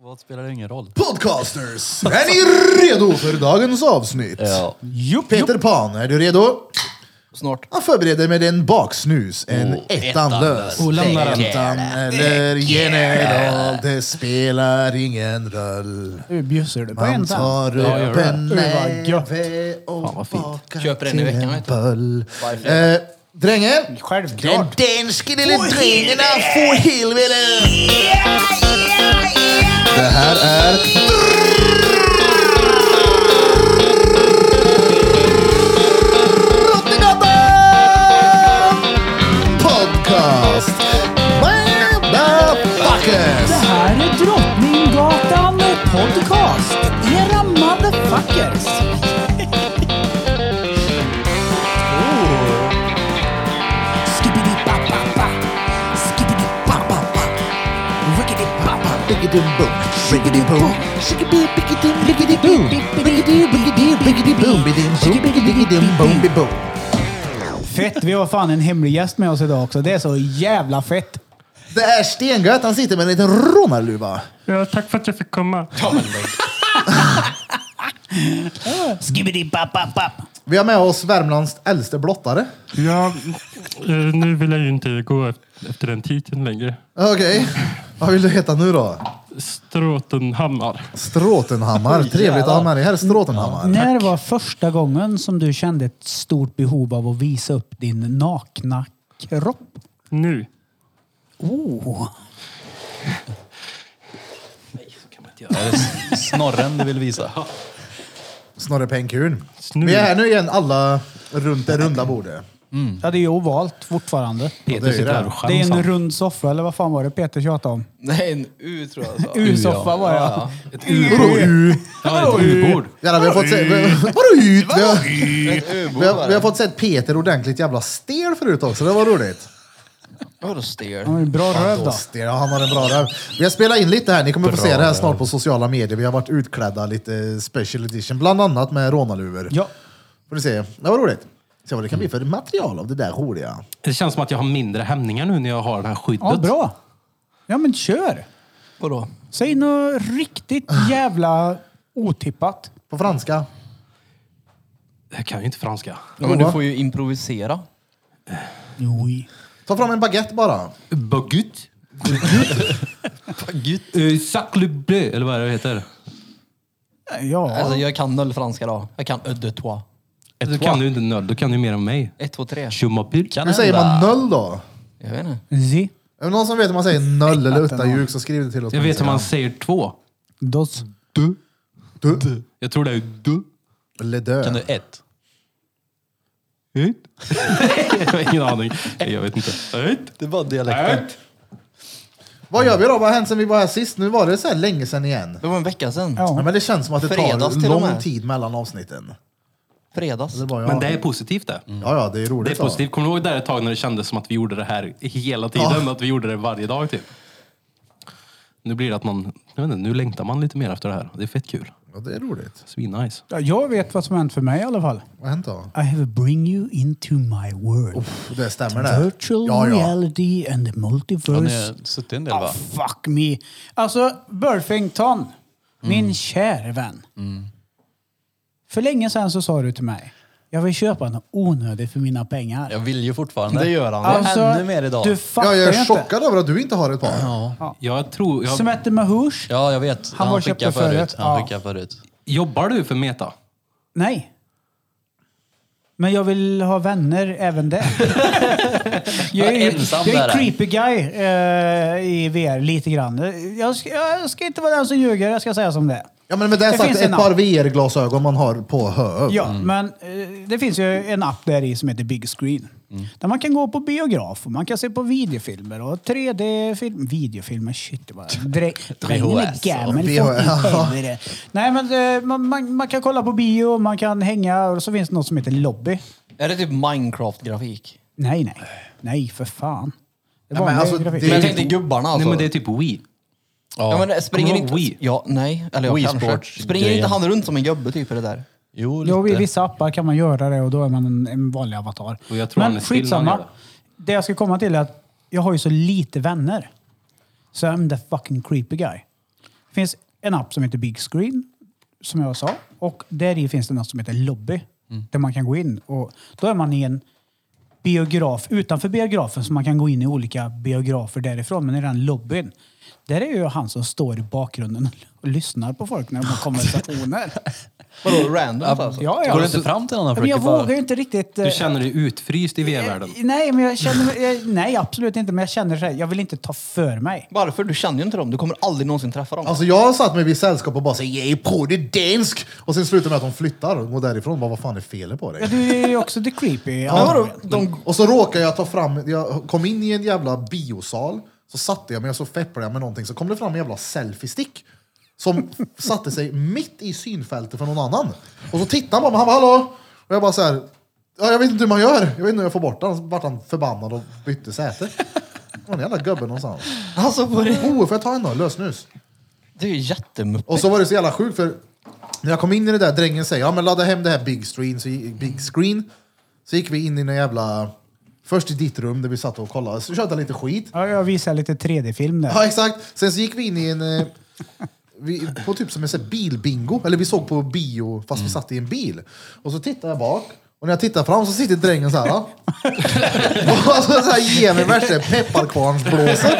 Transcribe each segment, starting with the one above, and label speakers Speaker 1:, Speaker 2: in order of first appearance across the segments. Speaker 1: Vad spelar det ingen roll?
Speaker 2: Podcasters, är ni redo för dagens avsnitt?
Speaker 1: Ja.
Speaker 2: Jupp, Peter Pan, är du redo?
Speaker 1: Snart.
Speaker 2: Han förbereder med en baksnus, en
Speaker 1: ettan
Speaker 2: ettanlös.
Speaker 1: lös. Och lämnar den.
Speaker 2: Ettan eller general, det spelar ingen roll.
Speaker 3: Nu bjussar du på
Speaker 2: Man
Speaker 3: en tand.
Speaker 2: tar
Speaker 1: Ja, gör
Speaker 2: upp
Speaker 1: det.
Speaker 2: en
Speaker 3: Oj, vad gött.
Speaker 2: näve och
Speaker 1: vad fint.
Speaker 2: bakar
Speaker 4: Köper en i
Speaker 2: till
Speaker 4: veckan,
Speaker 2: en
Speaker 4: vet du.
Speaker 2: böll. Eh, drängen, den
Speaker 3: Självklart.
Speaker 2: danske lille drängen han får helvete! Det här är... Drottninggatan Podcast! Motherfuckers!
Speaker 3: Det här är Drottninggatan Podcast. Era motherfuckers. Skibidi-ba-ba-ba. Skibidi-ba-ba-ba. Rickety-ba-ba.
Speaker 2: Biggity-boom, biggity-boom, shiggy-bee-biggity-boom, biggity-boom, biggity-boom, biggity-boom, biggity-boom, biggity-boom, biggity-boom.
Speaker 3: Fett, vi har fan en hemlig gäst med oss idag också. Det är så jävla fett.
Speaker 2: Det är stengött, han sitter med en liten rånarluva.
Speaker 5: Ja, tack för att jag fick komma.
Speaker 3: Skibidi-ba-ba-ba.
Speaker 2: Vi har med oss Värmlands äldste blottare.
Speaker 5: Ja, eh, nu vill jag ju inte gå ef- efter den titeln längre.
Speaker 2: Okej, vad vill du heta nu då?
Speaker 5: Stråtenhammar.
Speaker 2: Stråtenhammar, trevligt att ha med dig här, Stråtenhammar.
Speaker 3: När var första gången som du kände ett stort behov av att visa upp din nakna kropp?
Speaker 5: Nu.
Speaker 3: Oh.
Speaker 1: Snorren du vill visa.
Speaker 2: Snorre Pengkun.
Speaker 5: Snur.
Speaker 2: Vi är här nu igen alla runt det runda bordet.
Speaker 4: Mm.
Speaker 3: Ja, det är ju ovalt fortfarande.
Speaker 2: det är ju
Speaker 1: Peter sitter
Speaker 2: det.
Speaker 1: här och
Speaker 3: Det är en
Speaker 1: chansar.
Speaker 3: rund soffa, eller vad fan var det Peter tjatade om?
Speaker 4: Nej, en U tror jag sa.
Speaker 3: U-soffa var jag.
Speaker 4: Ja, ja. Ett U.
Speaker 2: Vadå U?
Speaker 1: Ja, ett U-bord.
Speaker 2: Jävlar, vi har fått se... vi- Vadå ut? Vi har,
Speaker 4: Ett U-bord
Speaker 2: vi, har,
Speaker 4: var
Speaker 2: vi
Speaker 4: det.
Speaker 2: har fått sett Peter ordentligt jävla stel förut också, det var roligt.
Speaker 4: Vadå stel?
Speaker 3: Han har ju bra röv då.
Speaker 2: Stel, ja, han har en bra röv. Vi har spelat in lite här, ni kommer få se det här snart på sociala medier. Vi har varit utklädda lite special edition, bland annat med rånarluvor.
Speaker 3: Ja.
Speaker 2: Får du se, det var roligt. Se vad det kan bli för material av det där roliga.
Speaker 6: Det känns som att jag har mindre hämningar nu när jag har det här skyddet.
Speaker 3: ja, bra. Ja, men kör.
Speaker 4: Vadå?
Speaker 3: Säg något riktigt jävla otippat.
Speaker 2: På franska.
Speaker 6: Jag kan ju inte franska.
Speaker 4: Ja, men du får ju improvisera.
Speaker 3: Oj.
Speaker 2: Ta fram en baguette bara.
Speaker 6: Bagut. Bagut. Eh, Sacre bleu, eller vad är det det heter?
Speaker 3: Ja.
Speaker 4: Alltså, jag kan noll franska då. Jag kan ö de toi.
Speaker 6: Då kan du inte nöd, då kan du mer än mig.
Speaker 4: Ett, två, tre.
Speaker 6: Je m'appelle.
Speaker 2: Hur säger man noll då?
Speaker 4: Jag vet inte.
Speaker 3: Si.
Speaker 2: Är det någon som vet hur man säger noll eller utta ljug så skriv det till oss.
Speaker 6: Jag
Speaker 2: på
Speaker 6: vet hur man
Speaker 2: Instagram.
Speaker 6: säger två.
Speaker 3: Dos.
Speaker 6: Du.
Speaker 2: Du.
Speaker 6: Jag tror det är du.
Speaker 2: Eller dö.
Speaker 1: Kan du ett?
Speaker 6: Ett. jag har ingen aning. Nej, Jag vet inte. Ett.
Speaker 1: Det var dialekten.
Speaker 6: Ett.
Speaker 2: Vad gör vi då? Vad har hänt sen vi var här sist? Nu var det så här länge sedan igen.
Speaker 4: Det var en vecka sedan.
Speaker 3: Ja.
Speaker 2: Ja, men det känns som att det
Speaker 4: Fredags till
Speaker 2: tar
Speaker 4: och
Speaker 2: lång
Speaker 4: med.
Speaker 2: tid mellan avsnitten.
Speaker 4: Fredags.
Speaker 2: Det var jag.
Speaker 6: Men det är positivt det.
Speaker 2: Ja, ja, det är roligt.
Speaker 6: Det är
Speaker 2: ja.
Speaker 6: positivt. Kommer du ihåg det där ett tag när det kändes som att vi gjorde det här hela tiden? Att vi gjorde det varje dag typ. Nu blir det att man, jag vet inte, nu längtar man lite mer efter det här. Det är fett kul.
Speaker 2: Ja, det är roligt.
Speaker 6: Svinnice.
Speaker 3: Ja, Jag vet vad som hänt för mig i alla fall.
Speaker 2: Vad har hänt då?
Speaker 3: I have bring you into my world.
Speaker 2: Det stämmer det.
Speaker 3: Virtual
Speaker 2: ja, ja.
Speaker 3: reality and the
Speaker 1: Han
Speaker 3: multiverse.
Speaker 1: har suttit en del
Speaker 3: Ah,
Speaker 1: va?
Speaker 3: fuck me. Alltså, Burfington,
Speaker 1: Mm.
Speaker 3: min käre vän. För länge sedan så sa du till mig, jag vill köpa något onödigt för mina pengar.
Speaker 1: Jag vill ju fortfarande. Det gör han.
Speaker 3: Alltså,
Speaker 1: Ännu mer idag.
Speaker 3: Du fattar
Speaker 2: Ja,
Speaker 3: ju
Speaker 2: jag är
Speaker 3: inte.
Speaker 2: chockad över att du inte har ett par.
Speaker 6: Jag tror, jag,
Speaker 3: Smette Mahoush?
Speaker 1: Ja, jag vet.
Speaker 3: Han
Speaker 1: Han,
Speaker 3: var och
Speaker 1: skickade
Speaker 3: köpte
Speaker 1: förut.
Speaker 3: förut.
Speaker 1: Han
Speaker 3: Ja.
Speaker 1: skickade förut.
Speaker 6: jobbar du för Meta?
Speaker 3: Nej. Men jag vill ha vänner även där. jag är,
Speaker 1: Ensam
Speaker 3: jag är
Speaker 1: där.
Speaker 3: creepy guy eh, i VR lite grann. Jag ska, jag ska inte vara den som ljuger, jag ska säga som det är.
Speaker 2: Ja, men med det,
Speaker 3: Det
Speaker 2: sagt,
Speaker 3: finns
Speaker 2: ett
Speaker 3: en
Speaker 2: par
Speaker 3: app.
Speaker 2: VR-glasögon man har på hö.
Speaker 3: Ja, men eh, det finns ju en app där i som heter Big Screen.
Speaker 2: Mm.
Speaker 3: Där man kan gå på biograf och man kan se på videofilmer och 3D-film. Videofilmer, shit. Det var drängen
Speaker 1: VHS
Speaker 3: är
Speaker 1: och
Speaker 3: gammal.
Speaker 2: VHS.
Speaker 3: fucking helvete. Nej, men eh, man, man, man kan kolla på bio, man kan hänga och så finns det något som heter Lobby.
Speaker 4: Är det typ Minecraft-grafik?
Speaker 3: Nej, nej. Nej, för fan. Det
Speaker 2: Nej,
Speaker 3: var
Speaker 2: men
Speaker 3: en
Speaker 2: alltså,
Speaker 3: grafik.
Speaker 2: det-
Speaker 4: Men jag tänkte gubbarna alltså.
Speaker 6: Nej men det är typ Wii.
Speaker 4: Ja, men det springer
Speaker 6: Kommer du
Speaker 4: inte...
Speaker 6: ihåg Wii?
Speaker 4: Ja, nej. Eller jag
Speaker 1: Wii
Speaker 4: kanske.
Speaker 1: Sports
Speaker 4: springer
Speaker 1: grejen.
Speaker 4: inte han runt som en gubbe typ i det där?
Speaker 1: Jo,
Speaker 3: Jo, i
Speaker 1: lite.
Speaker 3: vissa appar kan man göra det och då är man en, en vanlig avatar.
Speaker 6: Och jag tror han är
Speaker 3: Men
Speaker 6: still när han
Speaker 3: skitsamma.
Speaker 6: gör
Speaker 3: Det jag ska komma till är att jag har ju så lite vänner. Så I'm the fucking creepy guy. Det finns en app som heter Big Screen, som jag sa. Och där i finns det något som heter Lobby.
Speaker 6: Mm.
Speaker 3: Där man kan gå in och då är man i en biograf utanför biografen så man kan gå in i olika biografer därifrån. Men i den lobbyn, där är ju han som står i bakgrunden och lyssnar på folk när de har konversationer.
Speaker 4: Vadå random alltså?
Speaker 3: Ja, ja.
Speaker 1: Går du inte fram till den och
Speaker 3: Men jag
Speaker 1: försöker bara...
Speaker 3: vågar ju inte riktigt... eh,
Speaker 6: Du känner dig utfryst i VR-världen.
Speaker 3: eh, Nej, men jag känner, mig- eh, nej, absolut inte. Men jag känner så här, jag vill inte ta för mig.
Speaker 4: Varför? Du känner ju inte dem. Du kommer aldrig någonsin träffa dem.
Speaker 2: Alltså jag har satt mig vid sällskap och bara säger jag är på det dansk! Och sen slutar det med att de flyttar och går därifrån. Bara, vad fan är felet på
Speaker 3: Ja,
Speaker 2: dig?
Speaker 3: du är ju också the creepy.
Speaker 4: Men
Speaker 3: Ja.
Speaker 4: vadå? De...
Speaker 2: Och så råkar jag ta fram, jag kom in i en jävla biosal, så satte jag mig och så fepplade jag med någonting, så kom det fram en jävla selfiestick som satte sig mitt i synfältet för någon annan. Och så tittade han på mig, han bara hallå! Och jag bara så här, ja, jag vet inte hur man gör, jag vet inte hur jag får bort den. Och Så vart han förbannad och bytte säte. Det var en jävla gubbe någonstans.
Speaker 4: Alltså på det...
Speaker 2: Oh, får jag ta en då? Lösnus.
Speaker 4: Det är ju jättemuppigt.
Speaker 2: Och så var det så jävla sjukt för när jag kom in i det där, drängen säger ja men ladda hem det här big screen. Så, gick- big screen. så gick vi in i en jävla, först i ditt rum där vi satt och kollade, så körde jag lite skit.
Speaker 3: Ja, jag visar lite 3D-film där.
Speaker 2: Ja exakt, sen så gick vi in i en, eh, vi, på typ som en sån här bilbingo, eller vi såg på bio fast vi satt i en bil. Och så tittade jag bak. Och när jag tittar fram så sitter drängen så här. ja. Och så, så här, ger mig värsta pepparkvarnsblåset.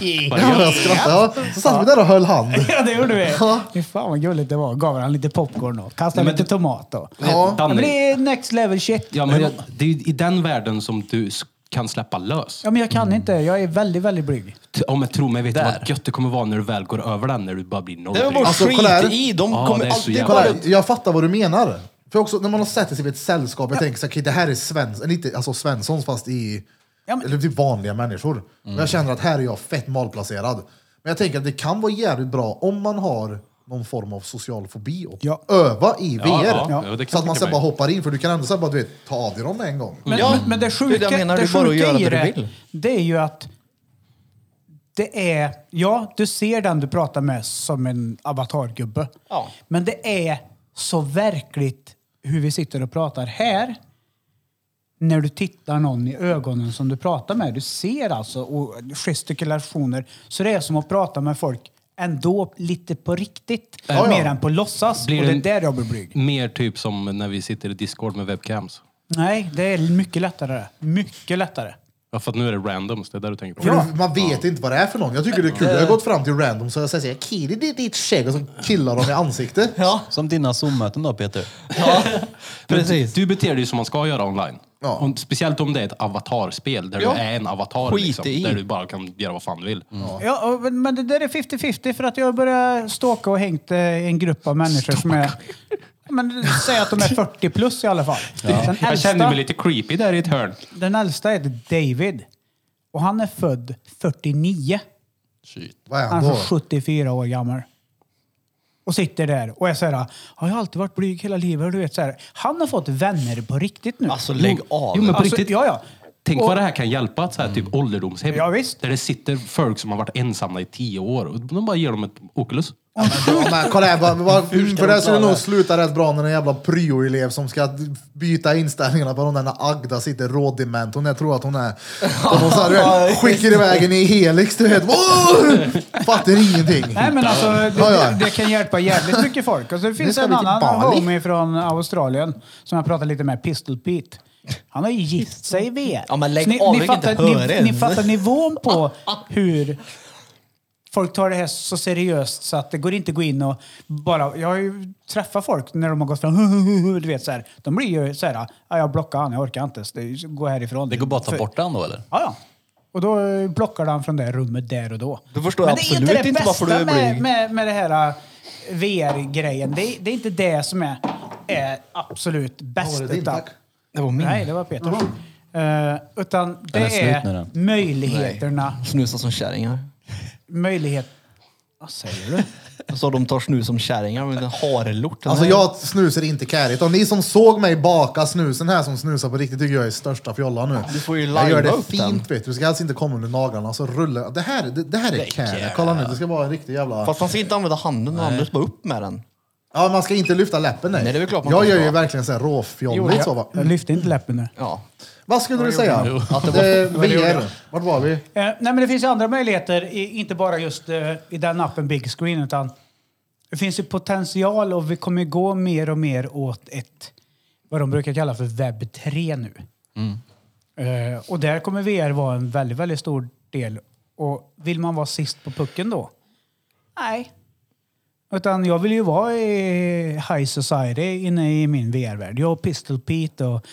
Speaker 2: Ja, jag skrattade. Ja. Så satt vi där och höll hand.
Speaker 3: Ja, det gjorde vi.
Speaker 2: Ja.
Speaker 3: Fy fan vad gulligt det var. Gav han lite popcorn och kastade
Speaker 6: Nej, men
Speaker 3: lite
Speaker 6: det-
Speaker 3: tomat och.
Speaker 2: Ja.
Speaker 3: Det
Speaker 6: Danny,
Speaker 3: blir next level shit.
Speaker 6: Ja, men jag, det är ju i den världen som du s- kan släppa lös.
Speaker 3: Ja, men jag kan inte. Jag är väldigt, väldigt blyg.
Speaker 6: T- Om jag tror mig vet du vad gött det kommer vara när du väl går över den, när du bara blir noll.
Speaker 4: Det var bara
Speaker 6: bryr dig.
Speaker 2: Alltså,
Speaker 4: skit
Speaker 2: kolla här.
Speaker 4: i. De
Speaker 6: Ja,
Speaker 4: kommer
Speaker 6: det är så
Speaker 4: alltid
Speaker 6: jävla-
Speaker 4: bara...
Speaker 2: Kolla, jag fattar vad du menar. För också när man har sett sig vid ett sällskap, jag tänker så här, okej, det här är Svensson, inte alltså Svenssons fast i,
Speaker 3: Ja, men-
Speaker 2: eller typ vanliga människor.
Speaker 6: Mm.
Speaker 2: Men jag känner att här är jag fett malplacerad. Men jag tänker att det kan vara jävligt bra om man har någon form av social fobi och
Speaker 3: Ja.
Speaker 2: öva i VR.
Speaker 6: Ja, ja,
Speaker 2: så
Speaker 6: ja, det kan
Speaker 2: att man
Speaker 6: jag tänka
Speaker 2: sen
Speaker 6: mig. Mm.
Speaker 2: bara hoppar in, för du kan ändå så här bara, du vet, ta av dig dem med en gång.
Speaker 3: Men,
Speaker 4: Ja,
Speaker 3: men det
Speaker 4: det är
Speaker 3: sjuka,
Speaker 4: det jag menar.
Speaker 3: det
Speaker 4: Det är bara att
Speaker 3: sjuka
Speaker 4: göra
Speaker 3: i
Speaker 4: det du
Speaker 3: det,
Speaker 4: vill.
Speaker 3: det är ju att det är, ja, du ser den du pratar med som en avatargubbe.
Speaker 4: Ja.
Speaker 3: Men det är så verkligt hur vi sitter och pratar här. När du tittar någon i ögonen som du pratar med. Du ser alltså och gestikulationer. Så det är som att prata med folk ändå lite på riktigt.
Speaker 2: ja.
Speaker 3: Mer än på låtsas.
Speaker 6: Blir
Speaker 3: och det är
Speaker 6: det-
Speaker 3: där jag blir blyg.
Speaker 6: Mer typ som när vi sitter i Discord med webcams.
Speaker 3: Nej, det är mycket lättare. Mycket lättare.
Speaker 6: Ja, för att nu är det randoms, det är det du tänker på.
Speaker 2: För du, man vet inte vad det är för någon. Jag tycker det är kul. Jag
Speaker 6: Eh.
Speaker 2: har gått fram till random så jag säger såhär, killar det är ditt skägg och så killar de i ansiktet.
Speaker 4: Ja,
Speaker 1: Som dina Zoom-möten då Peter.
Speaker 4: ja. precis.
Speaker 6: Du beter dig som man ska göra online.
Speaker 2: Ja.
Speaker 6: Om, speciellt om det är ett avatarspel där
Speaker 4: Ja.
Speaker 6: du är en avatar.
Speaker 4: Skit
Speaker 6: Liksom,
Speaker 4: i.
Speaker 6: där du bara kan göra vad fan du vill.
Speaker 3: Mm. Ja, och- men det där är 50-50 för att jag börjar stalka och hängt eh, en grupp av människor som är... Men säg att de är 40 plus i alla fall. Den,
Speaker 6: Jag kände
Speaker 3: äldsta,
Speaker 6: mig lite creepy där i ett hörn.
Speaker 3: den äldsta heter David och han är född 49.
Speaker 2: Vad är
Speaker 3: Han
Speaker 2: han
Speaker 3: är
Speaker 2: då?
Speaker 6: Alltså,
Speaker 3: 74 år gammal. Och sitter där och är såhär, har jag har alltid varit blyg hela livet. Du vet, så här. Han har fått vänner på riktigt nu.
Speaker 4: Alltså lägg av.
Speaker 6: Jo, men på
Speaker 3: Alltså,
Speaker 6: riktigt.
Speaker 3: ja, ja.
Speaker 6: Tänk
Speaker 3: Och- Mm.
Speaker 6: vad det här kan hjälpa, att så här, typ ålderdomshem.
Speaker 3: Ja, visst.
Speaker 6: Där det sitter folk som har varit ensamma i tio år och de bara ger dem ett Oculus.
Speaker 2: Ja, men kolla här, vad- vad- för det här skulle nog sluta rätt bra när en jävla pryoelev som ska byta inställningarna på den där Agda sitter rådement. Hon är, tror att hon är... Och hon så här, du vet, skickar iväg en i Helix, du vet. Åh! Fattar ingenting.
Speaker 3: Nej men alltså, det,
Speaker 2: Ja, ja.
Speaker 3: det- det kan hjälpa jävligt mycket folk. Och så
Speaker 2: Nu
Speaker 3: finns
Speaker 2: ska
Speaker 3: en
Speaker 2: vi till
Speaker 3: annan
Speaker 2: Bali.
Speaker 3: homie från Australien som jag pratade lite med, Pistol Pete. Han har ju gift sig i VR.
Speaker 4: Ja, men lägg
Speaker 3: Så ni,
Speaker 4: av, vi
Speaker 3: ni,
Speaker 4: kan
Speaker 3: fattar,
Speaker 4: inte höra
Speaker 3: ni,
Speaker 4: det.
Speaker 3: ni fattar nivån på hur folk tar det här så seriöst så att det går inte att gå in och bara... Jag har ju träffat folk när de har gått fram, du vet så här. De blir ju så här, "Ja, jag blockar han, jag orkar inte. Så det- Gå härifrån.
Speaker 1: Det går bara att ta bort den då eller?
Speaker 3: Ja, ja. Och då eh, blockade han från det rummet där och då.
Speaker 4: Då förstår jag
Speaker 3: Men det är inte
Speaker 4: absolut
Speaker 3: det
Speaker 4: inte varför
Speaker 3: bästa
Speaker 4: du är
Speaker 3: med,
Speaker 4: blyg.
Speaker 3: med, med det här eh, VR-grejen. Det, är- det är inte det som är, är absolut bäst.
Speaker 2: Vad var det din,
Speaker 3: utan-
Speaker 2: tack?
Speaker 4: Det var min.
Speaker 3: Nej, det var Peter. Eh, utan det
Speaker 1: Den är slut nu,
Speaker 3: är
Speaker 1: den.
Speaker 3: möjligheterna.
Speaker 4: Snusa som kärringar.
Speaker 3: Möjlighet... Vad säger du?
Speaker 4: Jag sa Alltså, de tar snus som kärringar, men en harelort. den
Speaker 2: Alltså
Speaker 4: här-
Speaker 2: jag snusar inte kärigt. Och ni som såg mig baka snusen här som snusar på riktigt tycker jag är största fjollan nu.
Speaker 4: Du får ju
Speaker 2: jag gör
Speaker 4: linea
Speaker 2: det
Speaker 4: upp den.
Speaker 2: fint vet du. Du ska alltså inte komma under naglarna. Alltså rulla. Det här, det, det här är carry. Kolla nu, det ska vara en riktig jävla...
Speaker 4: Fast man ska inte använda handen, man ska bara upp med den.
Speaker 2: Ja, man ska inte lyfta läppen nej.
Speaker 4: Nej, det är väl klart man
Speaker 2: jag
Speaker 4: kan
Speaker 2: gör ju
Speaker 4: dra.
Speaker 2: verkligen så här råfjolligt så va.
Speaker 3: Jag lyfte inte läppen nu.
Speaker 4: Mm. Ja.
Speaker 2: Vad skulle du säga?
Speaker 4: Att det var-
Speaker 2: Eh, VR, vart var vi?
Speaker 3: Eh, nej, men det finns ju andra möjligheter, i, inte bara just eh, i den appen Big Screen, utan det finns ju potential och vi kommer ju gå mer och mer åt ett, vad de brukar kalla för webb 3 nu. Eh, och där kommer VR vara en väldigt, väldigt stor del. Och vill man vara sist på pucken då? Nej. Utan jag vill ju vara i High Society inne i min VR-värld. Jag och Pistol Pete och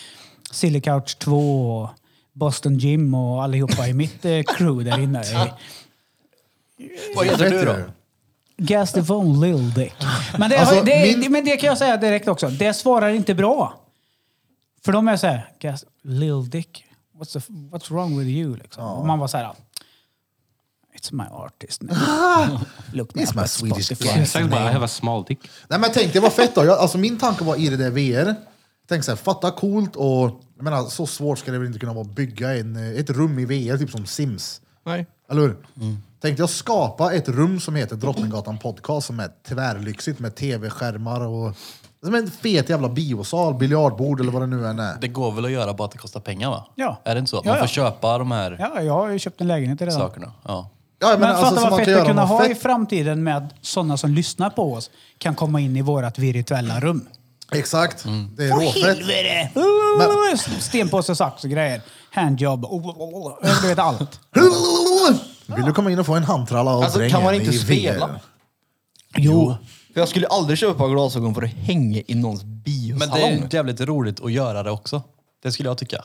Speaker 3: Silly Couch 2 och Boston Jim och allihopa i mitt eh, crew där inne.
Speaker 4: Vad heter du då?
Speaker 3: Gas the phone, Lil Dick. Men det,
Speaker 2: Alltså,
Speaker 3: det,
Speaker 2: min-
Speaker 3: men det kan jag säga direkt också. Det svarar inte bra. För de är så här, Gas, Lil Dick, what's, the, f- what's wrong with you? Liksom. Och man var så här, It's my artist name. Look me
Speaker 2: It's
Speaker 3: up
Speaker 2: my
Speaker 3: at
Speaker 2: Swedish
Speaker 3: Spotify.
Speaker 2: guy.
Speaker 6: Exakt bara, I have a small dick.
Speaker 2: Nej men tänk, det var fett då. Jag, alltså min tanke var i det där VR. Tänk såhär, fatta coolt och... Jag menar, så svårt ska det väl inte kunna vara att bygga en, eh, ett rum i VR, typ som Sims.
Speaker 4: Nej. Mm.
Speaker 2: Eller hur? Tänkte jag skapa ett rum som heter Drottninggatan Podcast som är tvärlyxigt med tv-skärmar och... Som en fet jävla biosal, biljardbord eller vad det nu än är.
Speaker 1: Det går väl att göra bara att det kostar pengar va?
Speaker 3: Ja.
Speaker 1: Är det inte så? Man
Speaker 3: Ja, ja.
Speaker 1: får köpa de här
Speaker 3: Ja, jag har ju köpt en lägenhet redan.
Speaker 1: sakerna. Ja.
Speaker 2: Ja, jag
Speaker 3: Men
Speaker 2: menar,
Speaker 3: fatta
Speaker 2: alltså, som
Speaker 3: vad
Speaker 2: man
Speaker 3: fett
Speaker 2: kan
Speaker 3: att
Speaker 2: göra
Speaker 3: kunna ha
Speaker 2: något
Speaker 3: i
Speaker 2: fett.
Speaker 3: framtiden med att sådana som lyssnar på oss kan komma in i vårat virtuella rum.
Speaker 2: Exakt.
Speaker 4: Mm.
Speaker 2: Det är
Speaker 3: Åh
Speaker 2: råfett.
Speaker 3: helvete!
Speaker 2: Men-
Speaker 3: Stenpåse, sax och grejer. Handjob. Oh, Du vet allt.
Speaker 2: Vill du komma in och få en handtralla av
Speaker 4: Alltså, kan
Speaker 2: drängen
Speaker 4: man inte
Speaker 2: i
Speaker 4: spela?
Speaker 2: VR?
Speaker 3: Jo.
Speaker 4: För jag skulle aldrig köpa ett par glasögon för att hänga i någons biosalong.
Speaker 1: Men det är ju jävligt roligt att göra det också. Det skulle jag tycka.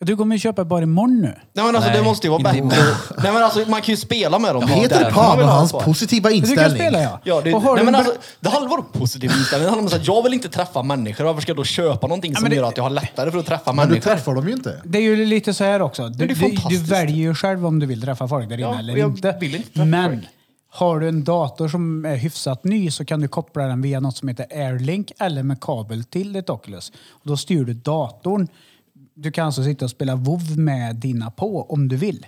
Speaker 3: Du kommer ju köpa ett bara imorgon nu.
Speaker 4: Nej men alltså
Speaker 1: Nej,
Speaker 4: det måste ju vara
Speaker 1: inte
Speaker 4: bättre. Nej men alltså man kan ju spela med dem.
Speaker 2: Peter
Speaker 1: där.
Speaker 2: Pan
Speaker 4: Man vill
Speaker 2: och
Speaker 4: ha
Speaker 2: hans
Speaker 4: ett par.
Speaker 2: positiva
Speaker 3: Du kan
Speaker 2: inställning.
Speaker 3: spela ja.
Speaker 4: Ja, det,
Speaker 3: och har
Speaker 4: nej,
Speaker 3: du
Speaker 4: men
Speaker 3: en
Speaker 4: alltså, det handlar bara om positiv inställning. Det handlar om att jag vill inte träffa människor. Varför ska jag då köpa någonting som
Speaker 3: men det-
Speaker 4: gör att jag har lättare för att träffa
Speaker 2: Men du
Speaker 4: människor?
Speaker 2: träffar dem ju inte.
Speaker 3: Det är ju lite så här också. Du,
Speaker 4: det är
Speaker 3: du, du
Speaker 4: fantastiskt.
Speaker 3: väljer ju själv om du vill träffa folk där inne
Speaker 4: Ja,
Speaker 3: eller
Speaker 4: och jag
Speaker 3: inte.
Speaker 4: vill inte träffa
Speaker 3: Men
Speaker 4: folk.
Speaker 3: har du en dator som är hyfsat ny så kan du koppla den via något som heter Airlink eller med kabel till ditt Oculus. Och då styr du datorn. Du kan alltså sitta och spela WoW med dina på om du vill.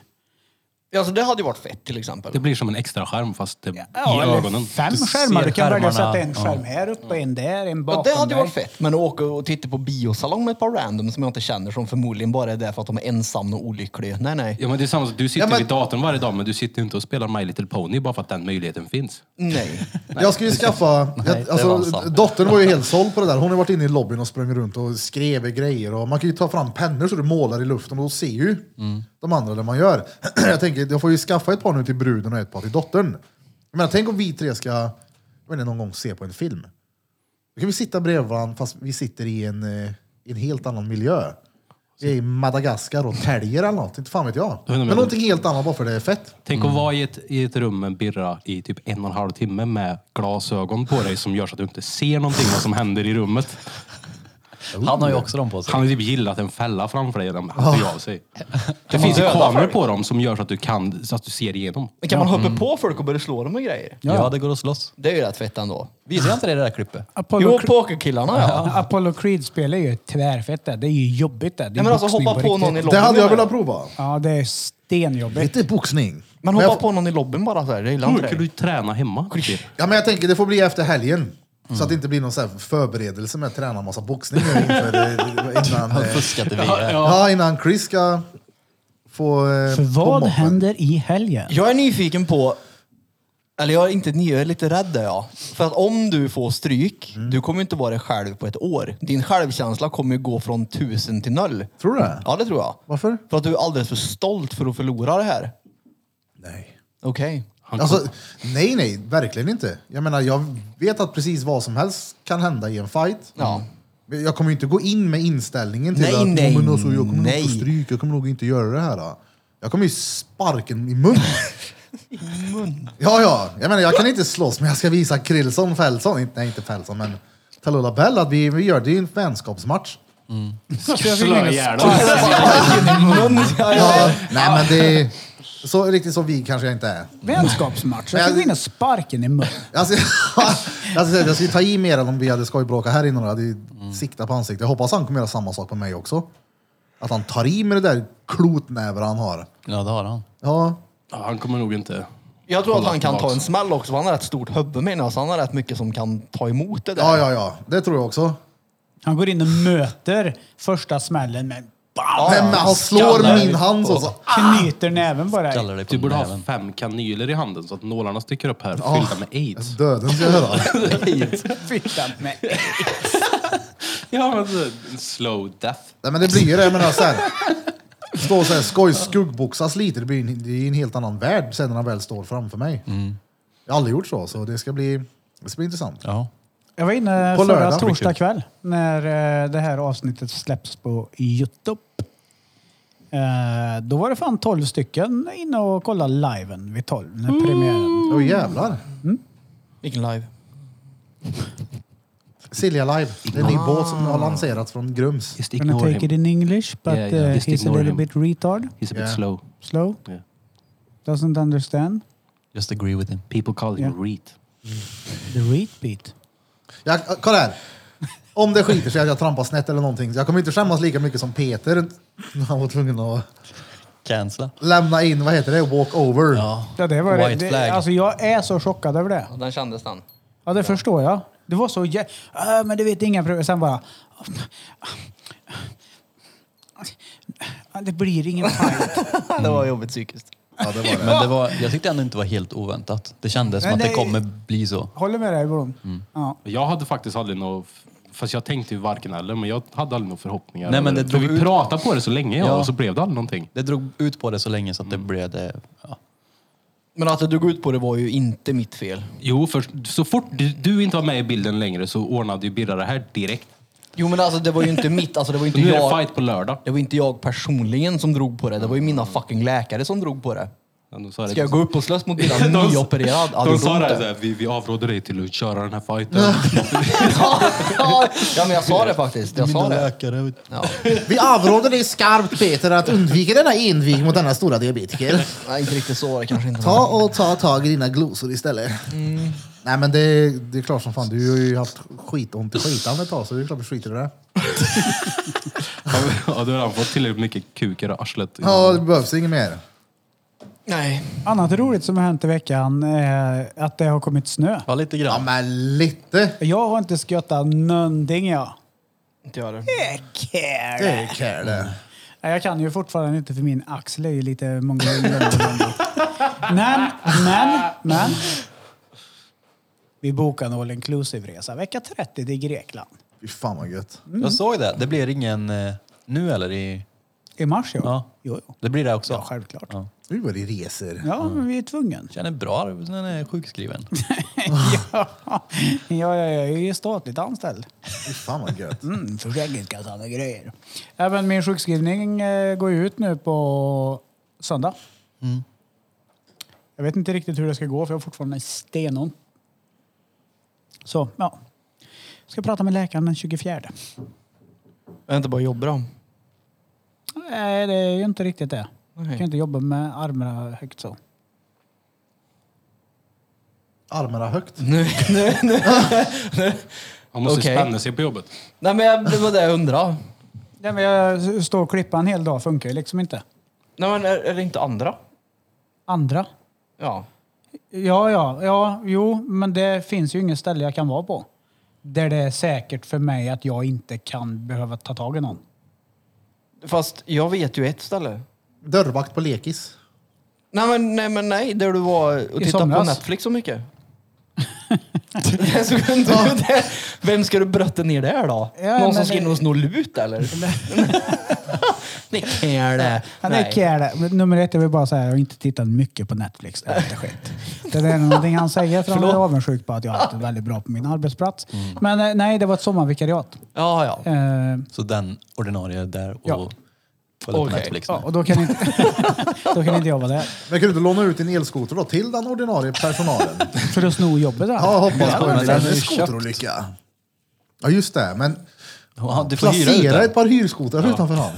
Speaker 4: Alltså det hade ju varit fett till exempel.
Speaker 6: Det blir som en extra skärm fast det, i
Speaker 3: eller
Speaker 6: ögonen.
Speaker 3: fem
Speaker 1: Du
Speaker 3: skärmar. Du
Speaker 1: ser
Speaker 3: kan välja att
Speaker 1: skärmarna.
Speaker 3: sätta en
Speaker 1: Ja.
Speaker 3: skärm här uppe, en där, en
Speaker 4: Ja,
Speaker 3: bakom
Speaker 4: det hade ju
Speaker 3: dig.
Speaker 4: varit fett. Men att åka och titta på biosalong med ett par random som jag inte känner som förmodligen bara är där för att de är ensamma och olyckliga. Nej, nej.
Speaker 6: Ja, men det är samma, sak. du sitter
Speaker 2: Ja, men-
Speaker 6: vid datorn varje dag men du sitter ju inte och spelar My Little Pony bara för att den möjligheten finns.
Speaker 4: Nej.
Speaker 2: Jag ska ju skaffa...
Speaker 1: Nej,
Speaker 2: Jag,
Speaker 1: det var
Speaker 2: alltså,
Speaker 1: sant.
Speaker 2: dottern var ju helt såld på det där. Hon har varit inne i lobbyn och sprungit runt och skrev grejer. Och man kan ju ta fram pennor så du målar i luften och då ser ju
Speaker 1: Mm.
Speaker 2: de andra det man gör. jag tänker, jag får ju skaffa ett par nu till bruden och ett par till dottern. Jag menar, tänk om vi tre ska jag vet inte, någon gång se på en film. Då kan vi sitta bredvid varandra fast vi sitter i en, eh, i en helt annan miljö. Vi är i Madagaskar och täljer eller något, inte fan vet jag.
Speaker 6: men-
Speaker 2: Men någonting helt annat bara för det är fett.
Speaker 6: Tänk att vara i ett, i ett rum med en birra i typ en och en halv timme med glasögon på dig som gör så att du inte ser någonting vad som händer i rummet.
Speaker 1: Han har ju också dem på sig.
Speaker 6: Han har typ gillat en fälla framför dig. Den han tog av sig. Det finns ju
Speaker 4: döda
Speaker 6: kameror
Speaker 4: folk? Mm.
Speaker 6: på dem som gör så att du, kan, så att du ser igenom.
Speaker 4: Men kan man hoppa på folk och börja slå dem med grejer?
Speaker 1: Ja. det går att slåss.
Speaker 4: Det är ju rätt fett ändå.
Speaker 1: Visade jag inte dig det där klippet?
Speaker 3: Apollo,
Speaker 4: Jo,
Speaker 3: Cre-
Speaker 4: pokerkillarna ja.
Speaker 3: Apollo Creed-spel är ju tvärfett det. Det är ju jobbigt det. det är
Speaker 4: Nej, men alltså
Speaker 3: boxning
Speaker 4: hoppa på
Speaker 3: riktigt.
Speaker 4: någon i
Speaker 2: Det
Speaker 4: lobbyn.
Speaker 2: hade jag
Speaker 4: menar
Speaker 2: velat prova.
Speaker 3: Ja, det är stenjobbigt.
Speaker 2: Lite boxning.
Speaker 4: Men
Speaker 2: Men jag-
Speaker 4: hoppa på någon i lobbyn bara så här. Jag gillar
Speaker 6: Då
Speaker 4: inte
Speaker 6: kan
Speaker 4: det.
Speaker 6: du ju träna hemma. Typ.
Speaker 2: Ja, men jag tänker det får bli efter helgen. Så att det inte blir någon så här förberedelse med att träna massa boxning nu inför, eh, innan,
Speaker 1: Han
Speaker 2: eh,
Speaker 1: fuskade VR.
Speaker 2: ja, innan Chris ska få... eh,
Speaker 3: För
Speaker 2: få
Speaker 3: vad
Speaker 2: moppen.
Speaker 3: händer i helgen?
Speaker 4: Jag är nyfiken på... Eller jag är inte ny, jag är lite rädd där ja. För att om du får stryk, du kommer ju inte vara dig själv på ett år. Din självkänsla kommer ju gå från tusen till noll.
Speaker 2: Tror du det?
Speaker 4: Ja, det tror jag.
Speaker 2: Varför?
Speaker 4: För att du är alldeles för stolt för att förlora det här.
Speaker 2: Nej.
Speaker 4: Okej.
Speaker 2: Alltså, nej, nej, verkligen inte. Jag menar, jag vet att precis vad som helst kan hända i en fight.
Speaker 4: Ja.
Speaker 2: Men Jag kommer ju inte gå in med inställningen till
Speaker 4: Nej,
Speaker 2: att
Speaker 4: nej,
Speaker 2: "Ja, men alltså, jag kommer nog
Speaker 4: nej.
Speaker 2: få stryk, jag kommer nog inte göra det här. då." Jag kommer ju sparken i mun. Ja, ja. Jag menar, jag kan inte slåss, men jag ska visa Krillson, Fällson, inte, nej inte Fällson, men Talula Bell att vi, vi gör, det är ju en vänskapsmatch.
Speaker 3: Alltså,
Speaker 6: Slö ihjäl
Speaker 2: Ja, nej men det är, så riktigt som vi kanske jag inte är.
Speaker 3: Vänskapsmatch. Jag ska gå in och sparken i munnen.
Speaker 2: Alltså, alltså, jag skulle ta i mer än om vi hade skojbråkat här innan. Jag hade mm. siktat på ansiktet. Jag hoppas han kommer göra samma sak på mig också. Att han tar i med det där klotnäver han har.
Speaker 1: Ja, det har han.
Speaker 2: Ja,
Speaker 6: Ja, han kommer nog inte...
Speaker 4: Jag tror att
Speaker 6: Kolla
Speaker 4: han kan ta
Speaker 6: tillbaks.
Speaker 4: en smäll också, för han har rätt stort huvud menar jag. Så han har rätt mycket som kan ta emot det där.
Speaker 2: Ja, ja, ja. Det tror jag också.
Speaker 3: Han går in och möter första smällen med bam,
Speaker 2: Men han slår
Speaker 4: skallar
Speaker 2: min
Speaker 4: ut
Speaker 2: hand så. så.
Speaker 3: knyter näven bara.
Speaker 1: Kallar dig på
Speaker 6: Du borde ha
Speaker 1: näven.
Speaker 6: fem kanyler i handen så att nålarna sticker upp här
Speaker 2: Ja.
Speaker 6: fyllda med aids.
Speaker 2: Alltså, Döden ska jag höra.
Speaker 3: Fittan. Nej.
Speaker 6: Ja, men så- slow death.
Speaker 2: Nej men det blir ju det. Jag menar sen. Stå såhär skoj, skuggboxas lite. Det blir en, det är en helt annan värld sen när han väl står framför mig. Jag har aldrig gjort så, så det ska bli, det ska bli intressant.
Speaker 1: Ja.
Speaker 3: Jag var inne
Speaker 2: På
Speaker 3: förra
Speaker 2: lördag.
Speaker 3: torsdag kväll när eh, det här avsnittet släpps på Youtube. Eh, då var det fan 12 stycken inne och kollade liven vid 12 när premiären.
Speaker 2: Åh jävlar.
Speaker 4: Vilken live.
Speaker 2: Silja Live. Det är en ny båt som har lanserats från Grums.
Speaker 6: Just
Speaker 3: Gonna
Speaker 6: ignore
Speaker 3: take it in
Speaker 6: him.
Speaker 3: English but
Speaker 6: Yeah, yeah.
Speaker 3: uh,
Speaker 6: Just
Speaker 3: he's a
Speaker 6: ignore
Speaker 3: little
Speaker 6: him.
Speaker 3: bit retard.
Speaker 6: He's a bit
Speaker 2: Yeah.
Speaker 6: slow.
Speaker 3: Slow.
Speaker 6: Yeah.
Speaker 3: Doesn't understand.
Speaker 1: Just agree with him.
Speaker 6: People call him
Speaker 3: Yeah.
Speaker 6: Reet.
Speaker 3: The reat beat.
Speaker 2: Jag, kolla här. Om det skiter sig att jag trampar snett eller någonting. Jag kommer inte skämmas lika mycket som Peter. Han var tvungen att
Speaker 1: Cancella.
Speaker 2: lämna in, vad heter det, walkover. Ja.
Speaker 3: Ja, det var det.
Speaker 1: White
Speaker 3: det.
Speaker 1: flag.
Speaker 3: Alltså jag är så chockad över det.
Speaker 4: Ja, Den kändes den.
Speaker 3: Ja, det förstår jag. Det var så jä... Äh, men du vet inga problem. Sen bara... Det blir ingen fight.
Speaker 4: det var jobbigt psykiskt.
Speaker 2: det var det.
Speaker 1: Men det var, jag tyckte ändå inte det var helt oväntat. Det kändes som
Speaker 3: Men
Speaker 1: att det
Speaker 3: det-
Speaker 1: kommer bli så.
Speaker 3: Håller med dig Blom.
Speaker 1: Mm.
Speaker 3: Ja.
Speaker 6: Jag hade faktiskt aldrig något... Fast jag tänkte ju varken eller, men jag hade aldrig några förhoppningar.
Speaker 1: Nej, men det
Speaker 6: För
Speaker 1: drog
Speaker 6: vi
Speaker 1: ut-
Speaker 6: pratade på det så länge ja.
Speaker 1: Ja.
Speaker 6: och så blev det aldrig någonting.
Speaker 1: Det drog ut på det så länge så att det blev det. Ja.
Speaker 4: Men att det drog ut på det var ju inte mitt fel.
Speaker 6: Jo, för så fort du, du inte var med i bilden längre så ordnade ju Birra det här direkt.
Speaker 4: Jo men alltså det var ju inte mitt, alltså det var ju
Speaker 6: Och
Speaker 4: inte
Speaker 6: nu är det
Speaker 4: jag.
Speaker 6: fight på lördag.
Speaker 4: Det var inte jag personligen som drog på det, det var ju mina fucking läkare som drog på det.
Speaker 6: Ja, de sa det-
Speaker 4: Ska jag gå upp och slåss mot bilen?
Speaker 6: De-
Speaker 4: Nyopererad? Ja,
Speaker 6: De
Speaker 4: det
Speaker 6: sa
Speaker 4: går
Speaker 6: det
Speaker 4: inte.
Speaker 6: såhär, vi, vi avråder dig till att köra den här fighten.
Speaker 4: ja, men jag sa det faktiskt. Jag sa det.
Speaker 1: läkare.
Speaker 4: Ja.
Speaker 2: Vi avråder dig skarpt Peter att undvika denna envig mot denna stora diabetiker.
Speaker 4: Nej, inte riktigt så var det kanske inte.
Speaker 2: Ta och ta tag i dina glosor istället. Nej men det, det är klart som fan, du har ju haft skitont i skitan ett tag så det är klart vi skiter i det.
Speaker 6: ja, då har han fått tillräckligt mycket kuk i arslet.
Speaker 2: Ja, det behövs inget mer.
Speaker 4: Nej.
Speaker 3: Annat roligt som har hänt i veckan är att det har kommit snö.
Speaker 1: Ja, lite
Speaker 2: Ja
Speaker 1: grann.
Speaker 2: men lite.
Speaker 3: Jag har inte skottat någonting jag.
Speaker 4: Inte jag det.
Speaker 2: Det är kär det.
Speaker 3: Nej, Jag kan ju fortfarande inte för min axel är ju lite mongol. men, men, men. Vi bokade en all inclusive-resa vecka 30 till Grekland.
Speaker 2: Fy fan vad gött.
Speaker 1: Jag såg det. Det blir ingen eh, nu eller? I,
Speaker 3: I mars ja.
Speaker 1: Ja.
Speaker 3: Jo, jo.
Speaker 1: det blir det också?
Speaker 3: Ja, självklart.
Speaker 1: Ja.
Speaker 2: Nu var det reser.
Speaker 3: Ja, men vi är tvungen.
Speaker 1: Känner bra när jag är sjukskriven.
Speaker 3: ja, ja, ja, jag är ju statligt anställd.
Speaker 2: Fy fan vad gött.
Speaker 3: Mm, Försäkringskassan och grejer. Även min sjukskrivning eh, går ju ut nu på söndag. Jag vet inte riktigt hur det ska gå för jag har fortfarande stenont. Så, ja. Ska prata med läkaren den 24.
Speaker 4: Jag inte bara jobba då.
Speaker 3: Nej, det är ju inte riktigt det. Jag kan
Speaker 4: Nej.
Speaker 3: inte jobba med armarna högt så.
Speaker 2: Armarna högt.
Speaker 4: Nu, nu, nu.
Speaker 6: Han måste
Speaker 4: Okej.
Speaker 6: spänna sig på jobbet.
Speaker 4: Nej men jag, det var det jag undrade.
Speaker 3: Nej, men jag står och klippa en hel dag funkar ju liksom inte.
Speaker 4: Nej men är, är det inte andra?
Speaker 3: Andra?
Speaker 4: Ja.
Speaker 3: Ja, ja, ja, jo, men det finns ju inget ställe jag kan vara på där det är säkert för mig att jag inte kan behöva ta tag i någon.
Speaker 4: Fast jag vet ju ett ställe.
Speaker 2: Dörrvakt på lekis.
Speaker 4: Nej men nej, men nej där du var och
Speaker 3: I
Speaker 4: tittade på
Speaker 3: somras.
Speaker 4: Netflix så mycket. Det såg inte ut där. Vem ska du brötta ner där då?
Speaker 3: Ja,
Speaker 4: Någon
Speaker 3: men
Speaker 4: som ska in
Speaker 3: det-
Speaker 4: och sno lut eller? det kan jag det.
Speaker 3: Ja, det är det. Men Nummer ett, jag vill bara säga, jag har inte tittat mycket på Netflix. Det är inte skit. Det där är någonting han säger, för han är avundsjuk på att jag har haft det väldigt bra på min arbetsplats.
Speaker 2: Mm.
Speaker 3: Men eh, nej, det var ett sommarvikariat.
Speaker 4: Ja, ja.
Speaker 3: Eh,
Speaker 1: Så den ordinarie där och
Speaker 3: Ja.
Speaker 1: kollar på
Speaker 4: Okej.
Speaker 1: Netflix nu.
Speaker 3: ja, och då kan, inte, då kan inte jag vara där.
Speaker 2: Men kan du inte låna ut din elskoter då till den ordinarie personalen?
Speaker 3: För att sno jobbet. där.
Speaker 2: Ja, hoppas på
Speaker 1: men
Speaker 2: en
Speaker 1: den är
Speaker 2: liten
Speaker 1: ju
Speaker 2: skoterolycka. Ja just det, men
Speaker 1: Ja, du får hyra ut
Speaker 2: placera ett
Speaker 1: den.
Speaker 2: par hyrskotrar utanför han.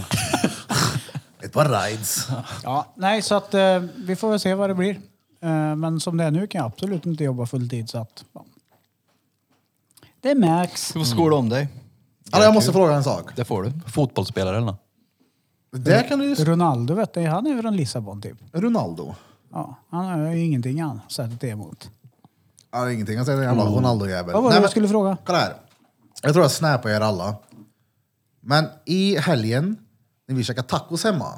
Speaker 2: Ett par rides. Alltså,
Speaker 3: Ja, nej, så att eh, vi får väl se vad det blir. Eh, men som det är nu kan jag absolut inte jobba fulltid så att... Ja. Det märks.
Speaker 4: Du får skola om dig.
Speaker 2: Alltså, jag måste fråga en sak.
Speaker 4: Det får du.
Speaker 1: Fotbollsspelare eller något.
Speaker 2: Där kan du ju...
Speaker 3: Ronaldo vet du, han är ju från Lissabon typ.
Speaker 2: Ronaldo.
Speaker 3: Ja, han har ju ingenting han sättet emot.
Speaker 2: Ja, det är ingenting. Jag säger den jävla Ronaldo-jävel.
Speaker 3: Mm. Vad var det
Speaker 2: Nej,
Speaker 3: jag
Speaker 2: men-
Speaker 3: skulle fråga?
Speaker 2: Kolla här. Jag tror jag snappar er alla. Men i helgen, när vi käkar tacos hemma,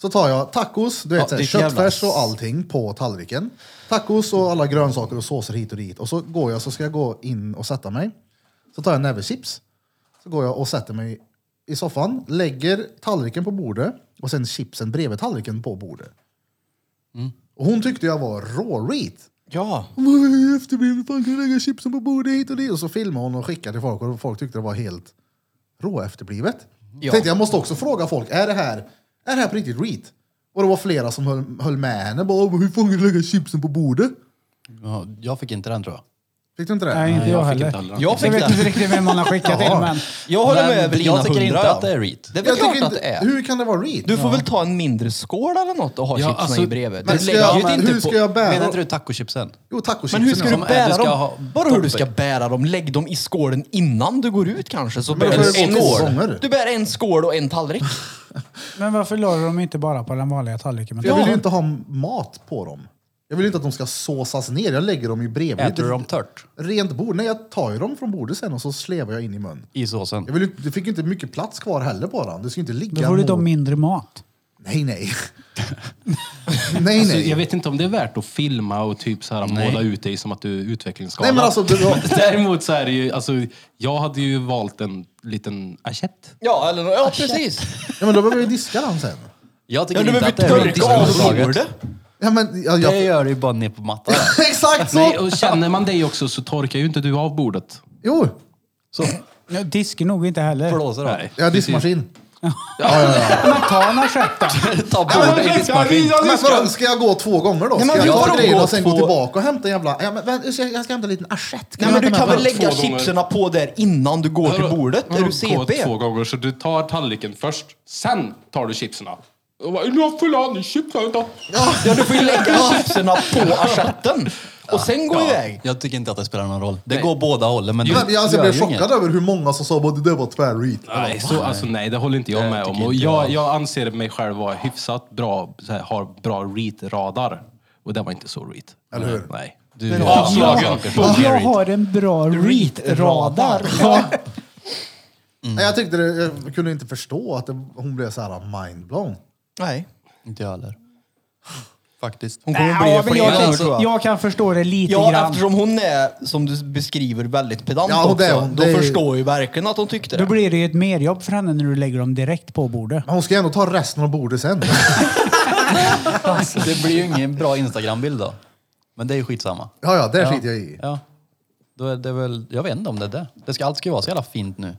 Speaker 2: så tar jag tacos, du vet,
Speaker 4: Ja,
Speaker 2: så här,
Speaker 4: ditt jävla-
Speaker 2: köttfärs och allting på tallriken. Tacos och alla grönsaker och såser hit och dit. Och så går jag, så ska jag gå in och sätta mig. Så tar jag en näve chips. Så går jag och sätter mig i soffan, lägger tallriken på bordet och sen chipsen bredvid tallriken på bordet.
Speaker 3: Mm.
Speaker 2: Och hon tyckte jag var rå-reat.
Speaker 4: Ja.
Speaker 2: Hon var efterbliven, fan kan du lägga chipsen på bordet hit och dit? Och så filmade hon och skickade till folk och folk tyckte det var helt råefterblivet.
Speaker 4: Ja.
Speaker 2: Tänkte jag måste också fråga folk, är det här, är det här på riktigt reat? Och det var flera som höll, höll med henne, bara hur fan kan du lägga chipsen på bordet?
Speaker 1: Ja, jag fick inte den tror jag.
Speaker 2: Fick du inte det?
Speaker 3: Nej, inte jag, heller.
Speaker 6: heller.
Speaker 4: Jag
Speaker 3: Jag
Speaker 4: fick
Speaker 3: vet inte
Speaker 4: den.
Speaker 3: riktigt vem man har skickat in, men
Speaker 4: Jag håller
Speaker 1: Men
Speaker 4: med Evelina
Speaker 1: jag tycker
Speaker 4: 100,
Speaker 1: inte
Speaker 4: ja.
Speaker 1: att det är reat.
Speaker 4: Det är väl
Speaker 2: Jag tycker
Speaker 4: klart att
Speaker 2: inte-
Speaker 4: det är.
Speaker 2: Hur kan det vara reat?
Speaker 4: Du får väl ta en mindre skål eller något och ha
Speaker 6: Ja,
Speaker 4: chipsen
Speaker 6: alltså-
Speaker 4: i bredvid.
Speaker 2: Men
Speaker 4: Du
Speaker 2: ska
Speaker 4: lägger
Speaker 2: jag-
Speaker 4: ju
Speaker 2: men
Speaker 4: inte
Speaker 2: hur
Speaker 4: på-
Speaker 2: ska jag bära-
Speaker 1: Menar inte du tacochipsen?
Speaker 2: Jo, tacochipsen.
Speaker 4: Men hur ska
Speaker 2: ja.
Speaker 4: du
Speaker 1: Som är,
Speaker 4: bära
Speaker 1: du ska
Speaker 4: dem?
Speaker 1: ha
Speaker 4: Bara hur du ska
Speaker 1: toppen.
Speaker 4: bära dem. Lägg dem i skålen innan du går ut kanske. Så
Speaker 2: Men då
Speaker 4: bär
Speaker 2: får
Speaker 4: du
Speaker 2: det
Speaker 4: en
Speaker 2: gå två
Speaker 4: skål.
Speaker 2: gånger.
Speaker 4: Du bär en skål och en tallrik.
Speaker 3: Men varför la du dem inte bara på den vanliga tallriken? Men
Speaker 2: Jag vill ju
Speaker 3: Ja.
Speaker 2: inte ha mat på dem. Jag vill ju inte att de ska såsas ner, jag lägger dem ju bredvid.
Speaker 1: Äter du dem tört?
Speaker 2: Rent bord. Nej, jag tar ju dem från bordet sen och så slevar jag in i mun.
Speaker 1: I
Speaker 2: Jag
Speaker 1: såsen?
Speaker 2: vill, ju- du fick ju inte mycket plats kvar heller på den. Du ska ju inte ligga
Speaker 3: Då får du
Speaker 2: mot-
Speaker 3: ta mindre mat.
Speaker 2: Nej, nej. nej,
Speaker 6: Alltså, jag
Speaker 2: nej.
Speaker 6: vet inte om det är värt att filma och typ så här, måla ut dig som att du är
Speaker 2: Nej,
Speaker 6: utvecklingsskadad.
Speaker 2: men alltså, du,
Speaker 6: Däremot så är det ju, alltså, jag hade ju valt en liten assiett.
Speaker 4: Ja, eller, ja precis.
Speaker 2: ja, men då behöver vi diska den sen.
Speaker 1: Jag
Speaker 4: Ja,
Speaker 1: tycker
Speaker 4: du
Speaker 1: inte
Speaker 4: behöver
Speaker 1: att det är reat.
Speaker 4: torka av bordet.
Speaker 2: Ja, men, ja,
Speaker 1: Det
Speaker 2: jag,
Speaker 1: gör du ju bara ner på mattan.
Speaker 2: exakt så!
Speaker 6: Nej, och känner man dig också så torkar ju inte du av bordet.
Speaker 2: Jo,
Speaker 1: Så,
Speaker 3: Ja, Disk nog inte heller.
Speaker 1: blåser av.
Speaker 2: jag har diskmaskin.
Speaker 3: Men ta en assiett då.
Speaker 1: Ta bordet i diskmaskin.
Speaker 2: Men vadå, ska jag gå två gånger då?
Speaker 4: Nej,
Speaker 2: Ska
Speaker 4: men
Speaker 2: jag
Speaker 4: vi
Speaker 2: ta
Speaker 4: får
Speaker 2: grejerna
Speaker 4: gå
Speaker 2: och sen gå
Speaker 4: två-
Speaker 2: tillbaka och hämta en jävla... Ja, men, vänta, jag ska- jag ska hämta en liten assiett.
Speaker 4: Nej, men du
Speaker 2: jag
Speaker 4: kan
Speaker 2: hämta
Speaker 4: väl
Speaker 2: med
Speaker 4: lägga
Speaker 6: Två gånger.
Speaker 4: chipserna på där innan du går till
Speaker 6: Vadå-
Speaker 4: bordet? Är
Speaker 6: vadå
Speaker 4: du
Speaker 6: Gå
Speaker 4: CP?
Speaker 6: två gånger, så du tar tallriken först, sen tar du chipsen. Och bara, Nu har fullan i chips här då.
Speaker 4: Ja, du får ju lägga chipserna på assietten och sen gå iväg.
Speaker 1: Jag tycker inte att det spelar någon roll. Det går båda hållen men
Speaker 2: Men,
Speaker 1: det
Speaker 2: jag, alltså,
Speaker 1: gör
Speaker 2: jag
Speaker 1: ju
Speaker 2: blev chockad
Speaker 1: inget.
Speaker 2: över hur många som sa att det där var tvärreat.
Speaker 6: Nej, så, alltså, nej, det håller inte jag med om.
Speaker 1: tycker
Speaker 6: Och
Speaker 1: inte
Speaker 6: jag,
Speaker 1: jag.
Speaker 6: jag anser mig själv vara hyfsat bra, så här, har bra read-radar. Och det var inte så read.
Speaker 2: Eller hur?
Speaker 6: Nej.
Speaker 1: Du-
Speaker 6: Avslagen.
Speaker 3: Jag har en bra reat-radar. Ja.
Speaker 4: Mm.
Speaker 2: Nej, Jag tyckte det, jag kunde inte förstå att det, hon blev så här mindblown.
Speaker 4: Nej.
Speaker 1: Inte jag heller. Faktiskt.
Speaker 4: Hon kommer
Speaker 3: Ja,
Speaker 4: bli
Speaker 3: men
Speaker 4: fler gånger
Speaker 3: jag,
Speaker 4: tror Äh, jag.
Speaker 3: jag kan förstå det lite
Speaker 4: Ja,
Speaker 3: grann.
Speaker 4: eftersom hon är, som du beskriver, väldigt pedant
Speaker 2: Ja, och det är
Speaker 4: också.
Speaker 2: hon.
Speaker 4: Då
Speaker 2: Det är-
Speaker 4: förstår ju verkligen att hon tyckte
Speaker 3: Då
Speaker 4: det.
Speaker 3: blir det ju ett merjobb för henne när du lägger dem direkt på bordet.
Speaker 2: Men hon ska ju ändå ta resten av bordet sen.
Speaker 1: Det blir ju ingen bra Instagram-bild då. Men det är ju skitsamma.
Speaker 2: Ja, ja, där skiter jag i.
Speaker 1: Ja. Då är det väl, jag vet inte om det är det. det ska, allt ska ju vara så jävla fint nu.
Speaker 6: Nej,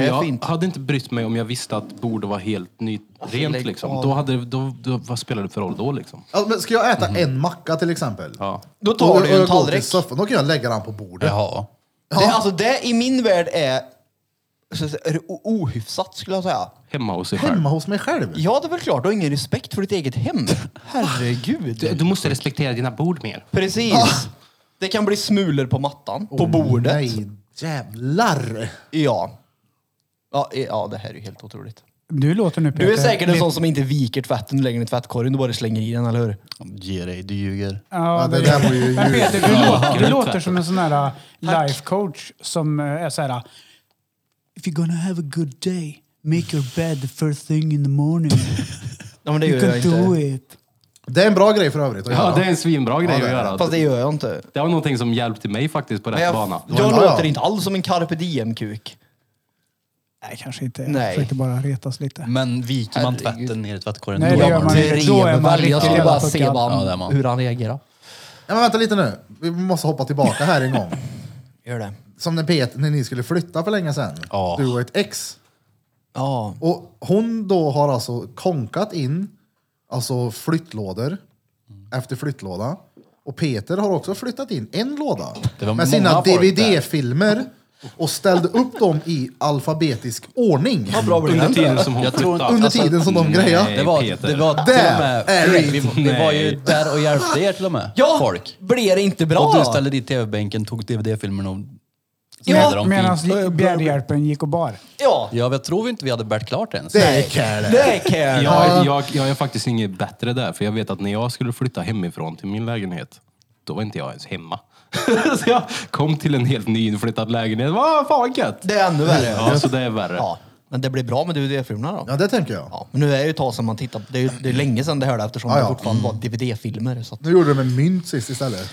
Speaker 6: men
Speaker 4: är
Speaker 6: jag
Speaker 4: fint.
Speaker 6: hade inte brytt mig om jag visste att bordet var helt ny, rent.
Speaker 4: lägg
Speaker 6: Liksom.
Speaker 4: av.
Speaker 6: Då hade, det- då, då, vad spelade det för roll då? Liksom?
Speaker 2: Alltså, men ska jag äta en macka till exempel?
Speaker 6: Ja.
Speaker 4: Då
Speaker 2: Och-
Speaker 4: tar
Speaker 2: och
Speaker 4: du ju en
Speaker 2: jag går till
Speaker 4: tallrik.
Speaker 2: Soffan, då kan jag lägga den på bordet.
Speaker 1: Jaha.
Speaker 4: Det, alltså det i min värld är, så att säga, är det o- ohyfsat skulle jag säga.
Speaker 6: Hemma hos sig själv.
Speaker 2: Hemma hos mig själv.
Speaker 4: Ja, det är väl klart. Du har ingen respekt för ditt eget hem.
Speaker 6: Du,
Speaker 4: Herregud.
Speaker 6: du måste respektera dina bord mer.
Speaker 4: Precis. Det kan bli smulor på mattan, på
Speaker 2: Åh,
Speaker 4: bordet.
Speaker 2: Oh, Nej, jävlar.
Speaker 4: Ja. Ja, e- ja, det här är ju helt otroligt.
Speaker 3: Du låter nu Peter.
Speaker 4: Du är säkert en
Speaker 3: lite-
Speaker 4: sån som inte viker tvätten längre i tvättkorgen. Du bara slänger i den, eller hur?
Speaker 1: Ge dig, du ljuger.
Speaker 3: Ja,
Speaker 2: Ja,
Speaker 3: det
Speaker 2: det där var ju
Speaker 3: Men
Speaker 2: ljuvligt.
Speaker 3: Peter, du, låter, du
Speaker 6: Grönt
Speaker 3: låter
Speaker 6: vatten.
Speaker 3: som en sån här uh, life coach som eh, är så här. If you're gonna have a good day, make your bed first thing in the morning.
Speaker 4: Ja, men det
Speaker 3: You
Speaker 4: gör jag
Speaker 3: can do
Speaker 4: inte.
Speaker 3: it.
Speaker 2: Det är en bra grej för övrigt att
Speaker 6: Ja,
Speaker 2: göra.
Speaker 6: det är en svinbra grej
Speaker 2: det
Speaker 6: att
Speaker 2: är
Speaker 6: göra.
Speaker 4: Fast det gör jag inte.
Speaker 6: Det var någonting som hjälpte mig faktiskt på
Speaker 4: Men
Speaker 6: rätt
Speaker 4: jag,
Speaker 6: bana.
Speaker 4: jag
Speaker 2: Ja, ja.
Speaker 4: låter inte alls som en carpe diem-kuk.
Speaker 3: Nej, kanske inte.
Speaker 4: Nej.
Speaker 3: Jag försökte bara retas lite.
Speaker 1: Men viker man
Speaker 4: Herregud.
Speaker 1: tvätten ner i tvättkorgen
Speaker 3: Nej,
Speaker 1: då
Speaker 3: det
Speaker 1: är
Speaker 3: gör man inte.
Speaker 4: Drev
Speaker 3: Då är man
Speaker 4: väl.
Speaker 3: riktigt
Speaker 4: Jag skulle
Speaker 3: jävla
Speaker 4: bara se
Speaker 3: puckad.
Speaker 4: vad
Speaker 1: Ja, det är
Speaker 4: han,
Speaker 1: man.
Speaker 4: hur han reagerar.
Speaker 2: Ja, men vänta lite nu. Vi måste hoppa tillbaka här en gång.
Speaker 4: Gör det.
Speaker 2: Som när Peter, när ni skulle flytta för länge sedan.
Speaker 1: Ja.
Speaker 2: Du och ett ex.
Speaker 4: Ja.
Speaker 2: Och hon då har alltså konkat in alltså flyttlådor efter flyttlåda. Och Peter har också flyttat in en låda
Speaker 1: Det var
Speaker 2: med
Speaker 1: många
Speaker 2: sina
Speaker 1: folk där.
Speaker 2: DVD-filmer och ställde upp dem i alfabetisk ordning.
Speaker 4: Vad bra blir
Speaker 6: Under
Speaker 4: den?
Speaker 6: tiden som hon
Speaker 1: Jag tror
Speaker 6: flyttade.
Speaker 2: under tiden som de grejer.
Speaker 6: Nej,
Speaker 1: Det var,
Speaker 6: Peter.
Speaker 1: det var till
Speaker 2: Där
Speaker 1: och med,
Speaker 2: är det.
Speaker 1: vi, vi var ju där och hjälpte er till och med.
Speaker 4: Ja,
Speaker 1: Folk.
Speaker 4: blir det inte bra?
Speaker 1: Och du ställde dit tv-bänken, tog dvd-filmerna och
Speaker 4: Ja,
Speaker 1: ja,
Speaker 3: Medan
Speaker 1: medan...
Speaker 3: Bjärrhjälpen gick och bar.
Speaker 4: Ja,
Speaker 1: ja, jag tror inte vi hade bärt klart ens.
Speaker 2: Det är kärle.
Speaker 4: det är Karen.
Speaker 6: Jag, jag, jag är faktiskt inget bättre där, för jag vet att när jag skulle flytta hemifrån till min lägenhet, då var inte jag ens hemma. så jag kom till en helt nyinflyttad lägenhet. Vad fan vad gött!
Speaker 4: Det är ännu värre.
Speaker 6: Ja, så det är värre.
Speaker 4: Ja, men det blir bra med DVD-filmerna då.
Speaker 2: Ja, det tänker jag.
Speaker 4: Ja, men nu är det ju ett tag sedan man tittar på- Det är ju det är länge sedan det hörde eftersom
Speaker 2: Ja, ja.
Speaker 4: det fortfarande var DVD-filmer. Så att,
Speaker 2: Nu gjorde du med mynt sist istället.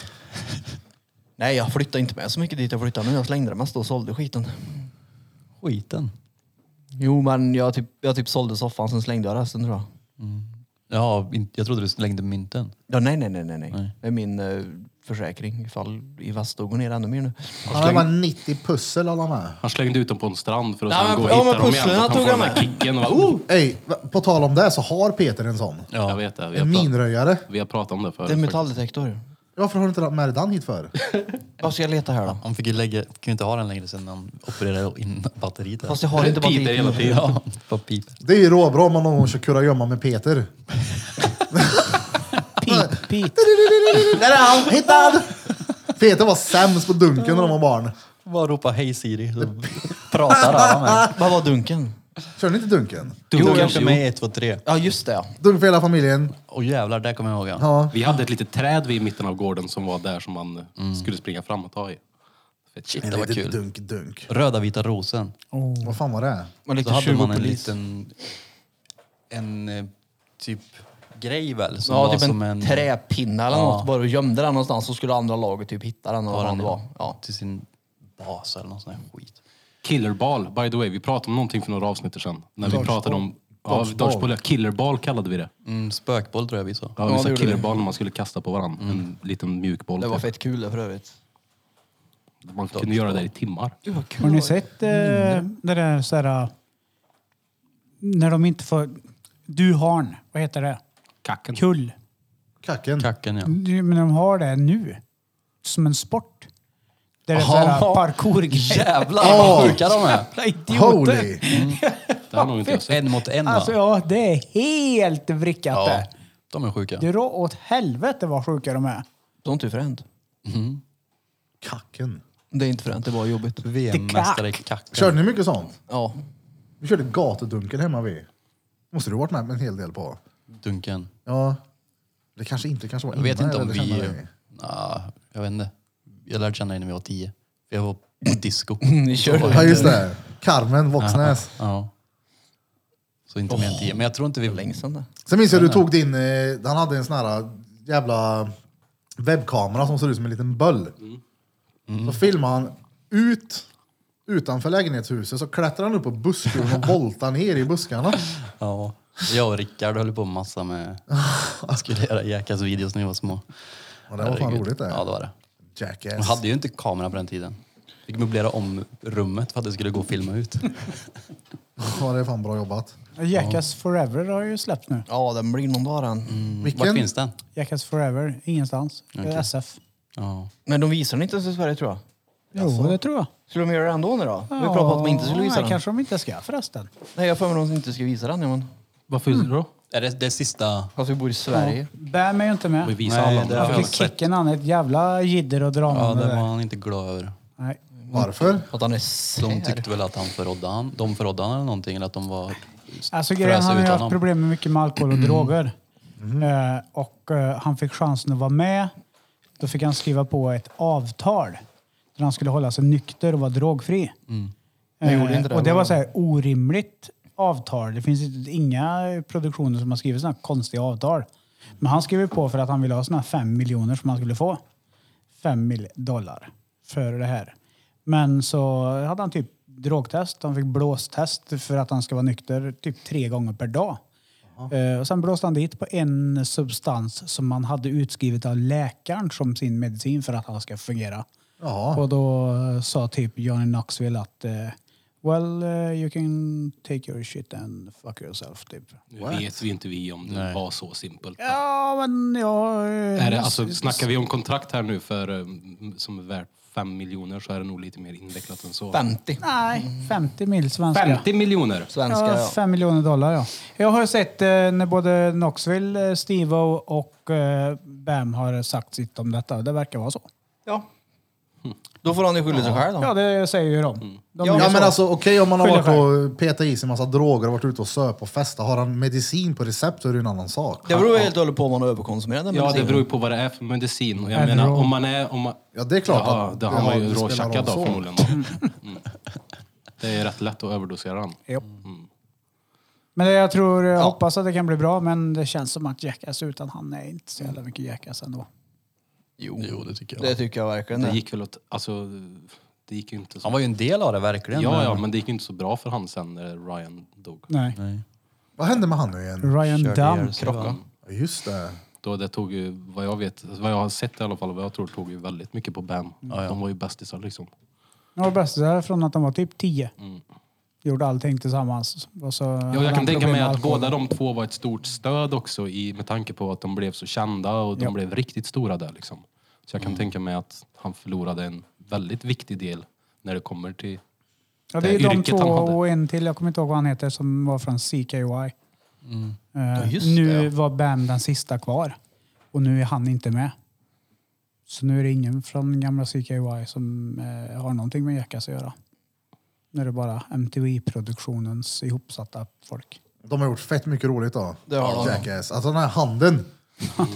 Speaker 4: nej, jag flyttar inte med så mycket dit jag flyttade nu. Jag slängde det mesta och sålde skiten.
Speaker 1: Skiten.
Speaker 4: Jo, men jag typ, jag typ sålde soffan, sen slängde jag resten tror jag.
Speaker 1: Ja, in- jag trodde du slängde mynten.
Speaker 4: Ja, nej, nej, nej, nej, nej.
Speaker 1: Nej.
Speaker 4: Det är min eh, försäkring ifall Ivesto går ner ännu mer nu.
Speaker 2: Han hade bara 90 pussel alla med.
Speaker 6: Han slängde ut dem på en strand för att
Speaker 4: Ja,
Speaker 6: sen
Speaker 4: men-
Speaker 6: gå och
Speaker 4: ja,
Speaker 6: hitta
Speaker 4: men
Speaker 6: dem igen.
Speaker 4: pusslen
Speaker 6: så att
Speaker 4: tog
Speaker 6: han får
Speaker 4: han
Speaker 6: den här
Speaker 4: med.
Speaker 6: kicken. Och bara, oh!
Speaker 2: Ey, på tal om det så har Peter en sån.
Speaker 6: ja. Jag vet det. Vi har,
Speaker 2: En
Speaker 6: pratat,
Speaker 2: minröjare.
Speaker 6: vi har pratat om det förut.
Speaker 4: Det är en
Speaker 6: faktiskt.
Speaker 4: metalldetektor.
Speaker 2: Varför har du inte med dig den hit för?
Speaker 4: Vad ska jag leta här då?
Speaker 1: Han fick ju lägga, fick ju inte ha den längre sen han opererade in batteriet.
Speaker 4: Fast
Speaker 1: Fast...
Speaker 4: jag har inte
Speaker 6: Det piper hela
Speaker 4: batteriet nu.
Speaker 6: tiden.
Speaker 1: Ja, vad piper.
Speaker 2: Det är ju råbra om man någon gång kör kurragömma med Peter.
Speaker 3: Pip, pip.
Speaker 2: Där är han! Hittad! Peter var sämst på dunken när de var barn.
Speaker 1: Bara ropa hej Siri så pratar alla med
Speaker 4: Vad var dunken?
Speaker 2: Körde ni inte dunken?
Speaker 1: Jo,
Speaker 6: Dunken,
Speaker 1: kanske
Speaker 6: jo.
Speaker 1: med 1, 2, 3.
Speaker 4: Ja, just det. ja.
Speaker 2: Dunk för hela familjen.
Speaker 1: Och jävlar, det kommer jag ihåg. Ja.
Speaker 2: Ja.
Speaker 6: Vi hade ett litet träd vid mitten av gården som var där som man eh, skulle springa fram och ta i. Fett shit.
Speaker 1: Det var
Speaker 2: Lite
Speaker 1: kul.
Speaker 2: Dunk, dunk.
Speaker 1: Röda vita rosen.
Speaker 2: Vad fan var det?
Speaker 4: Och
Speaker 1: så
Speaker 4: lite
Speaker 1: hade man en
Speaker 4: tjugopolis.
Speaker 1: liten... En eh, typ grej väl? Som
Speaker 4: Ja,
Speaker 1: var
Speaker 4: typ
Speaker 1: som
Speaker 4: en,
Speaker 1: en
Speaker 4: träpinne eller
Speaker 1: Ja.
Speaker 4: något. Bara och gömde den någonstans så skulle andra laget typ hitta den. Och vad
Speaker 1: Ja,
Speaker 4: fan
Speaker 1: den
Speaker 4: det var. Ja.
Speaker 1: Till sin bas eller någon sån här skit.
Speaker 6: Killerball, by the way. Vi pratade om någonting för några avsnitt sedan. När vi pratade om ja,
Speaker 2: Dodgeball.
Speaker 6: dodgeball. ja. Killerball kallade vi det.
Speaker 1: Mm, spökboll tror jag vi sa.
Speaker 6: Ja,
Speaker 4: Ja,
Speaker 6: vi
Speaker 4: det gjorde
Speaker 6: sa
Speaker 4: vi. Mm.
Speaker 6: killerball när man skulle kasta på varandra. En liten mjukboll.
Speaker 4: Det var
Speaker 6: typ.
Speaker 4: fett kul det för övrigt.
Speaker 6: Man kunde göra det i timmar.
Speaker 3: Har ni sett eh, det där så här, eh, När de inte får... Du harn, vad heter det?
Speaker 6: Kacken.
Speaker 3: Kull.
Speaker 2: Kacken.
Speaker 1: Kacken ja.
Speaker 3: Du, Men de har det nu. Som en sport. Där det är så
Speaker 1: Jaha.
Speaker 3: här parkour
Speaker 1: Jävlar vad sjuka de är!
Speaker 2: Holy!
Speaker 6: Det har nog inte jag sett.
Speaker 1: En mot en va?
Speaker 3: Alltså ja, det är helt vrickat
Speaker 1: ja,
Speaker 3: det.
Speaker 1: de är sjuka.
Speaker 3: Dra åt helvete vad sjuka de är.
Speaker 4: Det var inte fränt.
Speaker 2: Kacken.
Speaker 4: Det är inte fränt, det var jobbigt.
Speaker 1: VM-mästare i kacken.
Speaker 2: Körde ni mycket sånt?
Speaker 4: Ja.
Speaker 2: Vi körde gatudunken hemma vid. Måste du ha varit med en hel del på?
Speaker 1: Dunken.
Speaker 2: Ja. Det kanske inte kanske var
Speaker 1: Jag vet
Speaker 2: innan
Speaker 1: inte om
Speaker 2: lärde känna
Speaker 1: vi...
Speaker 2: dig.
Speaker 1: Nah, jag vet inte. Jag lärde känna dig när vi var tio. För jag var på disco.
Speaker 4: Ni körde.
Speaker 2: Ja just det. Carmen Våxnäs.
Speaker 1: Ja. Så inte mer än tio. Men jag tror inte vi...
Speaker 4: Länge sedan det.
Speaker 2: Sen minns jag du tog din, eh, han hade en sån här jävla webbkamera som ser ut som en liten böll.
Speaker 1: Mm.
Speaker 2: Så filmade han ut utanför lägenhetshuset, så klättrade han upp på busskuren och voltade ner i buskarna.
Speaker 1: Ja. Jag och Rickard höll på med massa med... Skulle göra Jackass videos när vi var små.
Speaker 2: Ja, det var fan
Speaker 1: Herregud.
Speaker 2: roligt det.
Speaker 1: Ja, det var det. Man
Speaker 2: Jackass.
Speaker 1: hade ju inte kamera på den tiden. Fick möblera om rummet för att det skulle gå att filma ut.
Speaker 2: Ja, det är fan bra jobbat.
Speaker 1: Mm.
Speaker 3: Jackass Forever har ju släppt nu.
Speaker 4: Ja, den blir någon dag den.
Speaker 1: Vart
Speaker 2: Vilken?
Speaker 1: finns den?
Speaker 3: Jackass Forever, ingenstans. Det är SF.
Speaker 1: Ja.
Speaker 4: Men de visar den inte ens i Sverige tror jag.
Speaker 3: Jo, det tror jag.
Speaker 4: Skulle de göra det ändå nu då? Vi pratade om att de inte skulle visa
Speaker 3: nej,
Speaker 4: den.
Speaker 3: kanske de inte ska förresten.
Speaker 4: Nej, jag har för mig att de inte ska visa den. Ja, men.
Speaker 6: Varför mm. då?
Speaker 1: Är det, det är sista...
Speaker 4: Fast vi bor i Sverige.
Speaker 3: Bär mig ju inte med.
Speaker 6: Vi visar
Speaker 1: Nej,
Speaker 6: alla
Speaker 1: det
Speaker 6: andra.
Speaker 1: har
Speaker 3: Jag
Speaker 1: jag
Speaker 3: fick
Speaker 1: sett.
Speaker 3: kicken han ett jävla jidder och drama
Speaker 1: Ja,
Speaker 3: med
Speaker 1: det
Speaker 3: det.
Speaker 1: var han inte glad över.
Speaker 3: Nej.
Speaker 2: Varför?
Speaker 1: Mm.
Speaker 4: Att han är sär.
Speaker 1: De tyckte väl att han förrådde han, de förrådde han eller någonting, eller att de var...
Speaker 3: Alltså
Speaker 1: frös
Speaker 3: grejen, han har
Speaker 1: ut
Speaker 3: ju haft
Speaker 1: honom. Mhm.
Speaker 3: problem med mycket med alkohol och droger. Eh, och eh, han fick chansen att vara med. Då fick han skriva på ett avtal där han skulle hålla sig nykter och vara drogfri.
Speaker 4: Jag gjorde inte det.
Speaker 3: Eh, och det var så här orimligt avtal. Det finns inte- inga produktioner som har skrivit sådana konstiga avtal. Men han skrev ju på för att han ville ha sådana fem miljoner som han skulle få. Fem mil dollar för det här. Men så hade han typ drogtest, han fick blåstest för att han ska vara nykter typ tre gånger per dag. Eh, Och sen blåste han dit på en substans som han hade utskrivet av läkaren som sin medicin för att han ska fungera.
Speaker 2: Ja.
Speaker 3: Och då eh, sa typ Johnny Knoxville att eh, Well, eh, you can take your shit and fuck yourself. Typ.
Speaker 6: Nu vet vi inte vi om det var så simpelt.
Speaker 3: Ja, men jag... eh,
Speaker 6: Är det, alltså, snackar vi om kontrakt här nu för, um, som är värt 5 miljoner så är det nog lite mer invecklat än så.
Speaker 4: 50
Speaker 3: Nej, 50 mil svenska.
Speaker 6: 50 miljoner!
Speaker 4: svenskar.
Speaker 3: Ja,
Speaker 4: Ja,
Speaker 3: 5 miljoner dollar ja. Jag har sett eh, när både Knoxville, eh, Steve-O och eh, Bam har sagt sitt om detta. Det verkar vara så.
Speaker 4: ja. Då får han ju skylla sig själv då.
Speaker 3: Ja, det säger ju de. de
Speaker 2: Ja,
Speaker 3: är så.
Speaker 2: men alltså okej om man har
Speaker 3: Skylla
Speaker 2: varit och petat i sig massa droger och varit ute och söp och festat. Har han medicin på recept så är det en annan sak.
Speaker 4: Det beror ju helt och hållet på om man har överkonsumerat den
Speaker 6: Ja, det
Speaker 4: medicinen.
Speaker 6: beror ju på vad det är för medicin. Och jag
Speaker 3: Adderall.
Speaker 6: menar, om man är... Om man...
Speaker 2: Ja, det är klart
Speaker 6: Ja,
Speaker 2: att
Speaker 6: det
Speaker 2: det
Speaker 6: han var
Speaker 2: har-
Speaker 6: ju
Speaker 2: det spelar roll
Speaker 6: råchackad då
Speaker 2: så.
Speaker 6: förmodligen. Då. Mm. Det är rätt lätt att överdosera
Speaker 2: Mm.
Speaker 6: den.
Speaker 3: Jo. Men det, jag tror, jag hoppas att det kan bli bra, men det känns som att Jackass utan han är inte så
Speaker 6: Mm.
Speaker 3: jävla mycket Jackass ändå.
Speaker 4: Jo,
Speaker 1: Jo, det tycker jag.
Speaker 4: det tycker jag verkligen
Speaker 6: Det
Speaker 4: det.
Speaker 6: gick väl åt... Alltså, det gick ju inte så...
Speaker 1: Han var ju en del av det verkligen.
Speaker 6: Ja, ja, men det gick ju inte så bra för han sen när Ryan dog.
Speaker 2: Mm.
Speaker 3: Nej.
Speaker 2: Vad hände med han nu igen?
Speaker 3: Ryan
Speaker 1: Körde ihjäl
Speaker 3: Dunn.
Speaker 1: sig, va?
Speaker 4: Krocka.
Speaker 2: Ja, Just det.
Speaker 6: Då det tog ju, vad jag vet, vad jag har sett i alla fall, och vad jag tror tog ju väldigt mycket på Ben. De var ju bästisar liksom.
Speaker 3: De var bästisar från att de var typ 10. Gjorde allting tillsammans. Och så
Speaker 6: Ja, jag kan tänka mig att båda
Speaker 3: de...
Speaker 6: de två var ett stort stöd också i, med tanke på att de blev så kända och de
Speaker 3: Ja.
Speaker 6: blev riktigt stora där liksom. Så jag kan tänka mig att han förlorade en väldigt viktig del när det kommer till...
Speaker 3: Ja, det är
Speaker 6: det
Speaker 3: de
Speaker 6: yrket
Speaker 3: två
Speaker 6: han hade.
Speaker 3: och en till, jag kommer inte ihåg vad han heter, som var från CKY. Eh,
Speaker 4: just
Speaker 3: nu
Speaker 4: det, Mm. ja.
Speaker 3: var Bam den sista kvar och nu är han inte med. Så nu är det ingen från gamla CKY som eh, har någonting med Jackass att göra. Nu är det bara MTV-produktionens ihopsatta folk.
Speaker 2: De har gjort fett mycket roligt då.
Speaker 4: Det har de.
Speaker 2: Jackass. Alltså den här handen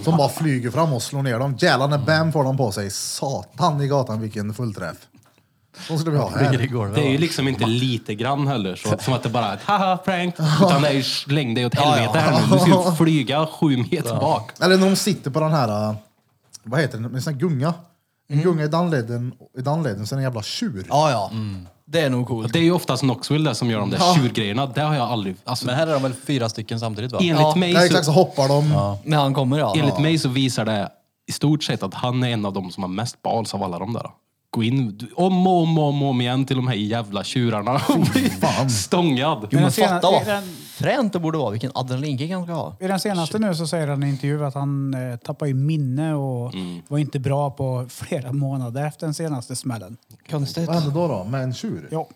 Speaker 2: som bara flyger fram och slår ner dem. Jävlar när Bam får dem på sig. Satan i gatan vilken fullträff. De skulle vi ha
Speaker 1: Ligger i
Speaker 2: här.
Speaker 1: golvet.
Speaker 6: Det är ju liksom inte lite grann heller, så, som att det bara är ett haha prank. Utan det är ju släng dig åt helvete här nu. Du ska ju flyga sju meter bak.
Speaker 2: Eller när de sitter på den här, äh, vad heter den, en sån här gunga. En gunga i dammleden, i dammleden, sen en jävla tjur.
Speaker 4: Mm. Ja, ja. Det är nog coolt.
Speaker 6: Det är ju oftast Knoxville där som gör de där tjurgrejerna. Det har jag aldrig... Alltså,
Speaker 1: Men här är de väl fyra stycken samtidigt va?
Speaker 6: enligt,
Speaker 4: Ja,
Speaker 6: mig
Speaker 2: Ja, exakt,
Speaker 6: så,
Speaker 2: så hoppar de.
Speaker 4: När han kommer ja.
Speaker 6: enligt mig så visar det i stort sett att han är en av de som har mest balls av alla de där. Gå in du- om och om och om, och om igen till de här jävla tjurarna och bli stångad.
Speaker 4: Jo, men
Speaker 3: Den sena-
Speaker 4: fatta vad
Speaker 3: den-
Speaker 4: fränt det borde vara. Vilken adrenalinkick han ska ha.
Speaker 3: I den senaste nu så säger han i intervju att han eh, tappade ju minne och
Speaker 4: Mm.
Speaker 3: var inte bra på flera månader efter den senaste smällen.
Speaker 4: Konstigt.
Speaker 2: Vad hände då då med en tjur?
Speaker 3: Ja,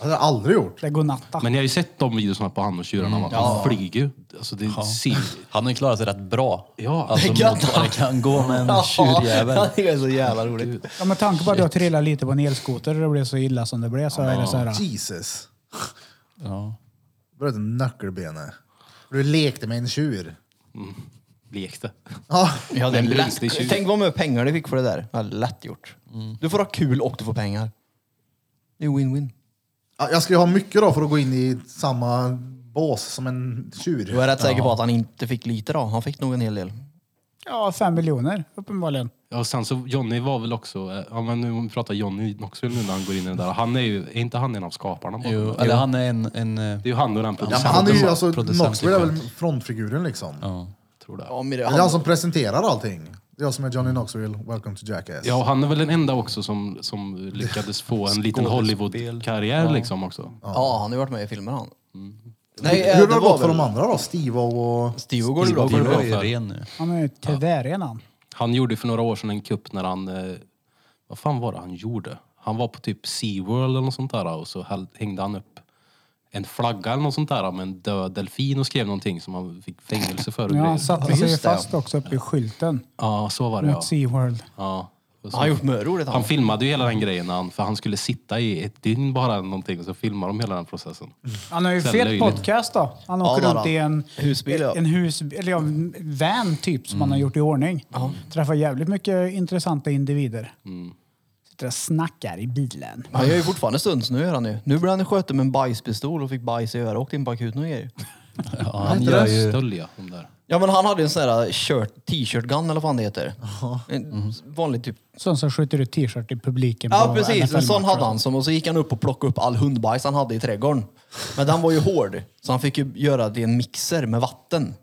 Speaker 2: Det har jag aldrig gjort.
Speaker 3: det är godnatta.
Speaker 6: Men jag har ju sett de videorna på han och tjurarna. Mm, Han flyger ju. Alltså det ser
Speaker 1: Han har ju klarat sig rätt bra.
Speaker 6: Ja.
Speaker 1: alltså
Speaker 4: Det är
Speaker 1: mot
Speaker 4: gött.
Speaker 1: vad det kan gå med en tjurjävel.
Speaker 4: Ja, det är så jävla roligt.
Speaker 3: Ja, med tanke på att jag trillade lite på en elskoter och det blev så illa som det blev så är det så här.
Speaker 2: Jesus.
Speaker 1: Ja.
Speaker 2: Bröt nackelbenet. Du lekte med en tjur.
Speaker 6: lekte.
Speaker 2: Ja,
Speaker 4: Ja, det är
Speaker 6: Men
Speaker 4: lätt.
Speaker 6: lugnt, det är tjugo.
Speaker 4: Tänk vad mycket pengar du fick för det där. Ja, lätt gjort. Du får ha kul och du får pengar. Det är win-win.
Speaker 2: Ja, jag ska ju ha mycket då för att gå in i samma bås som en tjur.
Speaker 4: Jag är rätt säker på att han inte fick lite då. Han fick nog en hel del.
Speaker 3: Ja, fem miljoner uppenbarligen.
Speaker 6: Ja, och sen så Johnny var väl också, eh, ja men nu om vi pratar Johnny Knoxville nu när han går in i det där. Han är ju, är inte han en av skaparna bakom
Speaker 1: Jo,
Speaker 6: det?
Speaker 1: eller han är en... en eh,
Speaker 6: Det är ju han och den
Speaker 2: Ja,
Speaker 6: producenten.
Speaker 2: men han är ju
Speaker 6: som-
Speaker 2: alltså,
Speaker 1: producent
Speaker 2: Knoxville är
Speaker 1: i
Speaker 2: väl frontfiguren liksom.
Speaker 1: ja.
Speaker 6: tror det.
Speaker 4: Ja, men det,
Speaker 2: Det är han
Speaker 4: han,
Speaker 2: som presenterar allting. Det är jag som är Johnny Knoxville, welcome to Jackass.
Speaker 6: Ja, och han är väl den enda också som, som lyckades få en liten Hollywood-karriär liksom också.
Speaker 4: ja, han har ju varit med i filmer han. Nej, eh,
Speaker 2: Hur har det
Speaker 4: var
Speaker 2: gått för
Speaker 4: väl-
Speaker 2: de andra då? Steve och...
Speaker 4: Steve går det bra
Speaker 1: Ivo
Speaker 4: för.
Speaker 1: är ju ren nu.
Speaker 3: Han är ju tyvärr innan.
Speaker 6: Han gjorde för några år sedan en kupp när han... Eh, vad fan var det han gjorde? Han var på typ SeaWorld eller något sånt där och så häll- hängde han upp en flagga eller något sånt där med en död delfin och skrev någonting som han fick fängelse för. och
Speaker 3: Ja,
Speaker 6: grejer.
Speaker 3: han satte sig ju
Speaker 4: Just det, ja.
Speaker 3: fast också uppe i skylten
Speaker 6: ja, så var det ja.
Speaker 3: mot SeaWorld.
Speaker 6: ja. Och så-
Speaker 4: Han har gjort mycket roligt han.
Speaker 6: Han filmade ju hela den grejen när han, för han skulle sitta i ett dygn bara eller någonting och så filmade de hela den processen.
Speaker 3: Han har ju
Speaker 6: Så
Speaker 3: fet
Speaker 6: löjligt.
Speaker 3: podcast då. Han åker
Speaker 4: det har
Speaker 3: runt
Speaker 4: han.
Speaker 3: i en
Speaker 4: Husbil, ja. Mm.
Speaker 3: en hus, eller ja, en van typ som han har gjort i ordning. Träffar jävligt mycket intressanta individer.
Speaker 4: Mm.
Speaker 3: Sitter och snackar i bilen.
Speaker 4: Han gör ju fortfarande stunts nu gör han ju. Nu blev han ju skjuten med en bajspistol och fick bajs i örat och åkte in på akuten och grejer.
Speaker 1: Ja, han
Speaker 2: heter
Speaker 1: gör
Speaker 2: det?
Speaker 1: ju...
Speaker 6: Stöll ja, de där.
Speaker 4: Ja men han hade ju en sån där shirt, t-shirt gun eller vad fan det heter. En vanlig typ.
Speaker 3: Sån som skjuter ut t-shirt i publiken.
Speaker 4: Ja
Speaker 3: på
Speaker 4: precis, en sån
Speaker 3: NFL-matcher.
Speaker 4: hade han som och så gick han upp och plockade upp all hundbajs han hade i trädgården. Men den var ju hård så han fick ju göra det i en mixer med vatten.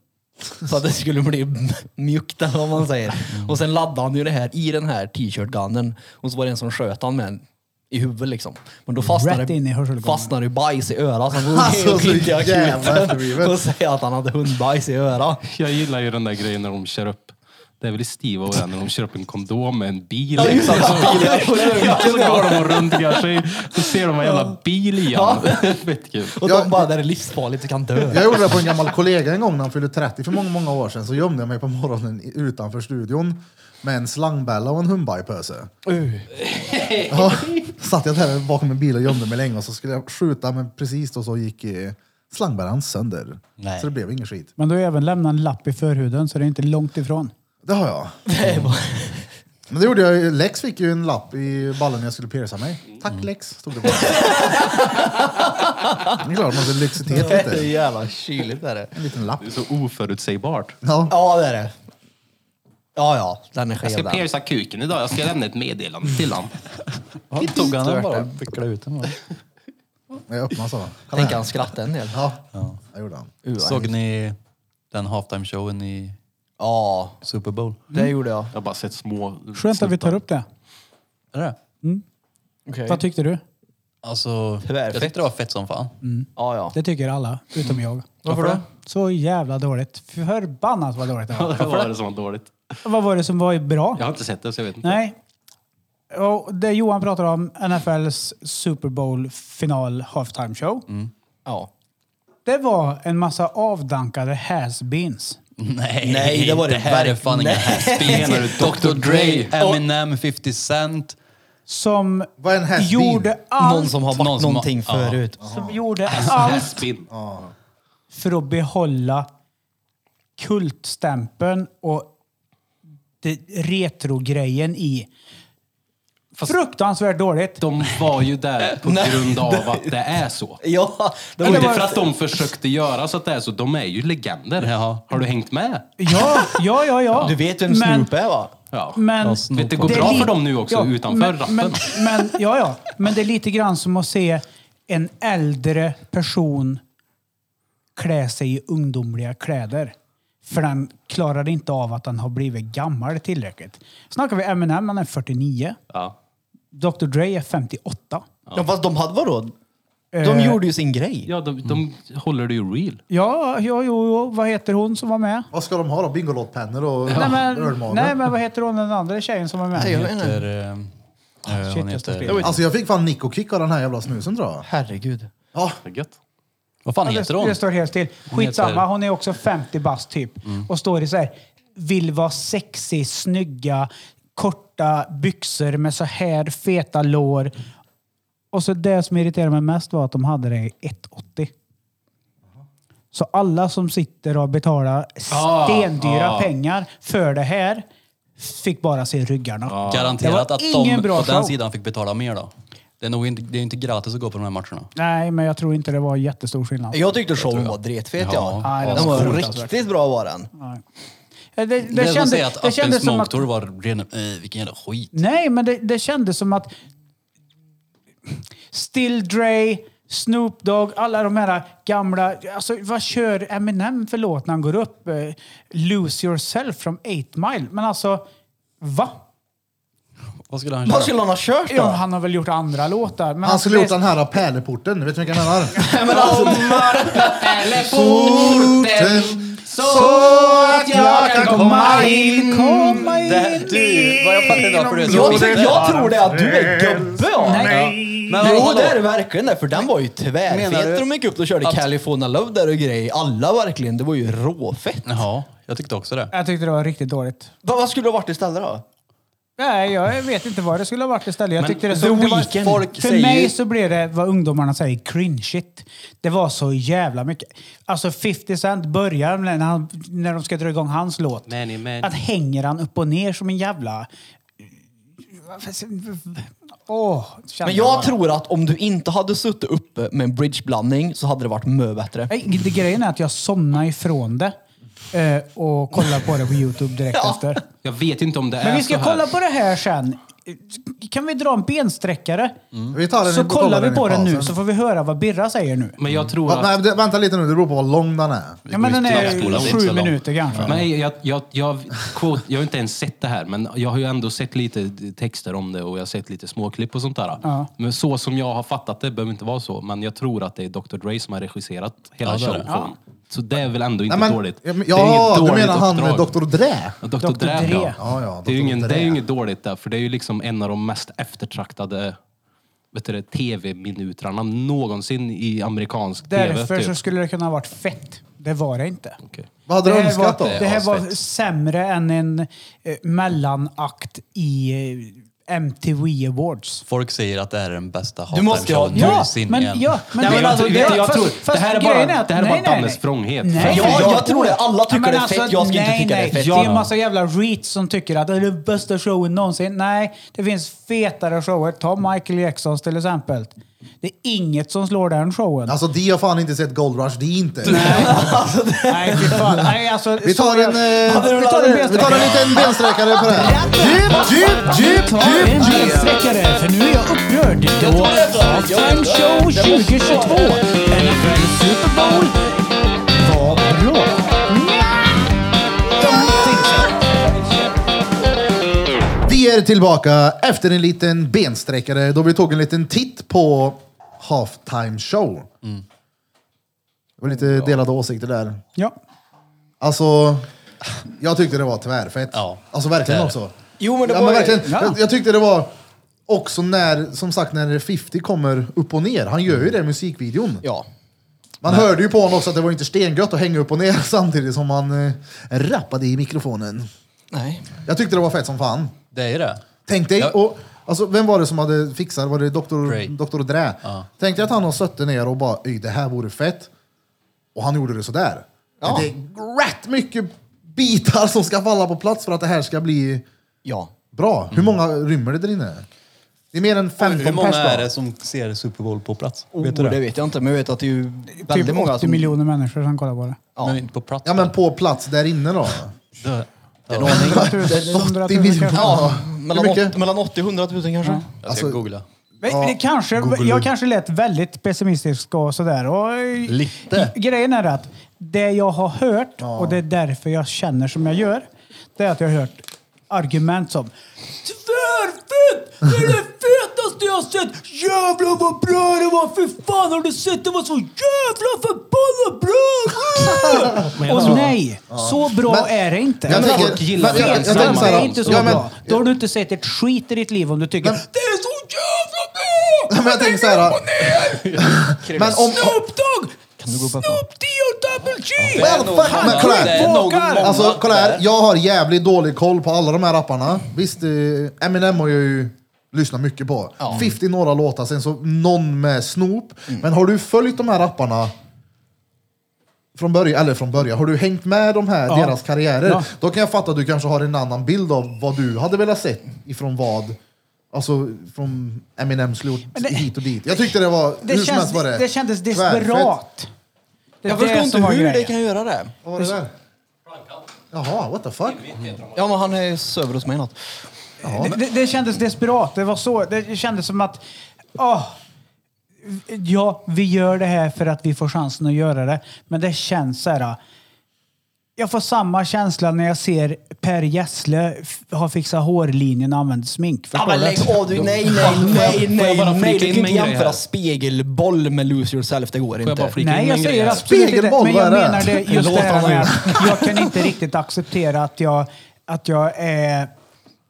Speaker 4: Så att det skulle bli mjukt eller vad man säger. Och sen laddade han ju det här i den här t-shirt gunnen och så var det en som sköt han med en i huvudet liksom. Men då
Speaker 3: Rätt in
Speaker 4: fastnade,
Speaker 3: i hörselgången.
Speaker 4: fastnade ju bajs i örat. Så han går
Speaker 2: Alltså,
Speaker 4: ner och
Speaker 2: så
Speaker 4: klickar i
Speaker 2: jävla
Speaker 4: akuten
Speaker 2: överdrivet.
Speaker 4: och säger att han hade hundbajs i örat.
Speaker 6: Jag gillar ju den där grejen när de kör upp. Det Det är väl i Steve och det när de köper en kondom med en bil.
Speaker 4: Ja, just
Speaker 6: liksom.
Speaker 4: det.
Speaker 6: Så, så Alltså, går de och rundgar sig. Så ser de en jävla bil igen. Fett kul.
Speaker 4: Och
Speaker 2: Jag-
Speaker 4: de bara, det här är livsfarligt, du kan dö.
Speaker 2: Jag gjorde det på en gammal kollega en gång när han fyllde 30 för många, många år sedan. Så gömde jag mig på morgonen i- utanför studion med en slangbella och en humbajpöse.
Speaker 4: Uh.
Speaker 2: Ja, satt jag där bakom en bil och gömde mig länge och så skulle jag skjuta men precis då så gick eh, slangbällan sönder.
Speaker 1: Nej.
Speaker 2: Så det blev ingen skit.
Speaker 3: Men du har även lämnat en lapp i förhuden så det är inte långt ifrån.
Speaker 2: Det har jag. Men det gjorde jag. ju. Lex fick ju en lapp i ballen när jag skulle pierca mig. Tack Lex, stod det på. det är klart man vill lyxitet
Speaker 4: Det är
Speaker 2: lite.
Speaker 4: jävla kyligt är det.
Speaker 2: En liten lapp.
Speaker 6: Det är så oförutsägbart.
Speaker 2: Ja.
Speaker 4: Ja, det är det. Ja, ja, den är
Speaker 6: Jag
Speaker 4: skev
Speaker 6: ska
Speaker 4: den.
Speaker 6: pierca kuken idag. Jag ska lämna ett meddelande till honom.
Speaker 1: Han tog han den bara och vecklade ut den. bara.
Speaker 2: Jag öppnade så. Kolla
Speaker 4: Tänk
Speaker 2: här.
Speaker 4: han skratta en del.
Speaker 2: Ja, jag gjorde han.
Speaker 1: Såg ni den halftime-showen i
Speaker 4: Ja,
Speaker 1: Super Bowl?
Speaker 4: det gjorde jag.
Speaker 6: Jag har bara sett små...
Speaker 3: Skönt att vi tar upp det.
Speaker 1: Är det?
Speaker 4: Okej.
Speaker 3: Vad tyckte du?
Speaker 1: Alltså,
Speaker 4: Tyvärr,
Speaker 1: jag
Speaker 4: fett.
Speaker 1: tyckte det var fett som fan.
Speaker 4: Ja, ja.
Speaker 3: Det tycker alla, utom jag.
Speaker 4: Varför då?
Speaker 3: Så jävla dåligt. Förbannat vad dåligt det var.
Speaker 6: Vad var det som var dåligt?
Speaker 3: Vad var det som var bra?
Speaker 6: Jag har inte sett det så jag vet inte.
Speaker 3: Nej. Och det Johan pratar om, NFLs Super Bowl-final halftime show.
Speaker 4: Mm. Ja.
Speaker 3: Det var en massa avdankade has-beens.
Speaker 1: Nej,
Speaker 4: Nej, det var det
Speaker 1: här är
Speaker 4: verk-
Speaker 1: fan inga
Speaker 4: Nej.
Speaker 1: haspins. Dr Dre, Eminem, 50 Cent.
Speaker 3: Som
Speaker 2: Vad är en has-been?
Speaker 3: gjorde
Speaker 4: Någon
Speaker 3: allt,
Speaker 4: som har varit
Speaker 1: Någon som har-
Speaker 4: någonting
Speaker 1: ja.
Speaker 4: förut.
Speaker 3: som gjorde allt
Speaker 6: Haspin.
Speaker 3: för att behålla kultstämpeln och det retrogrejen i.
Speaker 6: Fast-
Speaker 3: Fruktansvärt dåligt.
Speaker 6: De var ju där på grund av att det är så.
Speaker 4: Ja, det var
Speaker 6: Inte
Speaker 4: ju...
Speaker 6: för att de försökte göra så att det är så. De är ju legender.
Speaker 1: Jaha.
Speaker 6: Har du hängt med?
Speaker 3: Ja, ja, ja. ja.
Speaker 4: Du vet vem Snoop är va?
Speaker 6: Ja.
Speaker 3: Men,
Speaker 1: Ja,
Speaker 3: men
Speaker 1: Snoop
Speaker 6: Vet, det går
Speaker 3: är
Speaker 6: bra
Speaker 3: li-
Speaker 6: för dem nu också, utanför
Speaker 3: men,
Speaker 6: rappen.
Speaker 3: Men, men, ja, ja. men det är lite grann som att se en äldre person klä sig i ungdomliga kläder. För den klarade inte av att den har blivit gammal tillräckligt. Snackar vi Eminem, han är 49.
Speaker 6: ja.
Speaker 3: Dr Dre är 58.
Speaker 4: Ja, fast de hade vadå? De
Speaker 3: Eh,
Speaker 4: gjorde ju sin grej.
Speaker 6: ja, de, de
Speaker 3: Mm.
Speaker 6: håller det ju real.
Speaker 3: Ja, jo, jo, jo. Vad heter hon som var med?
Speaker 2: Vad ska de ha då? Bingolåtpennor och
Speaker 3: Nej, men,
Speaker 2: ölmager?
Speaker 3: nej, men vad heter hon den andra tjejen som var med?
Speaker 4: Nej, jag vet inte.
Speaker 1: Heter, eh, eh,
Speaker 3: shit,
Speaker 1: hon
Speaker 3: jag står
Speaker 1: heter,
Speaker 3: still.
Speaker 2: Alltså jag fick fan Nico-kick av den här jävla snusen tror jag.
Speaker 4: Herregud.
Speaker 2: Ja,
Speaker 6: Det är gött.
Speaker 1: vad fan
Speaker 3: Ja,
Speaker 1: heter
Speaker 3: det,
Speaker 1: hon?
Speaker 3: det står helt still. Skitsamma, hon är också 50 bast typ.
Speaker 1: Mm.
Speaker 3: Och står i så här, vill vara sexig, snygga, korta byxor med så här feta lår. Och så det som irriterade mig mest var att de hade det i 1,80. Så alla som sitter och betalar
Speaker 1: Ah,
Speaker 3: stendyra pengar för det här fick bara se ryggarna.
Speaker 1: Garanterat
Speaker 3: Det var
Speaker 1: att de
Speaker 3: ingen bra
Speaker 1: på
Speaker 3: show.
Speaker 1: den sidan fick betala mer då. Det är nog inte, det är inte gratis att gå på de här matcherna.
Speaker 3: Nej, men jag tror inte det var jättestor skillnad.
Speaker 4: Jag tyckte showen var dretfet
Speaker 1: Ja.
Speaker 4: ja.
Speaker 3: Nej, det
Speaker 4: Den
Speaker 3: var
Speaker 4: var
Speaker 3: fruktansvärt.
Speaker 4: riktigt bra var den.
Speaker 3: Det, det,
Speaker 1: Det, är som att
Speaker 3: kändes-
Speaker 1: säga att
Speaker 3: det
Speaker 1: Up and
Speaker 3: kändes som
Speaker 1: Smoke
Speaker 3: att
Speaker 1: Tour var ren... Eh, vilken jävla skit.
Speaker 3: Nej, men det, det kändes som att Still Dre, Snoop Dogg, alla de här gamla... Alltså, vad kör Eminem för låt när han går upp? Eh, Lose yourself från 8 Mile. Men alltså, va?
Speaker 1: Vad skulle han
Speaker 4: Vad
Speaker 1: köra?
Speaker 4: skulle han ha kört
Speaker 3: Ja,
Speaker 4: då?
Speaker 3: han har väl gjort andra låtar. Men
Speaker 2: han
Speaker 3: alltså,
Speaker 2: skulle
Speaker 3: det-
Speaker 2: gjort den här pärleporten. Vet du vilken den är?
Speaker 4: Men alltså,
Speaker 2: Porten, så att jag kan komma in.
Speaker 3: Komma in
Speaker 1: Det, Äh, du, vad jag fattar inte varför du är så
Speaker 4: jag,
Speaker 1: bitter.
Speaker 4: jag tror det att du är gubbe ja.
Speaker 1: Men
Speaker 4: Jo
Speaker 1: vadå?
Speaker 4: det är det verkligen det, för den var ju
Speaker 1: Menar
Speaker 4: tvärfet
Speaker 1: du
Speaker 4: när de gick upp och körde
Speaker 1: att-
Speaker 4: California Love där och grejer. Alla verkligen, det var ju råfett.
Speaker 1: Jaha, jag tyckte också det.
Speaker 3: Jag tyckte det var riktigt dåligt.
Speaker 4: Vad vad skulle det ha varit istället då?
Speaker 3: Nej, jag vet inte vad det skulle ha varit istället. Jag
Speaker 1: Men
Speaker 3: tyckte det
Speaker 1: The
Speaker 3: såg- det var-
Speaker 1: Weeknd. Folk
Speaker 3: För
Speaker 1: säger
Speaker 3: mig
Speaker 1: ju-
Speaker 3: så blev det vad ungdomarna säger cringeigt. Det var så jävla mycket. Alltså 50 Cent börjar med när, han, när de ska dra igång hans låt.
Speaker 6: Many, many.
Speaker 3: Att hänger han upp och ner som en jävla... Åh, känner
Speaker 4: Men jag
Speaker 3: bara.
Speaker 4: tror att om du inte hade suttit uppe med en bridgeblandning så hade det varit mycket bättre.
Speaker 3: Nej, det- Grejen är att jag somnade ifrån det eh, och kollade på det på Youtube direkt
Speaker 4: Ja.
Speaker 3: efter.
Speaker 6: Jag vet inte om det är
Speaker 3: Men vi ska
Speaker 6: så här.
Speaker 3: kolla på det här sen. Kan vi dra en bensträckare?
Speaker 2: Vi tar den
Speaker 3: Så
Speaker 2: vi
Speaker 3: kollar vi
Speaker 2: den i
Speaker 3: på den nu
Speaker 2: pausen.
Speaker 3: så får vi höra vad Birra säger nu.
Speaker 6: Men jag tror
Speaker 2: Va,
Speaker 6: att...
Speaker 2: nej, det- vänta lite nu, det beror på vad lång den är.
Speaker 3: Ja, men den
Speaker 1: Jag spolar
Speaker 3: är
Speaker 1: inte så
Speaker 3: sju
Speaker 1: långt.
Speaker 3: minuter kanske.
Speaker 6: Men jag, jag, jag, quote, jag har inte ens sett det här, men jag har ju ändå sett lite texter om det och jag har sett lite småklipp och sånt där.
Speaker 3: Ja.
Speaker 6: Men så som jag har fattat det behöver inte vara så, men jag tror att det är Dr Dre som har regisserat hela
Speaker 1: Ja, det är
Speaker 6: showen.
Speaker 1: det.
Speaker 6: Ja. Så det är väl ändå inte
Speaker 2: Nej, men,
Speaker 6: dåligt?
Speaker 2: ja, men-
Speaker 6: Det är inget
Speaker 2: ja du
Speaker 6: dåligt
Speaker 2: menar han
Speaker 6: uppdrag.
Speaker 2: Dr. Dre?
Speaker 6: Ja, Dr.
Speaker 3: Dr.
Speaker 6: Dre.
Speaker 3: Dre.
Speaker 6: Ja.
Speaker 2: Ja, ja,
Speaker 6: det, är ju
Speaker 2: Dr.
Speaker 6: ingen, det är
Speaker 2: Dre.
Speaker 6: ju inget dåligt där, för det är ju liksom en av de mest eftertraktade vet du, det, tv-minutrarna någonsin i amerikansk
Speaker 3: Därför
Speaker 6: tv.
Speaker 3: så
Speaker 6: Typ.
Speaker 3: skulle det kunna ha varit fett. Det var det inte.
Speaker 6: Okej.
Speaker 2: Vad hade
Speaker 3: det
Speaker 2: du
Speaker 3: här
Speaker 2: önskat då?
Speaker 3: var, det här var
Speaker 6: Asfett.
Speaker 3: sämre än en eh, mellanakt i eh, MTV Awards.
Speaker 1: Folk säger att det här är den bästa hot
Speaker 4: Du måste
Speaker 1: time
Speaker 4: ju ha-
Speaker 1: showen
Speaker 3: Ja,
Speaker 1: någonsin
Speaker 3: men,
Speaker 1: igen.
Speaker 3: ja, men,
Speaker 6: Nej, men
Speaker 3: det-
Speaker 6: alltså,
Speaker 3: det-
Speaker 6: jag- jag
Speaker 3: fast-
Speaker 6: tror-
Speaker 3: fast
Speaker 6: det här är bara-
Speaker 3: grejen att-
Speaker 6: det här är bara
Speaker 3: nej, nej,
Speaker 6: Dannes
Speaker 3: nej.
Speaker 6: vrånghet.
Speaker 3: Nej,
Speaker 6: För
Speaker 3: nej,
Speaker 4: jag- jag
Speaker 3: nej.
Speaker 4: tror det. Alla tycker
Speaker 3: Men
Speaker 4: det är
Speaker 6: alltså,
Speaker 4: fett. Jag ska inte
Speaker 3: nej,
Speaker 4: tycka det är
Speaker 3: nej.
Speaker 4: fett.
Speaker 3: Det är
Speaker 4: Ja.
Speaker 3: en massa jävla reats som tycker att det är den bästa showen någonsin. Nej, det finns fetare shower. Ta Michael Jacksons till exempel. Det är inget som slår den showen.
Speaker 2: Alltså de har fan inte sett Gold Rush, de inte.
Speaker 3: Alltså, Nej, fy fan. Nej, alltså,
Speaker 2: Vi tar en, eh,
Speaker 3: vi tar en bensträckare.
Speaker 2: vi tar en liten bensträckare på det här. Djup, djup, djup,
Speaker 3: Ta en
Speaker 2: djup, djup.
Speaker 3: bensträckare, för nu är jag upprörd. Det var Halftime Show 2022. NFL Super Bowl var bra.
Speaker 2: Vi är tillbaka efter en liten bensträckare då vi tog en liten titt på halftime show. Det var lite delade åsikter där.
Speaker 3: Ja.
Speaker 2: Alltså, jag tyckte det var tvärfett.
Speaker 1: Ja.
Speaker 2: Alltså verkligen
Speaker 1: Tvär.
Speaker 2: också.
Speaker 4: Jo, men det
Speaker 2: ja,
Speaker 4: var-
Speaker 2: men verkligen.
Speaker 3: ja.
Speaker 2: Jag, jag tyckte det var också när, som sagt, när 50 kommer upp och ner. Han
Speaker 1: Mm.
Speaker 2: gör ju det i musikvideon.
Speaker 4: Ja.
Speaker 2: Man hörde ju på honom också att det var inte stengött att hänga upp och ner samtidigt som han eh, rappade i mikrofonen.
Speaker 4: Nej.
Speaker 2: Jag tyckte det var fett som fan.
Speaker 1: Det är det.
Speaker 2: Tänk dig,
Speaker 1: Ja.
Speaker 2: och, alltså, vem var det som hade fixat? Var det
Speaker 1: Dre.
Speaker 2: doktor, doktor Drä? Tänk dig att han har suttit ner och bara, "Oj, det här vore fett. Och han gjorde det sådär.
Speaker 4: Ja.
Speaker 2: Men det är rätt mycket bitar som ska falla på plats för att det här ska bli
Speaker 4: Ja.
Speaker 2: bra. Hur
Speaker 1: Mm.
Speaker 2: många rymmer det där inne? Det är mer än 15
Speaker 1: Hur många
Speaker 2: pers va?
Speaker 1: är det som ser Super Bowl på plats?
Speaker 4: Oh,
Speaker 1: vet du det?
Speaker 4: det vet jag inte, men jag vet att det är ju väldigt
Speaker 3: typ
Speaker 4: många
Speaker 3: 80 miljoner människor som kollar på det.
Speaker 4: Ja.
Speaker 1: Men inte på plats?
Speaker 2: Ja men på plats där inne då?
Speaker 1: Det-
Speaker 4: En aning.
Speaker 3: 100
Speaker 2: 80
Speaker 3: 000
Speaker 2: miljoner.
Speaker 3: kanske.
Speaker 4: Ja,
Speaker 2: Hur
Speaker 4: mellan,
Speaker 2: mycket?
Speaker 4: 80, mellan 80 och 100 000 kanske.
Speaker 3: Ja.
Speaker 1: Jag ska
Speaker 2: Alltså-
Speaker 1: googla.
Speaker 3: Men Det kanske, jag kanske lät väldigt pessimistisk och sådär. Och,
Speaker 1: Lite.
Speaker 3: Grejen är att det jag har hört, och det är därför jag känner som jag gör, det är att jag har hört argument som Tvärfett! Det är det fetaste jag har sett! Jävlar vad bra det var! Fy fan har du sett? Det var så jävla förbannat bra!
Speaker 6: jag
Speaker 3: och
Speaker 6: tror-
Speaker 3: nej, så bra
Speaker 2: Men-
Speaker 3: är det inte.
Speaker 2: Jag tänker-
Speaker 6: folk gillar
Speaker 2: men jag-
Speaker 6: det
Speaker 2: jag tänker
Speaker 6: ensamma.
Speaker 2: så här,
Speaker 3: det är inte så
Speaker 2: ja, men-
Speaker 3: bra. Då har du inte sett ett skit i ditt liv om du tycker
Speaker 2: Men-
Speaker 3: det är så jävla bra!
Speaker 2: Men jag tänker så här. men om,
Speaker 3: Dogg!
Speaker 4: gå upp
Speaker 3: D och Double G!
Speaker 2: Det är nog-
Speaker 1: Han
Speaker 2: men kolla här.
Speaker 1: det är nog
Speaker 3: Vågar!
Speaker 1: många
Speaker 2: Alltså kolla
Speaker 1: där.
Speaker 2: här, jag har jävligt dålig koll på alla de här rapparna. Visst, eh, Eminem har jag ju lyssnat mycket på. 50 några låtar, sen så någon med Snoop.
Speaker 3: Mm.
Speaker 2: Men har du följt de här rapparna från början, eller från början, har du hängt med de här,
Speaker 3: Ja.
Speaker 2: deras karriärer?
Speaker 3: Ja.
Speaker 2: Då kan jag fatta att du kanske har en annan bild av vad du hade velat sett ifrån vad. Alltså från Eminems låt
Speaker 3: Men det-
Speaker 2: hit och dit. Jag tyckte det var,
Speaker 3: Det,
Speaker 2: hur som
Speaker 3: känns,
Speaker 2: helst var
Speaker 3: det,
Speaker 2: det.
Speaker 3: kändes
Speaker 2: tvärfett.
Speaker 3: desperat. Det är
Speaker 4: Jag
Speaker 3: det
Speaker 4: förstår inte
Speaker 3: som var
Speaker 4: hur det
Speaker 3: grejen.
Speaker 4: kan göra det.
Speaker 2: Vad var det där? Jaha, what the fuck?
Speaker 4: Ja, men han är söver hos mig något.
Speaker 3: Det, det, det kändes desperat. Det var så. Det kändes som att... åh, ja, vi gör det här för att vi får chansen att göra det. Men det känns så här... Jag får samma känsla när jag ser Per Gessle f- ha fixat hårlinjen och använder smink. Förstår
Speaker 4: Ja, men
Speaker 3: du?
Speaker 4: lägg av du. Nej, nej,
Speaker 6: Får jag- får
Speaker 4: nej,
Speaker 6: jag
Speaker 4: nej,
Speaker 6: bara
Speaker 4: nej.
Speaker 6: flika
Speaker 4: Du
Speaker 6: in
Speaker 4: kan
Speaker 6: med
Speaker 4: inte
Speaker 6: en grej
Speaker 4: jämföra
Speaker 6: här?
Speaker 4: spegelboll med Lose Yourself. Det går
Speaker 6: jag
Speaker 4: inte.
Speaker 6: bara flika-
Speaker 3: Nej,
Speaker 6: in
Speaker 3: jag
Speaker 6: en
Speaker 3: säger
Speaker 6: grej här.
Speaker 3: absolut inte det.
Speaker 2: Spegelboll,
Speaker 3: Men
Speaker 2: vad
Speaker 3: jag
Speaker 2: är det?
Speaker 3: menar det, just
Speaker 4: Låt
Speaker 3: det här
Speaker 4: honom
Speaker 3: med
Speaker 4: göra.
Speaker 3: att jag kan inte riktigt acceptera att jag, att jag är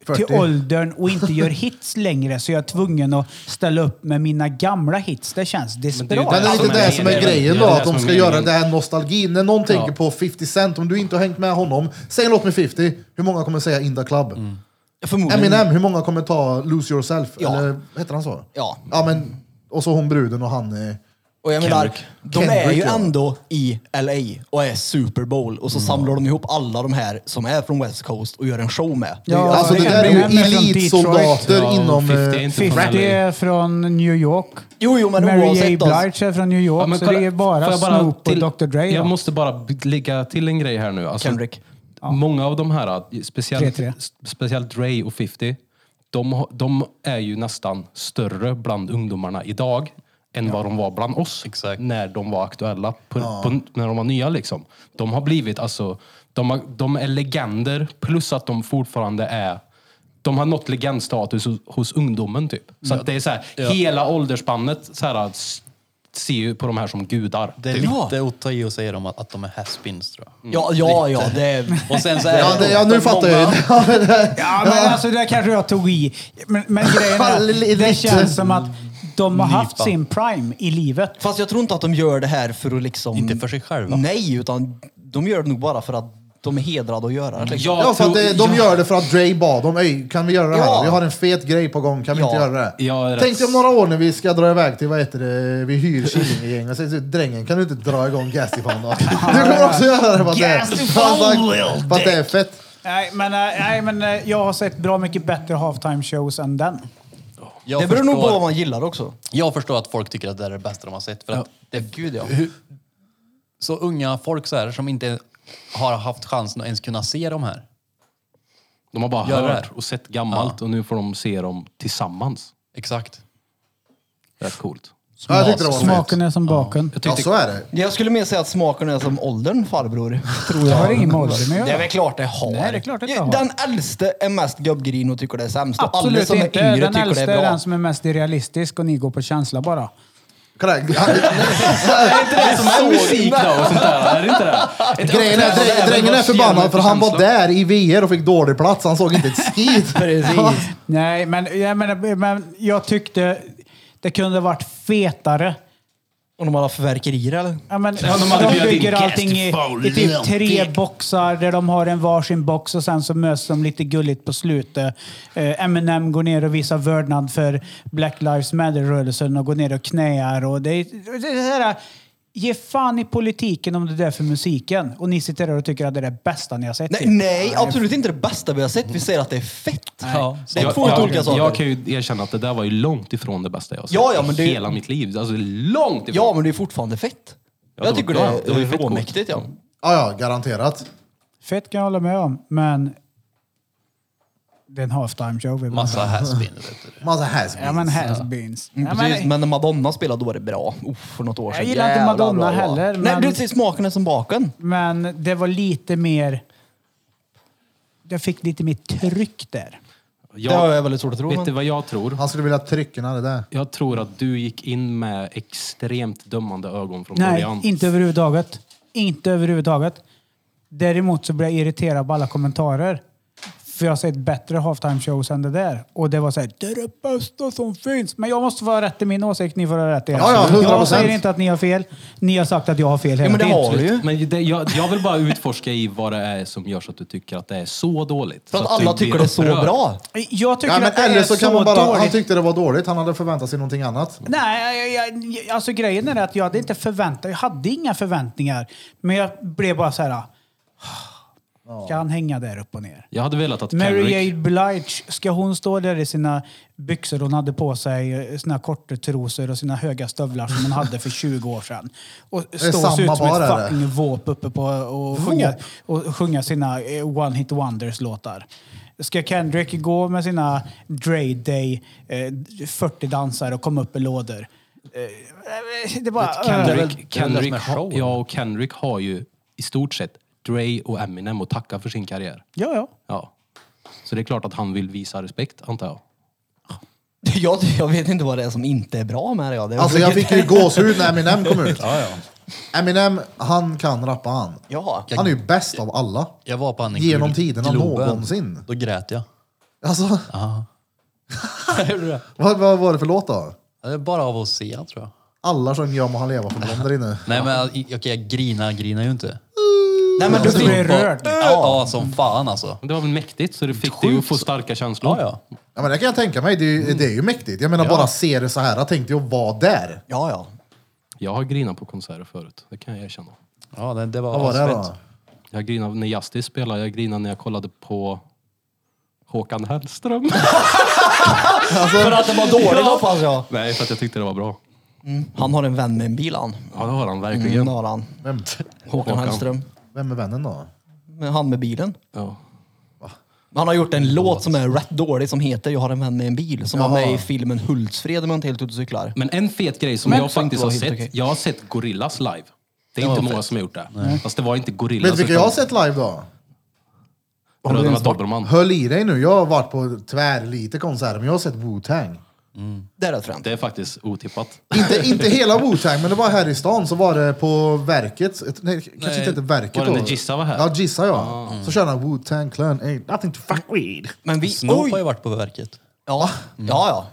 Speaker 3: till
Speaker 2: 40.
Speaker 3: åldern och inte gör hits längre så jag är tvungen att ställa upp med mina gamla hits. Det känns desperat.
Speaker 2: Men det är
Speaker 6: Alltså,
Speaker 2: lite
Speaker 6: men
Speaker 2: det
Speaker 6: det-
Speaker 2: som
Speaker 6: det-
Speaker 2: är grejen
Speaker 6: det-
Speaker 2: då,
Speaker 6: det-
Speaker 2: att
Speaker 6: det-
Speaker 2: de
Speaker 6: som
Speaker 2: ska
Speaker 6: är
Speaker 2: göra
Speaker 6: meningen.
Speaker 2: det här nostalgin. När någon tänker på 50 Cent, om du inte har hängt med honom, säg en låt med 50, hur många kommer säga In the Club?
Speaker 6: Mm.
Speaker 4: Förmodligen.
Speaker 2: Eminem, hur många kommer ta Lose Yourself?
Speaker 4: Ja.
Speaker 2: Eller heter han så?
Speaker 4: Ja.
Speaker 2: ja men, och så hon bruden och han... eh,
Speaker 4: Och jag menar, de är
Speaker 2: Kendrick,
Speaker 4: ju
Speaker 2: ja.
Speaker 4: ändå i LA och är Super Bowl och så samlar de ihop alla de här som är från West Coast och gör en show med. Det är ju-
Speaker 3: Ja,
Speaker 2: alltså det
Speaker 3: det är
Speaker 2: där är ju
Speaker 3: Eminem från Detroit.
Speaker 2: elitsoldater
Speaker 6: Ja,
Speaker 2: inom...
Speaker 6: 50 är
Speaker 2: eh,
Speaker 6: inte från
Speaker 3: 50
Speaker 6: LA.
Speaker 3: är från New York.
Speaker 4: Jo, jo, men
Speaker 3: Mary J
Speaker 4: oavsett då-
Speaker 3: Blige är från New York.
Speaker 6: Ja, men
Speaker 3: så
Speaker 6: kolla,
Speaker 3: det är bara
Speaker 6: får jag
Speaker 3: Snoop
Speaker 6: till-
Speaker 3: och Dr Dre.
Speaker 6: Jag
Speaker 3: då.
Speaker 6: måste bara b- lägga till en grej här nu. Alltså,
Speaker 4: Kendrick.
Speaker 6: Många av de här, speciellt,
Speaker 3: 3-3.
Speaker 6: speciellt Dre och 50, de, har- de är ju nästan större bland ungdomarna idag än vad de var bland oss
Speaker 1: Exakt.
Speaker 6: när de var aktuella, på, på, när de var nya. Liksom. De har blivit, alltså, de, har, de är legender plus att de fortfarande är de har nått legendstatus hos, hos ungdomen typ. Så att det är så här, hela åldersspannet så här, s- ser ju på de här som gudar.
Speaker 1: Det är
Speaker 4: Ja.
Speaker 1: lite att ta i och säga om att, att de är haspins tror jag.
Speaker 4: Ja, ja, ja. Det är...
Speaker 1: Och sen så är
Speaker 2: Ja, det, ja nu
Speaker 1: de
Speaker 2: fattar jag
Speaker 1: många-
Speaker 2: ju. Ja, men det-
Speaker 3: Ja, men alltså det där kanske jag tog i. Men, men grejen är,
Speaker 2: Lite.
Speaker 3: det känns som att de har haft
Speaker 1: Nypa.
Speaker 3: sin prime i livet.
Speaker 4: Fast jag tror inte att de gör det här för att liksom...
Speaker 1: Inte för sig själva.
Speaker 4: Nej, utan de gör det nog bara för att de är hedrade att göra det. Liksom.
Speaker 6: Jag
Speaker 2: Ja, för att
Speaker 6: tror-
Speaker 2: det, de
Speaker 6: jag-
Speaker 2: gör det för att Dre bad dem. "Ey, Kan vi göra det här?
Speaker 4: Ja.
Speaker 2: Vi har en fet grej på gång. Kan vi
Speaker 4: Ja.
Speaker 2: inte göra det?
Speaker 6: Jag är
Speaker 2: Tänk
Speaker 6: rätt-
Speaker 2: dig om några år när vi ska dra iväg till, vad heter det, vi hyr Killinge-gäng. Jag säger till drängen, kan du inte dra igång Gastyfan då? Du kommer också göra det för att det är,
Speaker 3: Gastyfan,
Speaker 2: för att- för att det är fett.
Speaker 3: Nej, men, eh, nej, men eh, jag har sett bra mycket bättre halftime shows än den.
Speaker 1: Jag
Speaker 4: det beror nog på
Speaker 1: förstår-
Speaker 4: vad man gillar också.
Speaker 1: Jag förstår att folk tycker att det här är det bästa de har sett. För att det,
Speaker 4: Gud, ja.
Speaker 1: hur, så unga folk så här, som inte har haft chansen att ens kunna se de här.
Speaker 6: De har bara
Speaker 1: Gör det
Speaker 6: hört
Speaker 1: här.
Speaker 6: och sett gammalt och nu får de se dem tillsammans.
Speaker 1: Exakt.
Speaker 6: Rätt coolt.
Speaker 2: Ja, jag tyckte det var
Speaker 3: Smaken
Speaker 2: fett.
Speaker 3: är som baken.
Speaker 2: Ja, så är det.
Speaker 4: Jag skulle mer säga att smaken är som åldern, farbror. Tror
Speaker 3: Det
Speaker 4: jag.
Speaker 3: har ingen med åldern att göra.
Speaker 4: Det är väl klart det har.
Speaker 3: Nej, det är klart att det har.
Speaker 4: Den äldste är mest gubbgrin och tycker det är sämst. Och alla
Speaker 3: Absolut
Speaker 4: som
Speaker 3: inte.
Speaker 4: är yngre
Speaker 3: Den
Speaker 4: tycker det
Speaker 3: äldsta
Speaker 4: är
Speaker 3: är
Speaker 4: bra.
Speaker 3: den som är mest realistisk och ni går på känsla bara.
Speaker 2: Korrekt. Grejen är, drä- drängen är förbannad för han var där i VR och fick dålig plats. Han såg inte ett skit.
Speaker 4: Precis.
Speaker 3: Nej, men jag, menar, men jag tyckte det kunde varit fetare.
Speaker 4: Och de alla fyrverkerier eller?
Speaker 3: Ja, men,
Speaker 6: de hade
Speaker 3: de
Speaker 6: bjudit in
Speaker 3: bygger
Speaker 6: guest
Speaker 3: allting i, i typ tre boxar där de har en varsin box och sen så möts de lite gulligt på slutet. Eh, Eminem går ner och visar vördnad för Black Lives Matter-rörelsen och går ner och knäar. Och det, är- det är så här, ge fan i politiken om det där för musiken. Och ni sitter där och tycker att det är det bästa ni har sett.
Speaker 4: Nej,
Speaker 3: typ.
Speaker 4: nej, absolut inte det bästa vi har sett. Vi säger att det är fett.
Speaker 1: Ja.
Speaker 4: Det är
Speaker 6: Jag-
Speaker 4: två helt
Speaker 6: jag,
Speaker 4: olika saker.
Speaker 6: Jag kan ju erkänna att det där var ju långt ifrån det bästa jag har sett
Speaker 4: Ja, ja, men
Speaker 6: i
Speaker 4: det-
Speaker 6: hela mitt liv. Alltså långt ifrån.
Speaker 4: Ja, men det är fortfarande fett.
Speaker 6: det
Speaker 4: jag
Speaker 6: var-
Speaker 4: tycker
Speaker 6: ja,
Speaker 4: det,
Speaker 6: det var ju
Speaker 4: är
Speaker 6: fett coolt.
Speaker 4: råmäktigt. Ja.
Speaker 2: Ja, ja, garanterat.
Speaker 3: Fett kan jag hålla med om, men det är en halftime show. vi
Speaker 1: Massa
Speaker 3: pratar om.
Speaker 1: haspin. vet du.
Speaker 2: Massa has
Speaker 3: Ja, men has beens. Ja, men-
Speaker 4: Mm, Precis, men när Madonna spelade då var det bra. Uff, för något år sedan.
Speaker 3: Jag gillar inte
Speaker 4: Jävla
Speaker 3: Madonna
Speaker 4: bra det var.
Speaker 3: heller, men-
Speaker 4: Nej, precis. Smaken är som baken.
Speaker 3: Men det var lite mer... Jag fick lite mer tryck där.
Speaker 6: jag,
Speaker 4: det har jag väldigt svårt att tro.
Speaker 6: Vet
Speaker 4: men-
Speaker 6: du vad jag tror?
Speaker 2: Han skulle vilja trycka när det där.
Speaker 6: Jag tror att du gick in med extremt dömande ögon från
Speaker 3: Nej,
Speaker 6: början.
Speaker 3: inte överhuvudtaget. Inte överhuvudtaget. Däremot så blev jag irriterad på alla kommentarer. För jag har sett bättre halftime shows än det där. Och det var så här, det är det bästa som finns. Men jag måste vara rätt i min åsikt, ni får ha rätt i er.
Speaker 2: Ja, ja, 100%.
Speaker 3: jag säger inte att ni har fel. Ni har sagt att jag har fel hela
Speaker 4: Ja, men det
Speaker 3: tiden.
Speaker 4: har du ju.
Speaker 6: Men det, jag, jag vill bara utforska i vad det är som gör så att du tycker att det är så dåligt.
Speaker 4: För
Speaker 6: Så
Speaker 4: att alla
Speaker 6: du
Speaker 4: tycker
Speaker 6: blir
Speaker 4: det är så
Speaker 6: upprörd.
Speaker 4: bra.
Speaker 3: Jag tycker
Speaker 2: Ja, men
Speaker 3: att det är
Speaker 2: eller så kan man bara,
Speaker 3: dåligt.
Speaker 2: han tyckte det var dåligt, han hade förväntat sig någonting annat.
Speaker 3: Nej, jag, jag, jag- alltså grejen är att jag hade inte förväntat, jag hade inga förväntningar. Men jag blev bara så här. ah, Ska han hänga där upp och ner?
Speaker 6: Jag hade velat att
Speaker 3: Mary
Speaker 6: Kendrick...
Speaker 3: J. Blige, ska hon stå där i sina byxor hon hade på sig, eh, sina korta trosor och sina höga stövlar som hon hade för 20 år sedan? Och stå och se
Speaker 2: samma
Speaker 3: ut som
Speaker 2: bar,
Speaker 3: ett
Speaker 2: är det?
Speaker 3: fucking våp uppe på och sjunga, och sjunga sina eh, One Hit Wonders-låtar. Ska Kendrick gå med sina Dre Day eh, 40 dansare och komma upp i lådor? Eh, det bara...
Speaker 1: väl-
Speaker 6: Kendrick,
Speaker 1: det är väl det som
Speaker 6: Kendrick,
Speaker 1: är show, eller?
Speaker 6: ja, och Kendrick har ju i stort sett Dre och Eminem att tacka för sin karriär.
Speaker 3: eh, Ja, ja.
Speaker 6: Ja. Så det är klart att han vill visa respekt, antar jag.
Speaker 4: Jag, jag vet inte vad det är som inte är bra med det. Ja. det är
Speaker 2: Alltså jag
Speaker 4: säkert-
Speaker 2: fick ju gåshud när Eminem kom ut. Eminem, han kan rappa han.
Speaker 4: Jaha.
Speaker 2: Han är ju bäst av alla.
Speaker 1: Jag var på han i
Speaker 2: Genom
Speaker 1: Glo-
Speaker 2: tiderna
Speaker 1: Globen.
Speaker 2: någonsin.
Speaker 1: Då grät jag.
Speaker 2: Alltså,
Speaker 1: Ja,
Speaker 2: vad, vad var det för låt då?
Speaker 1: Det är bara av att se tror jag.
Speaker 2: Alla sjöng Jag må han leva för dem där inne.
Speaker 1: Nej men okej, jag grinar, grinar ju
Speaker 2: Uh.
Speaker 1: inte.
Speaker 4: Nej, men du
Speaker 3: Du blir
Speaker 4: fick...
Speaker 3: rörd.
Speaker 1: Ja, som fan alltså.
Speaker 6: Men Det var väl mäktigt, så det fick dig att få starka känslor.
Speaker 1: Ja, ja.
Speaker 2: Ja, men det kan jag tänka mig, det är, ju- det är ju mäktigt. Jag menar bara se det så här, jag tänkte ju vara där.
Speaker 4: Ja, ja.
Speaker 6: Jag har grinat på konserter förut, det kan jag erkänna.
Speaker 1: Ja, det, det var
Speaker 2: Vad var det då?
Speaker 1: asfett.
Speaker 6: Jag grinade när Justice spelade, jag grinade när jag kollade på Håkan Hellström.
Speaker 4: För att det var dåligt hoppas jag.
Speaker 6: Nej, för att jag tyckte det var bra.
Speaker 4: Han har en vän med en bil han.
Speaker 6: Ja, det har han verkligen.
Speaker 4: Mm, har han.
Speaker 2: Vem,
Speaker 4: Håkan Hellström.
Speaker 2: vem är vännen då?
Speaker 4: Men Han med bilen.
Speaker 6: Ja.
Speaker 4: Han har gjort en låt som är rätt dålig som heter Jag har en vän med en bil. Som var
Speaker 2: Jaha.
Speaker 4: med i filmen Hultsfred om jag inte helt ute och cyklar.
Speaker 6: Men en fet grej som
Speaker 4: Men
Speaker 6: jag
Speaker 4: som
Speaker 6: faktiskt
Speaker 4: var
Speaker 6: har
Speaker 4: helt
Speaker 6: sett.
Speaker 4: okej.
Speaker 6: Jag har sett Gorillas live. Det är inte många som har gjort det. Fast det var inte Gorillas.
Speaker 2: Vet du vilka jag har sett live då?
Speaker 6: Bröderna Dobermann.
Speaker 2: Höll i dig nu, jag har varit på tvär lite konserter, men jag har sett Wu-Tang.
Speaker 4: Det är rätt fränt.
Speaker 6: Det är faktiskt otippat.
Speaker 2: Inte, inte hela Wu-Tang, men det var här i stan så var det på verket. ett- Nej, kanske
Speaker 6: Nej,
Speaker 2: inte inte verket
Speaker 6: var det
Speaker 2: då.
Speaker 6: när Gissa var här? Ah.
Speaker 2: Ja, Gissa ja. Så körde han Wu-Tang Clan, ain't nothing to fuck with.
Speaker 4: Men vi...
Speaker 1: Snoop har
Speaker 4: Oj!
Speaker 1: ju varit på verket.
Speaker 4: Ja, ja, ja.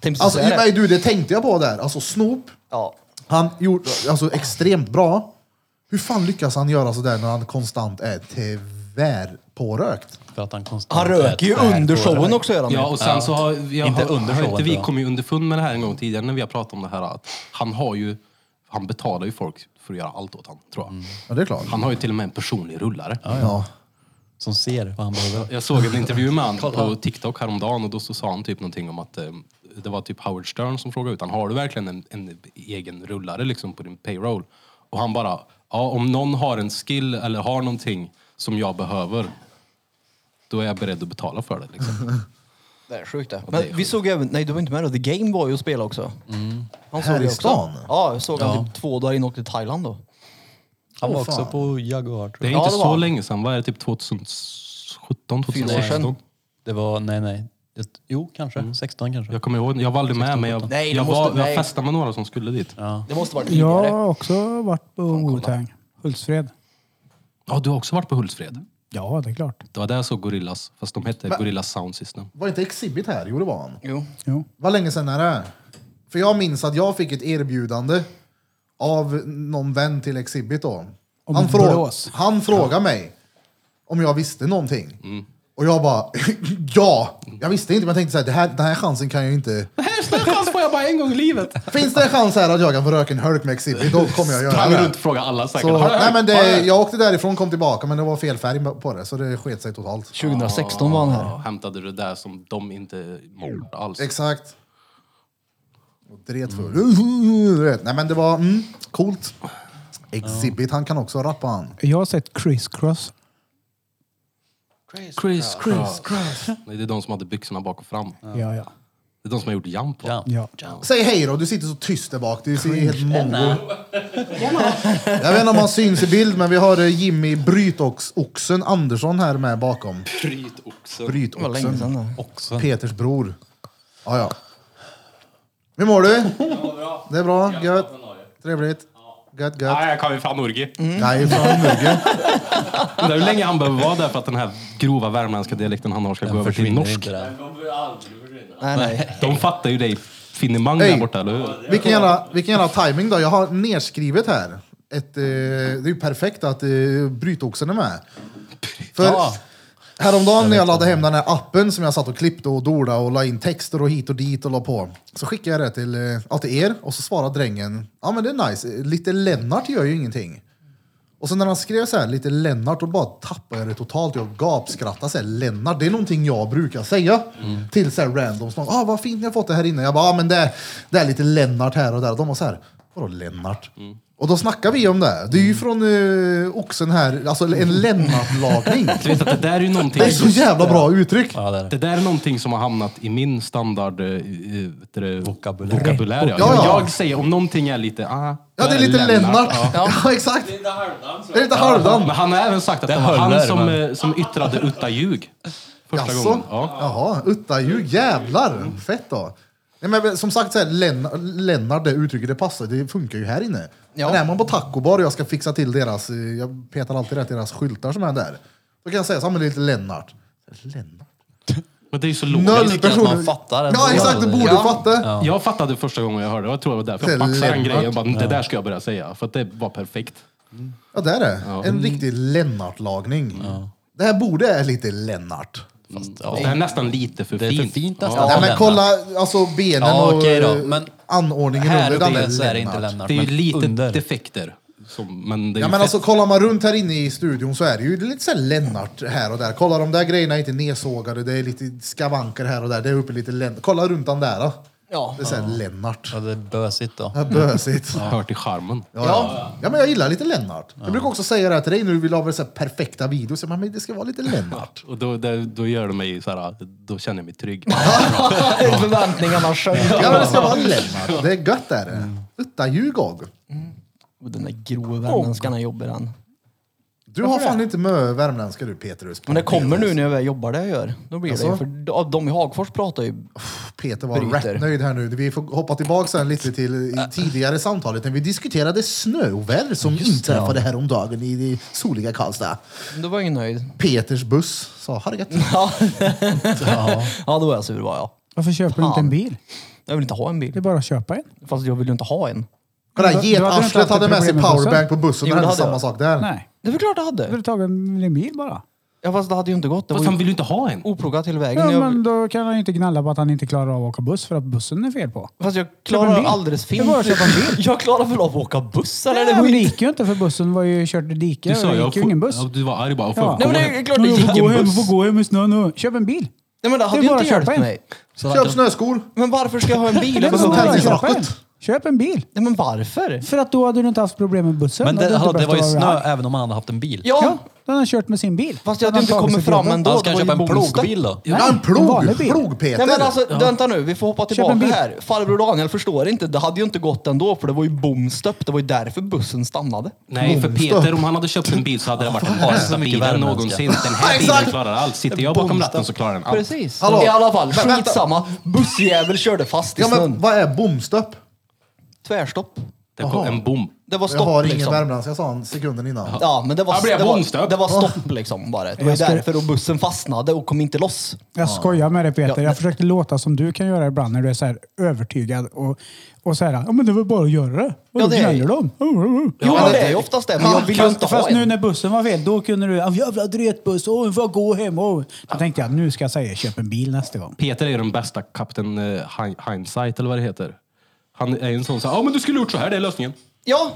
Speaker 4: Tänk precis
Speaker 2: Alltså,
Speaker 4: så här.
Speaker 2: nej du, det tänkte jag på där. Alltså Snoop,
Speaker 4: Ja.
Speaker 2: han gjorde alltså, extremt bra. Hur fan lyckas han göra sådär när han konstant är tyvärr pårökt?
Speaker 1: För att han konstant
Speaker 4: Han röker ju
Speaker 1: är ett
Speaker 4: under
Speaker 1: tvärgårdare.
Speaker 4: showen också gör han
Speaker 6: Ja,
Speaker 4: ju.
Speaker 6: och sen så har, jag,
Speaker 1: Inte
Speaker 6: inte har,
Speaker 1: under
Speaker 6: har
Speaker 1: showen,
Speaker 6: inte vi
Speaker 1: tror jag.
Speaker 6: kommit underfund med det här en gång tidigare när vi har pratat om det här. Att han har ju, han betalar ju folk för att göra allt åt han, tror jag.
Speaker 2: Ja, det är klart.
Speaker 6: Han har ju till och med en personlig rullare.
Speaker 2: Ja.
Speaker 1: Som ser vad han behöver.
Speaker 6: Jag såg en intervju med han på TikTok häromdagen och då så sa han typ någonting om att eh, det var typ Howard Stern som frågade ut han, har du verkligen en, en egen rullare liksom på din payroll? Och han bara, ja om någon har en skill eller har någonting som jag behöver, då är jag beredd att betala för det liksom.
Speaker 4: Det är sjukt det.
Speaker 6: det är
Speaker 4: Men vi
Speaker 6: sjukt.
Speaker 4: såg även... Nej, du var inte med då. The Game var ju och spelade också. Han
Speaker 2: Här
Speaker 4: såg
Speaker 2: i
Speaker 4: ju också.
Speaker 2: stan?
Speaker 4: Ja, jag såg han typ två dagar innan åkte till Thailand då.
Speaker 1: Han var
Speaker 2: Åh,
Speaker 1: också
Speaker 2: fan.
Speaker 1: på Jaguar tror
Speaker 6: Det är
Speaker 1: jag.
Speaker 4: Ja,
Speaker 6: inte
Speaker 4: det var
Speaker 6: så
Speaker 4: han.
Speaker 6: länge sedan, vad är det, typ 2017,
Speaker 4: Fyra år sedan.
Speaker 6: 2016?
Speaker 1: Det var, nej nej. Just- Jo, kanske. 16 kanske.
Speaker 6: Jag kommer ihåg, jag var aldrig med men jag,
Speaker 4: Nej, det
Speaker 6: jag,
Speaker 4: måste-
Speaker 6: var, jag
Speaker 4: nej.
Speaker 6: festade med några som skulle dit. Ja,
Speaker 4: Det måste varit
Speaker 3: Jag
Speaker 4: tidigare.
Speaker 3: har också varit på Wu-Tang. Hultsfred.
Speaker 6: du har också varit på Hultsfred?
Speaker 3: Ja, det är klart.
Speaker 6: Det var där jag såg Gorillas, fast de hette Gorillas Sound System.
Speaker 2: Var inte Exhibit här? Jo, det var han.
Speaker 4: Jo.
Speaker 3: Jo.
Speaker 2: Vad länge sedan är det? För jag minns att jag fick ett erbjudande av någon vän till Exhibit då.
Speaker 3: Om
Speaker 2: Han,
Speaker 3: en
Speaker 2: frå-
Speaker 3: blås.
Speaker 2: han frågade mig om jag visste någonting. Och jag bara, ja! Jag visste inte, men jag tänkte så här, det här, den här chansen kan jag inte...
Speaker 6: Chans får jag bara en gång i livet!
Speaker 2: Finns det en chans här att jag kan få röka en hölk med Exhibit, då kommer jag göra
Speaker 6: Sprang
Speaker 2: det.
Speaker 6: runt och frågade alla säkert.
Speaker 2: Så,
Speaker 6: Har du
Speaker 2: nej,
Speaker 6: hört?
Speaker 2: men
Speaker 6: Har du
Speaker 2: det,
Speaker 6: hört?
Speaker 2: jag åkte därifrån, kom tillbaka, men det var fel färg på det, så det sket sig totalt.
Speaker 4: 2016 var han här.
Speaker 6: Ja, hämtade det där som de inte mår alls.
Speaker 2: Exakt. Och dret full. Du vet. Nej men det var mm, coolt. Exhibit, han kan också rappa han.
Speaker 3: Jag har sett Criss Cross.
Speaker 6: Chris Cross. Nej, det är de som hade byxorna bak och fram.
Speaker 3: Ja, ja. ja.
Speaker 6: Det är de som har gjort jump. va?
Speaker 1: Ja.
Speaker 3: ja.
Speaker 2: Säg hej då, du sitter så tyst där bak. Du ser helt mongo. Jag vet inte om han syns i bild, men vi har eh, Jimmy Brytoxen Andersson här med bakom.
Speaker 6: Brytoxen.
Speaker 4: Det var länge
Speaker 2: Brytoxen.
Speaker 4: sedan det.
Speaker 1: Också.
Speaker 2: Peters bror. Ja, ja. Hur mår du? Det är bra, gött. Trevligt. Gött, gött.
Speaker 6: Nej, jag kan ju fan orgi.
Speaker 4: Mm.
Speaker 2: Nej, fan Mugge.
Speaker 6: Undrar hur länge han behöver vara där för att den här grova värmländska dialekten han har ska gå över till
Speaker 1: Försvinner
Speaker 6: norsk.
Speaker 1: inte där.
Speaker 4: Nej, nej.
Speaker 6: De fattar ju dig finemang
Speaker 2: Ey.
Speaker 6: där borta, eller hur?
Speaker 2: Vilken jävla, vilken jävla timing då. Jag har nerskrivet här. Ett, eh, det är ju perfekt att eh, brytoxen är med. För häromdagen när jag laddade hem den här appen som jag satt och klippte och dolade och la in texter och hit och dit och la på. Så skickade jag det till, eh, ja, till er och så svarade drängen, ja men det är nice, lite Lennart gör ju ingenting. Och sen när han skrev så här, lite Lennart, då bara tappade jag det totalt. Jag gapskrattade så här, Lennart, det är någonting jag brukar säga till så här randoms. Någon, Ah, vad fint ni har fått det här inne. Jag bara, ah, men det, är- det är lite Lennart här och där. Och de var så här, vadå Lennart? Och då snackar vi om det. Det är ju från eh, oxen här, alltså en Lennart-lagning.
Speaker 6: Du vet att det där är ju någonting...
Speaker 2: det är så jävla bra uttryck.
Speaker 1: Ja, där.
Speaker 6: Det där är någonting som har hamnat i min standard eh, eh, vet du det,
Speaker 1: Vokabulär.
Speaker 6: vokabulär ja.
Speaker 2: Ja, ja.
Speaker 6: Jag säger om någonting är lite... Ah,
Speaker 2: Ja,
Speaker 6: då
Speaker 2: det är lite Lennart.
Speaker 6: ja.
Speaker 2: Ja. exakt. Det är lite
Speaker 6: Men
Speaker 2: halvdan.
Speaker 6: han har även sagt att det,
Speaker 1: Det
Speaker 6: var han
Speaker 1: håller,
Speaker 6: som,
Speaker 1: men-
Speaker 6: eh, som yttrade utta ljug. Första
Speaker 2: Jaså?
Speaker 6: gången. Ja.
Speaker 2: Jaha, utta ju jävlar. Fett då. Nej, men som sagt, så här, Lennart, Lennart, det uttrycket, det passar. Det funkar ju här inne.
Speaker 4: Ja.
Speaker 2: Men är man på tacobar och jag ska fixa till deras, eh, jag petar alltid rätt i deras skyltar som är där. Då kan jag säga så här, men det är lite Lennart. Lennart?
Speaker 6: Men det är ju så
Speaker 2: Noll
Speaker 6: logiskt.
Speaker 1: tycker att man fattar ändå.
Speaker 2: Ja, exakt. Du borde
Speaker 4: Ja.
Speaker 2: fatta.
Speaker 6: Jag fattade första gången jag hörde det. Jag tror det var därför jag
Speaker 2: Det är
Speaker 6: baxade den
Speaker 2: Lennart.
Speaker 6: grejen. Bara, det där ska jag börja säga. För att det var perfekt.
Speaker 2: Ja, det är det. En riktig Lennart-lagning. Det här borde är lite Lennart.
Speaker 1: Fast,
Speaker 6: Och
Speaker 1: ja.
Speaker 6: Det är nästan lite för
Speaker 1: Det är för
Speaker 6: fint.
Speaker 1: fint
Speaker 6: Ja.
Speaker 1: nästan.
Speaker 2: Nej, men
Speaker 1: Lennart.
Speaker 2: kolla alltså benen
Speaker 1: Ja,
Speaker 2: och
Speaker 1: okej då,
Speaker 2: eh,
Speaker 1: men-
Speaker 2: anordningen
Speaker 1: Här
Speaker 2: under.
Speaker 1: uppe
Speaker 2: den är
Speaker 1: så är det inte
Speaker 2: Lennart.
Speaker 1: Lennart.
Speaker 6: Det är ju
Speaker 1: men
Speaker 6: lite
Speaker 1: under.
Speaker 6: defekter. Som, men det är
Speaker 2: Ja men
Speaker 6: ju fett.
Speaker 2: alltså kollar man runt här inne i studion så är det ju lite såhär Lennart här och där. Kolla de där grejerna är inte nedsågade, det är lite skavanker här och där. Det är uppe lite Lennart. Kolla runt den där då.
Speaker 4: Ja.
Speaker 2: Det är såhär Lennart.
Speaker 1: Ja, det är bösigt då.
Speaker 2: Ja, Bösigt.
Speaker 6: hör till charmen.
Speaker 2: Ja, ja. ja men jag gillar lite Lennart. Jag brukar också säga det här till dig när du vill ha så här perfekta videos. Jag bara, Men det ska vara lite Lennart.
Speaker 6: Och då, det, då gör det mig så här, då känner jag mig trygg.
Speaker 4: Förväntningarna sjönk.
Speaker 2: Ja men det ska vara Lennart. Det är gött är
Speaker 1: Mm.
Speaker 2: det. Utta Ljugog.
Speaker 4: Oh. Och Den där grova värmländskan, han jobbar han.
Speaker 2: Du har fan inte mö värmländska du Peter. Du
Speaker 4: Men det kommer nu när jag jobbar det jag gör. Då blir det
Speaker 2: Alltså?
Speaker 4: ju- För de i Hagfors pratar ju...
Speaker 2: Peter var
Speaker 4: bryter.
Speaker 2: rätt nöjd här nu. Vi får hoppa tillbaka sen lite till i tidigare samtalet när vi diskuterade snöoväder som inträffade häromdagen i det soliga Karlstad.
Speaker 4: Då var jag ingen nöjd.
Speaker 2: Peters buss sa ha det gött.
Speaker 4: Ja, ja då var jag sur var jag.
Speaker 3: Varför köper du inte en bil?
Speaker 4: Jag vill inte ha en
Speaker 3: Det är
Speaker 4: bil.
Speaker 3: bara att köpa en.
Speaker 4: Fast jag vill ju inte ha en.
Speaker 2: Kolla,
Speaker 3: Du- du hade inte
Speaker 2: Getarslet
Speaker 3: haft
Speaker 2: hade
Speaker 3: ett
Speaker 2: med sig
Speaker 3: problem med bussen.
Speaker 2: powerbank på bussen.
Speaker 4: Jo,
Speaker 2: Det
Speaker 4: det
Speaker 2: hände
Speaker 4: hade
Speaker 2: samma
Speaker 4: jag.
Speaker 2: sak där.
Speaker 3: Nej.
Speaker 4: Det är väl klart jag
Speaker 3: Då hade
Speaker 4: hade.
Speaker 3: du tagit en bil bara.
Speaker 4: Ja, fast det hade ju inte gått. Det
Speaker 6: Fast
Speaker 4: var
Speaker 6: han
Speaker 4: ju
Speaker 6: vill ju inte ha en.
Speaker 4: oplogat till vägen.
Speaker 3: Ja, men
Speaker 4: Jag,
Speaker 3: då kan han ju inte gnälla på att han inte klarar av att åka buss för att bussen är fel på.
Speaker 4: fast jag
Speaker 3: Köp
Speaker 4: klarar
Speaker 3: en bil.
Speaker 4: alldeles
Speaker 3: Det är bara att
Speaker 4: fint.
Speaker 3: köpa en
Speaker 4: Jag klarar väl av att åka buss eller?
Speaker 3: Nej,
Speaker 4: det går
Speaker 3: men
Speaker 4: ju
Speaker 3: det
Speaker 4: inte.
Speaker 3: gick ju inte för bussen var ju kört i dike.
Speaker 6: Du sa
Speaker 3: det
Speaker 6: jag
Speaker 3: gick ju ingen buss.
Speaker 6: Ja, du var arg bara. Jag får
Speaker 3: Ja.
Speaker 6: gå
Speaker 4: Nej men
Speaker 6: hem.
Speaker 4: det är klart det
Speaker 3: Jag
Speaker 4: gick
Speaker 3: får gå
Speaker 4: en
Speaker 3: hem, jag
Speaker 4: buss.
Speaker 3: får gå hem i snö nu. Köp en bil.
Speaker 4: Nej men det hade
Speaker 3: Det är
Speaker 4: ju
Speaker 3: bara
Speaker 4: inte
Speaker 3: att köpa
Speaker 4: hjälpt
Speaker 3: en.
Speaker 4: mig.
Speaker 6: Så hade
Speaker 2: Köp
Speaker 6: jag-
Speaker 2: snöskor.
Speaker 4: Men varför ska jag ha en bil?
Speaker 3: Det är
Speaker 4: Jag
Speaker 3: bara
Speaker 4: behöver
Speaker 3: att
Speaker 2: tänker
Speaker 4: pengar.
Speaker 2: jag.
Speaker 3: köpa en. Köp en bil.
Speaker 4: Nej men varför?
Speaker 3: För att då hade du inte haft problem med bussen.
Speaker 1: Men
Speaker 3: Då hade
Speaker 1: det,
Speaker 3: du
Speaker 1: hallå,
Speaker 3: inte
Speaker 1: det var ju
Speaker 3: behövt vara
Speaker 1: snö
Speaker 3: arg.
Speaker 1: även om han hade haft en bil.
Speaker 4: Ja,
Speaker 3: Ja, då hade han kört med sin bil.
Speaker 4: fast jag
Speaker 3: Då
Speaker 4: hade inte
Speaker 3: han
Speaker 4: kommit
Speaker 3: tagit sig
Speaker 4: fram
Speaker 3: till
Speaker 4: ändå.
Speaker 1: Han
Speaker 4: Det
Speaker 1: ska
Speaker 4: var ju
Speaker 1: köpa en
Speaker 4: bonusdag.
Speaker 1: plogbil då.
Speaker 3: jobbet.
Speaker 2: Ja, en plog.
Speaker 3: vanlig bil.
Speaker 2: Plog-Peter.
Speaker 4: Nej men alltså, vänta nu. Vi får hoppa
Speaker 3: en
Speaker 4: tillbaka
Speaker 3: bil.
Speaker 4: här. Farbror Daniel förstår inte. Det hade ju inte gått ändå för det var ju bomstöpp. Det var ju därför bussen stannade.
Speaker 6: Nej, för Peter, om han hade köpt en bil så hade det varit den bästa bilen
Speaker 1: värmländska.
Speaker 6: någonsin. Den här bilen
Speaker 2: Exakt.
Speaker 6: klarar allt. Sitter jag bakom ratten så klarar den allt.
Speaker 4: Precis.
Speaker 2: Hallå.
Speaker 4: I alla fall,
Speaker 2: Vänta.
Speaker 4: skitsamma. Bussjävel körde fast i
Speaker 2: Ja,
Speaker 4: snön.
Speaker 2: men vad är bomstöpp?
Speaker 4: Tvärstopp.
Speaker 6: Det kom en bom.
Speaker 4: Det var
Speaker 2: Jag
Speaker 4: stopp
Speaker 2: har ingen
Speaker 4: liksom.
Speaker 2: värmländska, jag sa han sekunden innan.
Speaker 4: Ja, men det var,
Speaker 6: Jag blev
Speaker 4: det, var,
Speaker 6: bomstöp.
Speaker 4: det var stopp liksom bara. Det var ju
Speaker 3: Jag ska-
Speaker 4: därför och bussen fastnade och kom inte loss.
Speaker 3: Jag skojar med dig
Speaker 4: Ja,
Speaker 3: Peter.
Speaker 4: men-
Speaker 3: Jag försökte låta som du kan göra ibland när du är så här övertygad och, och så här, ja men det var bara att göra det. Och
Speaker 4: Ja,
Speaker 3: ja,
Speaker 4: det
Speaker 3: det
Speaker 4: är-
Speaker 3: gnäller de.
Speaker 4: Jo,
Speaker 6: Ja,
Speaker 4: men det
Speaker 6: det-
Speaker 4: är ju oftast det. Men jag vill ju inte
Speaker 3: Fast,
Speaker 4: ha
Speaker 3: fast nu
Speaker 4: en.
Speaker 3: när bussen var fel, då kunde du, "Ah, jävla dretbuss, åh nu får jag gå hem. Åh. Då tänkte jag, nu ska jag säga köp en bil nästa gång.
Speaker 6: Peter är ju den bästa kapten eh, Hein- hindsight, eller vad det heter. Han är ju en sån som, ja men du skulle gjort så här, det är lösningen.
Speaker 4: Ja,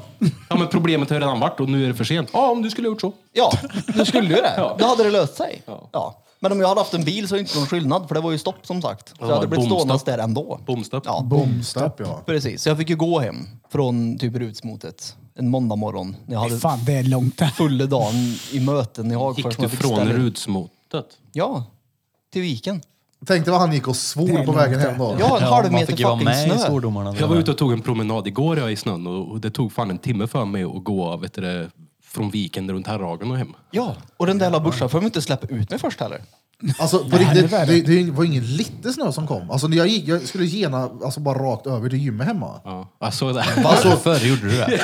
Speaker 6: Ja men problemet har ju redan varit och nu är det för sent. Ja, om du skulle gjort så.
Speaker 4: ja, du skulle ju det.
Speaker 6: Ja.
Speaker 4: Då hade det löst sig.
Speaker 6: Ja.
Speaker 4: Ja. Men om jag hade haft en bil så är det inte någon skillnad för det var ju stopp som sagt. Så
Speaker 6: Ja,
Speaker 4: jag hade blivit
Speaker 6: bomstopp.
Speaker 4: stående där ändå.
Speaker 6: Bomstopp.
Speaker 4: Ja,
Speaker 2: Bomstöpp ja.
Speaker 4: precis. Så jag fick ju gå hem från typ Rutsmotet en måndag morgon. När jag hade
Speaker 3: Fan, det är långt där.
Speaker 4: fulla dagen i möten i Hagfors.
Speaker 6: Gick
Speaker 4: som
Speaker 6: du
Speaker 4: jag fick
Speaker 6: från
Speaker 4: ställa in.
Speaker 6: Rudsmotet?
Speaker 4: Ja, till viken.
Speaker 2: Tänk dig vad han gick och svor på vägen hem då.
Speaker 4: Ja, en halv
Speaker 1: man
Speaker 4: meter
Speaker 1: fick ju vara
Speaker 4: fucking
Speaker 1: med i
Speaker 4: snö.
Speaker 1: svordomarna.
Speaker 6: Jag var ute och tog en promenad igår jag, i snön och och det tog fan en timme för mig att gå vet du, det, från viken runt Herragen och hem.
Speaker 4: Ja, och den där lilla busschen får de inte släppa ut mig först heller.
Speaker 2: Alltså, på riktigt, det, det, det var ingen lite snö som kom. Alltså, när jag, gick, jag skulle gena alltså, bara rakt över till gymmet hemma.
Speaker 6: Ja. Alltså, det,
Speaker 1: Varför gjorde du det?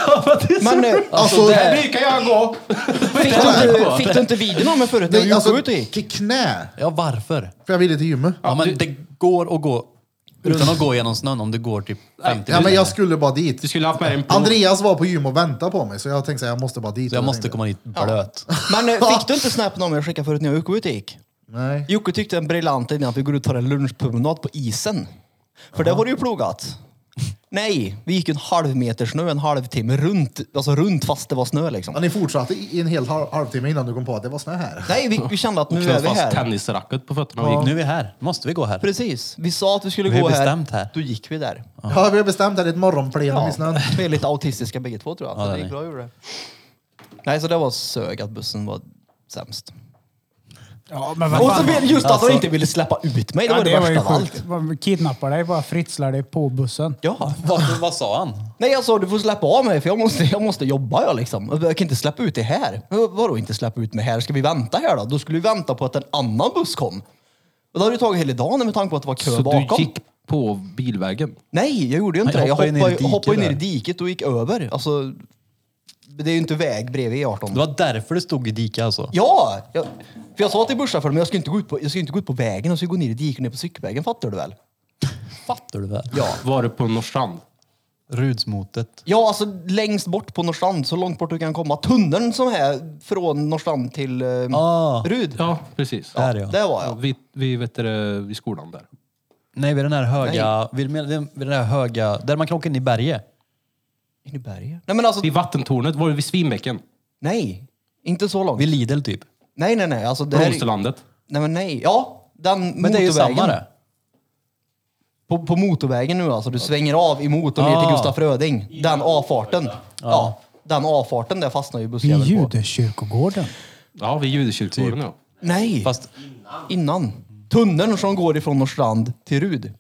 Speaker 4: Men nu, alltså,
Speaker 2: Alltså,
Speaker 4: det
Speaker 2: det
Speaker 4: brukar jag gå. Fick du, inte, fick du inte videon av mig förut när
Speaker 2: Det,
Speaker 4: jag
Speaker 2: alltså,
Speaker 4: gick ut och gick?
Speaker 2: till knä,
Speaker 1: Ja, varför?
Speaker 2: för jag ville till gymmet.
Speaker 1: Ja, men det går att gå utan att gå genom snön om det går typ 50
Speaker 2: Ja, men
Speaker 1: meter.
Speaker 2: jag skulle bara dit.
Speaker 6: du skulle haft med dig en plog.
Speaker 2: Andreas var på gym och väntade på mig, så jag tänkte att jag måste bara dit.
Speaker 1: Så jag
Speaker 2: Och
Speaker 1: måste
Speaker 2: tänkte,
Speaker 1: komma dit blöt.
Speaker 4: Men eh, fick du inte snappen av mig jag skickade förut när jag gick ut och gick?
Speaker 2: Nej.
Speaker 4: Jocke tyckte en briljant idé att vi går ut och tar en lunchpromenad på isen. För där var det ju plogat. Nej, vi gick ju en halv meter snö en halvtimme runt, alltså runt fast det var snö liksom.
Speaker 2: Ja, ni fortsatte i i en hel halv, halvtimme innan du kom på att det var snö här.
Speaker 4: Nej, vi, vi kände att nu är
Speaker 6: Knöt
Speaker 4: vi
Speaker 6: fast
Speaker 4: här.
Speaker 6: tennisracket på fötterna och gick.
Speaker 1: Nu är vi här. Måste vi gå här?
Speaker 4: Precis, vi sa att vi skulle
Speaker 1: Vi har
Speaker 4: gå här.
Speaker 1: bestämt här.
Speaker 4: Då gick vi där.
Speaker 2: Ja, vi har bestämt här, det är ett morgonplenum i snön.
Speaker 4: Ja, vi är lite autistiska bägge två tror jag.
Speaker 1: Ja,
Speaker 4: så
Speaker 1: det
Speaker 4: det
Speaker 1: är
Speaker 4: gick
Speaker 1: ni.
Speaker 4: bra gjorde det. Nej, så det var sög att bussen var sämst.
Speaker 3: Ja, men vad
Speaker 4: Och
Speaker 3: fan.
Speaker 4: så vill- just att
Speaker 1: Alltså-
Speaker 4: de inte ville släppa ut mig, det var det, värsta av allt.
Speaker 3: Man Kidnappar dig, bara fritslar dig på bussen.
Speaker 4: Ja.
Speaker 1: Vad, vad sa han?
Speaker 4: Nej, jag sa du får släppa av mig för jag måste, jag måste jobba jag liksom. Jag kan inte släppa ut det här. "Men Vadå inte släppa ut mig här? Ska vi vänta här då? Då skulle vi vänta på att en annan buss kom. Och då hade det tagit hela dagen med tanke på att det var kö
Speaker 6: Så
Speaker 4: bakom.
Speaker 6: du gick på bilvägen?
Speaker 4: Nej, jag gjorde ju inte
Speaker 1: Nej,
Speaker 4: det. Jag
Speaker 1: hoppade ju ner i
Speaker 4: hoppade,
Speaker 1: diket
Speaker 4: hoppade ner i
Speaker 1: där.
Speaker 4: diket och gick över. Alltså, det är ju inte väg bredvid
Speaker 1: Det
Speaker 4: E18.
Speaker 1: var därför det stod i diket alltså.
Speaker 4: Ja! Jag, för jag sa till busschauffören, men jag ska inte gå ut på, jag ska inte gå ut på vägen, jag ska gå ner i diket ner på cykelvägen, fattar du väl?
Speaker 1: Fattar du väl?
Speaker 4: Ja.
Speaker 6: Var du på Norrstrand?
Speaker 1: Rudsmotet.
Speaker 4: Ja, alltså längst bort på Norrstrand, så långt bort du kan komma. Tunneln som är från Norrstrand till eh,
Speaker 1: Ah.
Speaker 4: Rud.
Speaker 6: Ja, precis.
Speaker 1: Där ja.
Speaker 4: Där var
Speaker 6: Ja,
Speaker 4: jag.
Speaker 6: vi, vi vet det, vid skolan där.
Speaker 1: Nej, vid den här höga... Vid, med- vid den här höga... Där man kan åka in i berget.
Speaker 4: In i berget? Nej, men alltså,
Speaker 6: Vid vattentornet, var du vid Svinbäcken?
Speaker 4: nej. Inte så långt.
Speaker 1: Vid Lidl typ.
Speaker 4: Nej, nej, nej. Alltså, det här, är-
Speaker 6: Blomsterlandet?
Speaker 4: nej, men nej. Ja, den
Speaker 1: Men det är ju
Speaker 4: motorvägen.
Speaker 1: samma det.
Speaker 4: På, på motorvägen nu alltså. Du svänger av emot och ner till
Speaker 1: Ah.
Speaker 4: Gustaf Fröding. Den avfarten. Ja. Den avfarten där fastnar ju
Speaker 3: Vid
Speaker 4: bussjäveln på.
Speaker 3: judekyrkogården.
Speaker 6: Ja, vid judekyrkogården ja.
Speaker 4: Nej,
Speaker 1: Fast
Speaker 4: innan. Tunneln som går ifrån Norrstrand till Rud.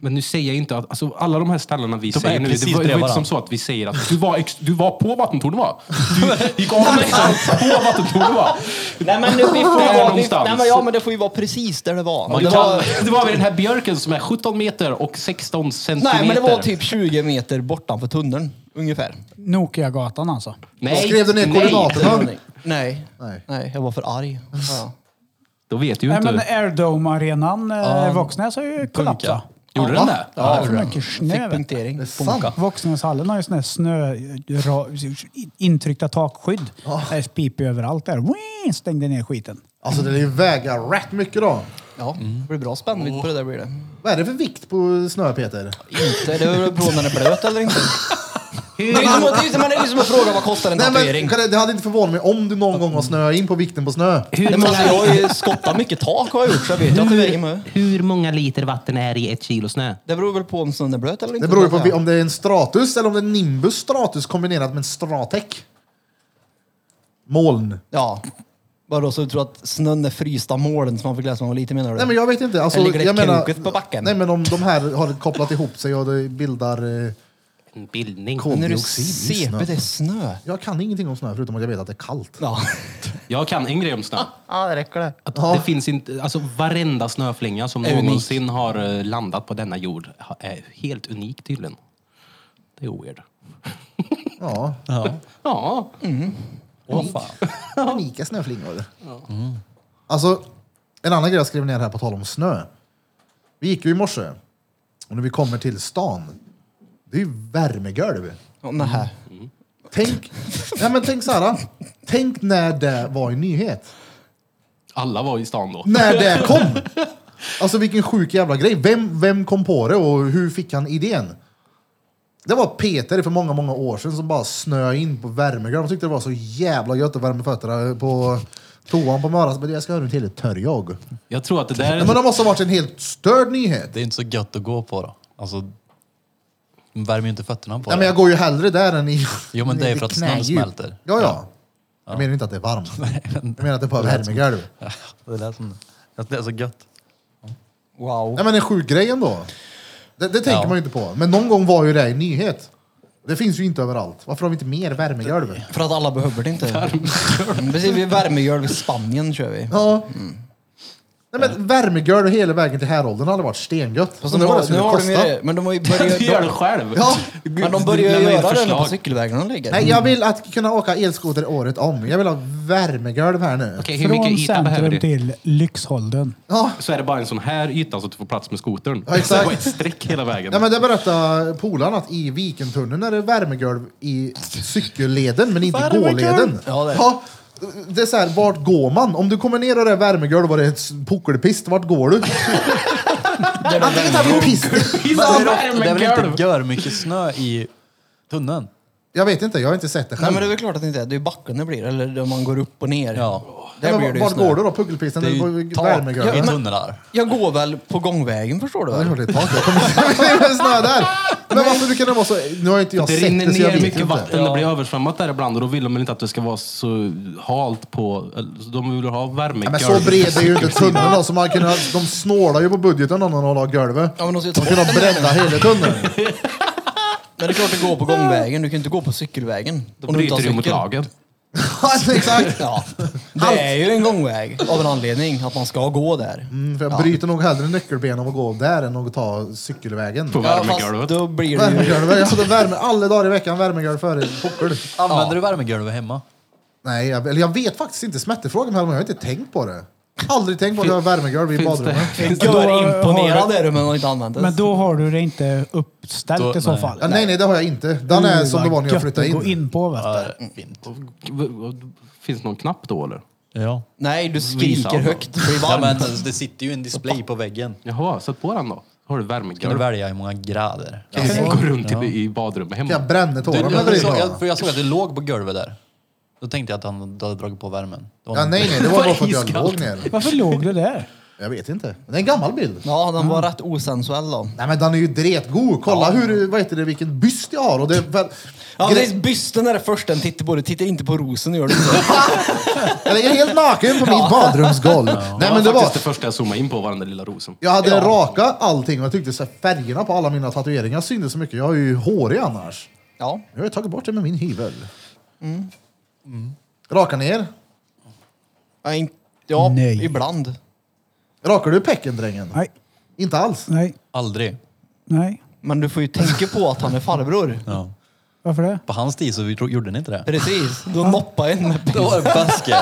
Speaker 6: Men nu säger jag inte att, alltså, alla de här ställena vi
Speaker 1: De är
Speaker 6: säger nu, det
Speaker 1: precis
Speaker 6: var, det var
Speaker 1: bredvid
Speaker 6: inte som så att vi säger att du var, ex, du var på vattentornet va? Du gick av näsan på vattentornet va?
Speaker 4: Nej men nu, vi får ju
Speaker 6: Där
Speaker 4: vara, vi,
Speaker 6: någonstans.
Speaker 4: nej, men, ja, men det får ju vara precis där det var.
Speaker 6: Man
Speaker 4: det
Speaker 6: kan,
Speaker 4: var
Speaker 6: det var vid den här björken som är 17 meter och 16 centimeter.
Speaker 4: nej men det var typ 20 meter bortanför tunneln, ungefär.
Speaker 3: Nokiagatan alltså.
Speaker 6: Nej,
Speaker 2: Skrev du ner
Speaker 6: nej.
Speaker 2: koordinaterna?
Speaker 4: Nej.
Speaker 2: Nej.
Speaker 4: Nej, jag var för arg. Ja.
Speaker 6: Då vet ju
Speaker 3: Nej,
Speaker 6: inte.
Speaker 3: men Airdome-arenan ja. Våxnäs har ju
Speaker 1: Punka.
Speaker 3: kollapsat.
Speaker 6: Gjorde den det?
Speaker 4: Ja,
Speaker 3: För mycket snö.
Speaker 4: Fick
Speaker 3: vet du.
Speaker 4: punktering.
Speaker 2: Det är sant.
Speaker 3: Våxnäshallen har ju sån här snö... ra- intryckta takskydd. Det är pipor överallt där. Wee! Stängde ner skiten.
Speaker 2: Alltså det är ju väga rätt mycket då.
Speaker 4: Ja, det blir bra spännvidd på det där blir det.
Speaker 2: Vad är det för vikt på snö Peter?
Speaker 4: Inte, det är väl beroende om den är blöt eller inte. Det är ju som, att- det är ju som, men det är ju som att fråga vad kostar en
Speaker 2: Nej,
Speaker 4: tatuering.
Speaker 2: men, kan det, det hade inte förvånat mig om du någon gång har snöat in på vikten på snö.
Speaker 4: Nej, men alltså, jag har ju skottat mycket tak har jag gjort så jag vet ju att det väger med.
Speaker 7: Hur många liter vatten är i ett kilo snö?
Speaker 4: Det beror väl på om snön är blöt eller inte.
Speaker 2: Det beror ju på vi- om det är en stratus eller om det är en nimbus stratus kombinerat med en stratäck. Moln.
Speaker 4: Ja. Vadå, så du tror att snön är frysta moln som man fick läsa om lite menar du?
Speaker 2: Nej men jag vet inte. Alltså,
Speaker 4: Eller ligger det
Speaker 2: jag menar,
Speaker 4: kroket på backen?
Speaker 2: Nej men om de här har kopplat ihop sig och det bildar eh,
Speaker 7: En bildning.
Speaker 4: Men är du
Speaker 2: koldioxid i
Speaker 4: CP,
Speaker 2: snö.
Speaker 4: det är snö.
Speaker 2: Jag kan ingenting om snö förutom att jag vet att det är kallt.
Speaker 4: Ja.
Speaker 6: Jag kan en grej om snö.
Speaker 4: ja, det räcker det.
Speaker 6: Att
Speaker 2: Ja.
Speaker 6: Det finns inte, alltså varenda snöflinga som
Speaker 4: Är unik.
Speaker 6: någonsin har eh, landat på denna jord ha- är helt unik tydligen. Det är weird.
Speaker 2: Ja.
Speaker 6: Ja,
Speaker 2: Unika snöflingor. Alltså, en annan grej jag skrev ner här på tal om snö. Vi gick ju i morse och när vi kommer till stan, det är ju värmegolv.
Speaker 4: Åh, nej.
Speaker 2: Tänk, nej men tänk så här, tänk när det var en nyhet.
Speaker 6: alla var i stan då.
Speaker 2: När det kom! Alltså vilken sjuk jävla grej. Vem, vem kom på det och hur fick han idén? Det var Peter för många, många år sedan som bara snöade in på värmegolv. De tyckte det var så jävla gött att värma fötterna på toan på morgonen. Så bara, Jag ska ha den till ett törjag.
Speaker 6: Jag tror att det där...
Speaker 2: Men det måste ha varit en helt störd nyhet.
Speaker 1: Det är inte så gött att gå på då. Alltså, de värmer ju inte fötterna på
Speaker 2: Nej,
Speaker 1: det.
Speaker 2: men jag går ju hellre där än i...
Speaker 1: Jo, men det är för att snön
Speaker 2: knädjup.
Speaker 1: smälter.
Speaker 2: Ja, ja. Jag menar inte att det är varmt. Jag menar att det är på värmegolv.
Speaker 1: Det lät som det. Det är så gött.
Speaker 4: Wow.
Speaker 2: Nej men en sjuk grej ändå. Det, det tänker
Speaker 1: Ja.
Speaker 2: man ju inte på. Men någon gång var ju det en nyhet. Det finns ju inte överallt. Varför har vi inte mer värmegolv?
Speaker 4: För att alla behöver det inte. Precis, vi värmegolv i Spanien kör vi.
Speaker 2: Ja.
Speaker 4: Mm.
Speaker 2: Nej men värmegolv hela vägen till häråldern hade varit stengött.
Speaker 4: Fast
Speaker 2: Undrar
Speaker 4: nu
Speaker 2: vad det
Speaker 4: har, nu
Speaker 2: skulle
Speaker 4: har de ju
Speaker 2: kosta.
Speaker 4: det, men de har ju
Speaker 6: Du gör det
Speaker 4: börjat...
Speaker 6: själv.
Speaker 2: Ja.
Speaker 4: Men de börjar ju
Speaker 6: Lämna in
Speaker 4: göra det nu på
Speaker 6: förslag.
Speaker 4: cykelvägarna ligger.
Speaker 2: Nej, jag vill att kunna åka elskoter året om. Jag vill ha värmegolv här nu.
Speaker 6: Okej, hur
Speaker 3: Från
Speaker 6: mycket yta
Speaker 3: centrum
Speaker 6: behöver du?
Speaker 3: till Lyxholden.
Speaker 2: Ja.
Speaker 6: Så är det bara en sån här yta så att du får plats med skotern.
Speaker 2: Ja, exakt.
Speaker 6: Så det var ett streck hela vägen.
Speaker 2: Nej men det berättade polaren eh, att i Vikentunneln är det värmegolv i cykelleden men inte i gåleden.
Speaker 4: Ja, det är.
Speaker 2: det är så här, vart går man? Om du kommer ner och det är värmegolv och det är ett puckelpist, vart går du? Antingen tar vi pist.
Speaker 1: Det är väl
Speaker 6: Värmegolv!
Speaker 1: inte gör mycket snö i tunneln?
Speaker 2: Jag vet inte, jag har inte sett det
Speaker 4: Nej
Speaker 2: själv.
Speaker 4: men det är väl klart att det inte är. Det är ju backen det blir, eller där man går upp och ner.
Speaker 1: Ja.
Speaker 4: Där
Speaker 2: Men
Speaker 4: blir det ju
Speaker 2: vart
Speaker 4: snö.
Speaker 2: går du då? Puckelpisten
Speaker 1: Det är ju
Speaker 2: eller
Speaker 1: tak.
Speaker 2: värmegolv?
Speaker 1: I tunnlar.
Speaker 4: Jag går väl på gångvägen förstår du
Speaker 2: Ja, det är klart
Speaker 4: väl?
Speaker 2: det är tak. Jag kommer inte snö där. Men varför kan det vara så? Nu har inte jag
Speaker 6: Det
Speaker 2: sett
Speaker 6: rinner
Speaker 2: det så jag
Speaker 6: ner
Speaker 2: vet
Speaker 6: mycket
Speaker 2: inte.
Speaker 6: vatten, det blir översvämmat där ibland och då vill de väl inte att det ska vara så halt på... eller, så De vill ha
Speaker 2: Ja,
Speaker 6: värmegolv.
Speaker 2: men så bred är ju inte tunneln då, så man kunde, de snålar ju på budgeten om de la golvet.
Speaker 4: Ja, men de ska ju ta
Speaker 2: De kunde
Speaker 4: bort den
Speaker 2: bredda hela tunneln.
Speaker 4: Men det är klart det går på gångvägen, du kan ju inte gå på cykelvägen.
Speaker 6: Då
Speaker 4: om du inte
Speaker 6: bryter
Speaker 4: har
Speaker 6: du mot
Speaker 4: cykel.
Speaker 6: lagen.
Speaker 2: Alltså, Exakt!
Speaker 4: Ja, det är ju en gångväg av en anledning, att man ska gå där.
Speaker 2: Mm, För jag bryter nog hellre nyckelben av att gå där än att ta cykelvägen.
Speaker 6: På
Speaker 4: Ja, fast
Speaker 6: värmegolvet.
Speaker 4: då blir det ju...
Speaker 2: Värmegolv, jag hade värme alla dagar i veckan, värmegolv före puckel.
Speaker 1: Använder du värmegolvet hemma?
Speaker 2: Nej, jag, eller jag vet faktiskt inte smättefrågan här, men jag har inte tänkt på det. Aldrig tänkt på att jag har värmegolv i
Speaker 6: Finns det-
Speaker 2: badrummet.
Speaker 4: Du
Speaker 3: Då har
Speaker 4: är imponerad
Speaker 3: du-
Speaker 4: är du, men har inte använt det.
Speaker 3: Men då har du det inte uppställt
Speaker 1: Då-
Speaker 3: i så
Speaker 1: nej.
Speaker 3: fall.
Speaker 2: Ja, nej, nej, det har jag inte. Den är som det var när jag flyttade
Speaker 3: Gå
Speaker 2: in.
Speaker 3: in på vet du.
Speaker 1: Ja, det är fint.
Speaker 6: Finns det någon knapp då eller?
Speaker 1: Ja.
Speaker 4: Nej, du
Speaker 6: Visa
Speaker 4: skriker
Speaker 6: honom.
Speaker 4: högt. Det blir
Speaker 1: ja
Speaker 4: varmt.
Speaker 1: men det sitter ju en display på väggen.
Speaker 6: Jaha, sätt på den då. Har du
Speaker 1: Kan du
Speaker 6: värmegolv?
Speaker 1: välja hur många grader?
Speaker 6: Kan du gå runt i, i badrummet hemma?
Speaker 2: Jag brände
Speaker 1: Du,
Speaker 2: tårarna
Speaker 1: jag,
Speaker 2: när
Speaker 1: jag,
Speaker 2: jag
Speaker 1: såg, jag,
Speaker 2: var
Speaker 1: för jag såg att det låg på golvet där. Då tänkte jag att han hade dragit på värmen. Det var
Speaker 2: Ja,
Speaker 1: någon-
Speaker 2: nej, nej, det var bara för att jag låg ner.
Speaker 3: Varför låg du där?
Speaker 2: Jag vet inte. Det är en gammal bild.
Speaker 4: Ja, den
Speaker 2: Mm.
Speaker 4: var rätt osensuell då.
Speaker 2: Nej men den är ju dretgod. Kolla hur, vad heter det, vilken byst jag har. Och det är väl,
Speaker 4: Ja,
Speaker 2: gre-
Speaker 4: det är bysten är det första en tittar på. Du tittar inte på rosen, gör du inte?
Speaker 2: jag ligger helt naken på mitt badrumsgolv.
Speaker 6: Det
Speaker 2: Nej
Speaker 6: var
Speaker 2: men det var...
Speaker 6: faktiskt det första jag zoomade in på, var den där lilla rosen.
Speaker 2: Jag hade raka allting och jag tyckte så här, färgerna på alla mina tatueringar syntes så mycket. Jag är ju hårig annars.
Speaker 4: Ja.
Speaker 2: Jag har ju tagit bort det med min hyvel. Rakar ni er?
Speaker 4: Ja, in- ja
Speaker 3: Nej.
Speaker 4: ibland.
Speaker 2: Rakar du pecken drängen?
Speaker 3: Nej,
Speaker 2: Inte alls?
Speaker 3: nej,
Speaker 1: Aldrig.
Speaker 3: nej.
Speaker 4: Men du får ju tänka på att han är farbror.
Speaker 1: Ja.
Speaker 3: Varför det?
Speaker 1: På hans tid så vi tro- gjorde ni inte det.
Speaker 4: Precis. Då noppar en med
Speaker 1: Det var baske.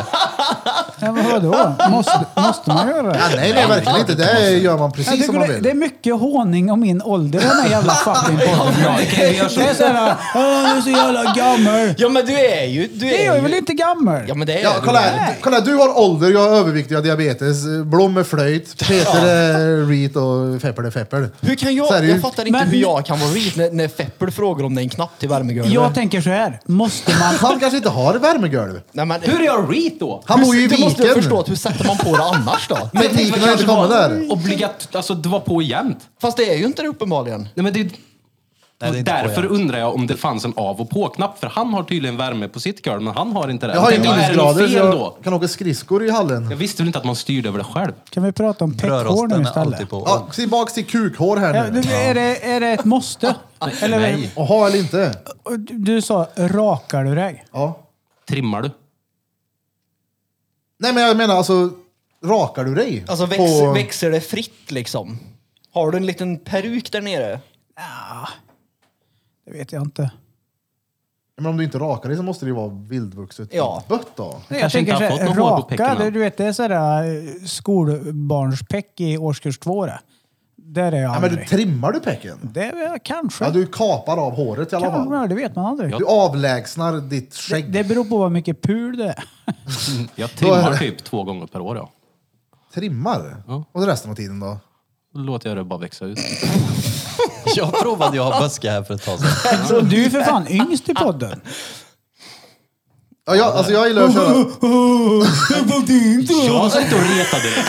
Speaker 3: Nej, men vadå? Måste, måste man göra det?
Speaker 2: Ja, nej, nej, verkligen inte. Det gör man
Speaker 3: Jag
Speaker 2: precis som
Speaker 3: tycker
Speaker 2: man
Speaker 3: det, det är
Speaker 2: vill.
Speaker 3: mycket håning om min ålder i den här jävla fucking podden. Det är såhär, åh du är så jävla gammal.
Speaker 4: Ja men du är ju... Du
Speaker 3: Det är
Speaker 4: är
Speaker 3: jag
Speaker 4: ju...
Speaker 3: väl inte gammal?
Speaker 4: Ja men det är
Speaker 2: Ja,
Speaker 4: du
Speaker 2: kolla
Speaker 4: väl.
Speaker 2: här. kolla här. Du har ålder, jag har övervikt, jag har diabetes. Blom är flöjt, Peter är reet och Feppel är Feppel.
Speaker 4: Hur kan
Speaker 2: Så är
Speaker 4: jag...
Speaker 2: det ju.
Speaker 4: Jag fattar inte
Speaker 3: Men-
Speaker 4: hur jag kan vara vit när, när Feppel frågar om det är en knapp till värmegolvet.
Speaker 3: Jag tänker så här. måste man...
Speaker 2: Han kanske inte har värmegolv.
Speaker 4: Nej, men,
Speaker 7: Hur är jag reet då?
Speaker 2: Han bor ju i
Speaker 4: Du måste väl
Speaker 2: viken.
Speaker 4: förstå att hur sätter man på det annars då?
Speaker 7: Men jag tänkte
Speaker 2: Tekniken
Speaker 7: att
Speaker 2: har inte
Speaker 7: kanske
Speaker 2: kommit
Speaker 7: var
Speaker 2: där.
Speaker 7: Obligat, alltså det var på jämt.
Speaker 4: Fast det är ju inte det uppenbarligen.
Speaker 7: Nej, men det,
Speaker 1: Nej, det är
Speaker 7: och
Speaker 1: inte på
Speaker 7: därför
Speaker 1: jämt.
Speaker 7: undrar jag om det fanns en av och på-knapp. För han har tydligen värme på sitt golv, men han har inte det.
Speaker 2: Jag har ju
Speaker 7: tänkte, är det något
Speaker 2: minusgrader så
Speaker 7: fel då?
Speaker 2: jag kan åka skridskor i hallen.
Speaker 7: Jag visste väl inte att man styrde över det själv.
Speaker 3: Kan vi prata om peckhår nu
Speaker 1: Brödrosten är
Speaker 3: istället?
Speaker 1: alltid på.
Speaker 2: Ja, tillbaks till kukhår
Speaker 3: Ja,
Speaker 2: här nu.
Speaker 3: du, är, det, är det ett måste? Eller,
Speaker 6: Nej.
Speaker 2: Jaha, eller inte?
Speaker 3: Du, du sa, rakar du dig?
Speaker 2: Ja.
Speaker 7: Trimmar du?
Speaker 2: Nej men jag menar alltså, rakar du dig?
Speaker 4: Alltså väx,
Speaker 2: På-
Speaker 4: växer det fritt liksom? Har du en liten peruk där nere?
Speaker 3: Det vet jag inte.
Speaker 2: Men om du inte rakar dig så måste det ju vara vildvuxet
Speaker 4: Ja.
Speaker 2: bött då.
Speaker 3: Nej, jag
Speaker 6: Kanske
Speaker 3: tänker
Speaker 6: inte har
Speaker 3: såhär,
Speaker 6: fått någon hår på
Speaker 3: raka,
Speaker 6: pecken
Speaker 3: det,
Speaker 6: än.
Speaker 3: du vet det är sådär eh, skolbarnspeck i årskurs två det. Där är jag
Speaker 2: Ja, men du
Speaker 3: aldrig.
Speaker 2: trimmar du pecken?
Speaker 3: Det är väl kanske.
Speaker 2: Ja, du kapar av håret i alla fall.
Speaker 3: Kanske, det vet man aldrig.
Speaker 2: Du avlägsnar ditt
Speaker 3: Det,
Speaker 2: skägg.
Speaker 3: det beror på vad mycket pul det är.
Speaker 6: Jag
Speaker 2: Då är det.
Speaker 6: trimmar typ två gånger per år. Ja.
Speaker 2: Trimmar?
Speaker 6: Ja.
Speaker 2: Och resten av tiden då?
Speaker 6: Då låter jag det bara växa ut.
Speaker 1: Jag provade jag har baske här för ett tag sedan.
Speaker 3: Du är ju för fan yngst i podden.
Speaker 2: Ja, jag, alltså jag gillar att köra...
Speaker 6: Jag satt och retade dig.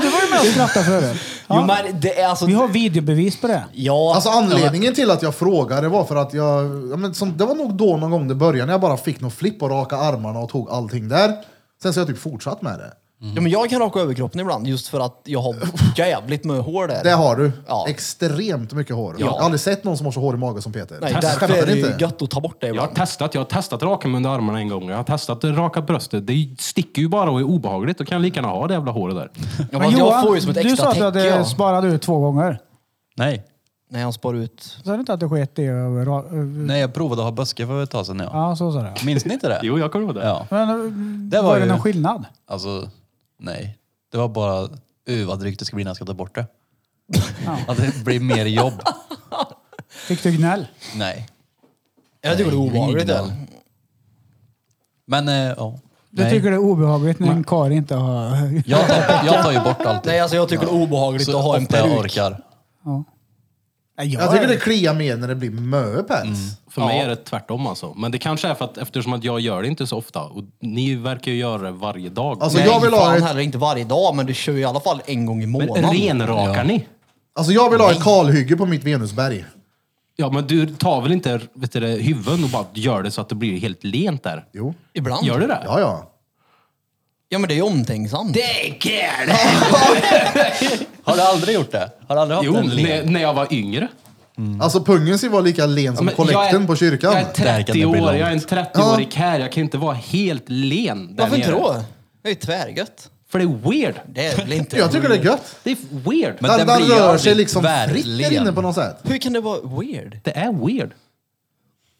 Speaker 3: Du var ju med och skrattade förut.
Speaker 4: Jo
Speaker 3: Ja.
Speaker 4: men det är alltså...
Speaker 3: Vi har videobevis på det.
Speaker 4: Ja,
Speaker 2: Alltså anledningen till att jag frågade var för att jag... Ja, men som, det var nog då någon gång det började när jag bara fick någon flipp och raka armarna och tog allting där. Sen så har jag typ fortsatt med det.
Speaker 4: ja, men jag kan raka överkroppen ibland just för att jag har jävligt mycket hår där.
Speaker 2: Det har du.
Speaker 4: Ja.
Speaker 2: Extremt mycket hår.
Speaker 4: Ja.
Speaker 2: Jag har aldrig sett någon som har så hår i magen som Peter.
Speaker 4: Nej,
Speaker 2: Jag
Speaker 4: därför
Speaker 2: skämtar
Speaker 4: är det ju
Speaker 2: inte.
Speaker 4: gött att ta bort det
Speaker 6: Jag har
Speaker 4: ibland.
Speaker 6: testat, jag har testat raka mig under armarna en gång. Jag har testat att raka bröstet. Det sticker ju bara och är obehagligt. Då kan jag lika gärna ha det jävla håret där.
Speaker 4: Ja, men jag får ju som ett
Speaker 3: du sa
Speaker 4: extra
Speaker 3: att du
Speaker 4: täcke.
Speaker 3: hade
Speaker 4: Ja.
Speaker 3: sparat ut två gånger.
Speaker 1: Nej.
Speaker 4: När jag spar ut.
Speaker 3: Sa du inte att du sket i överallt?
Speaker 1: Nej, jag provade att ha baske för ett tag sedan. Ja.
Speaker 3: Ja, så sa du.
Speaker 1: Minns ni inte det?
Speaker 6: Jo, jag kommer ihåg det.
Speaker 1: Ja.
Speaker 3: Men eh,
Speaker 1: Det var
Speaker 3: var det
Speaker 1: ju-
Speaker 3: någon skillnad?
Speaker 1: Alltså, nej. Det var bara, uh vad drygt det ska bli när jag ska ta bort det. Att det blir mer jobb.
Speaker 3: Fick du gnäll?
Speaker 1: Nej.
Speaker 4: Jag tycker det är
Speaker 1: Nej,
Speaker 4: obehagligt.
Speaker 1: ingen
Speaker 4: det.
Speaker 1: aning. Men, eh, ja.
Speaker 3: Du
Speaker 1: Nej.
Speaker 3: tycker det är obehagligt när en karl inte har...
Speaker 1: Jag tar, jag tar ju bort allt.
Speaker 4: Nej, alltså jag tycker det är obehagligt att ha en
Speaker 1: ofta jag
Speaker 4: peruk.
Speaker 1: orkar.
Speaker 3: Nej,
Speaker 2: Jag tycker det kliar mer när det blir mö päls.
Speaker 6: För mig är det tvärtom alltså. Men det kanske är för att eftersom att jag gör det inte så ofta. Och ni verkar ju göra det varje dag.
Speaker 2: Alltså,
Speaker 4: Nej,
Speaker 2: jag vill ha
Speaker 4: fan
Speaker 2: ett-
Speaker 4: heller inte varje dag, men du kör ju i alla fall en gång i
Speaker 7: Men
Speaker 4: månaden.
Speaker 7: renrakar ni?
Speaker 2: Alltså jag vill ha ett kalhygge på mitt Venusberg.
Speaker 6: Ja, men du tar väl inte vet du, det, huvuden och bara gör det så att det blir helt lent där?
Speaker 2: Jo.
Speaker 4: Ibland.
Speaker 6: Gör du det?
Speaker 2: Ja, ja.
Speaker 4: Ja, men det är ju omtänksamt.
Speaker 7: Det är kul!
Speaker 1: Har du aldrig gjort det? Har du aldrig haft
Speaker 6: Jo,
Speaker 1: en
Speaker 6: när,
Speaker 1: led?
Speaker 6: när jag var yngre.
Speaker 2: Alltså pungen ska ju vara lika len som
Speaker 6: Men jag
Speaker 2: kollekten
Speaker 6: är-
Speaker 2: på kyrkan.
Speaker 6: Jag är
Speaker 1: Där kan
Speaker 6: 30
Speaker 1: det bli
Speaker 6: år,
Speaker 1: långt.
Speaker 6: jag är en 30-årig här. Jag kan inte vara helt len där
Speaker 4: Varför inte
Speaker 6: nere.
Speaker 4: då? Det är ju tvärgött.
Speaker 6: För det är weird.
Speaker 4: Det är väl inte...
Speaker 2: Jag tycker det är gött.
Speaker 6: Det är weird.
Speaker 1: Men
Speaker 2: Den,
Speaker 1: den
Speaker 2: den
Speaker 1: blir ju
Speaker 2: rör
Speaker 1: aldrig
Speaker 2: sig liksom fritt där
Speaker 1: världen.
Speaker 2: inne på något sätt.
Speaker 4: Hur kan det vara weird?
Speaker 6: det är weird.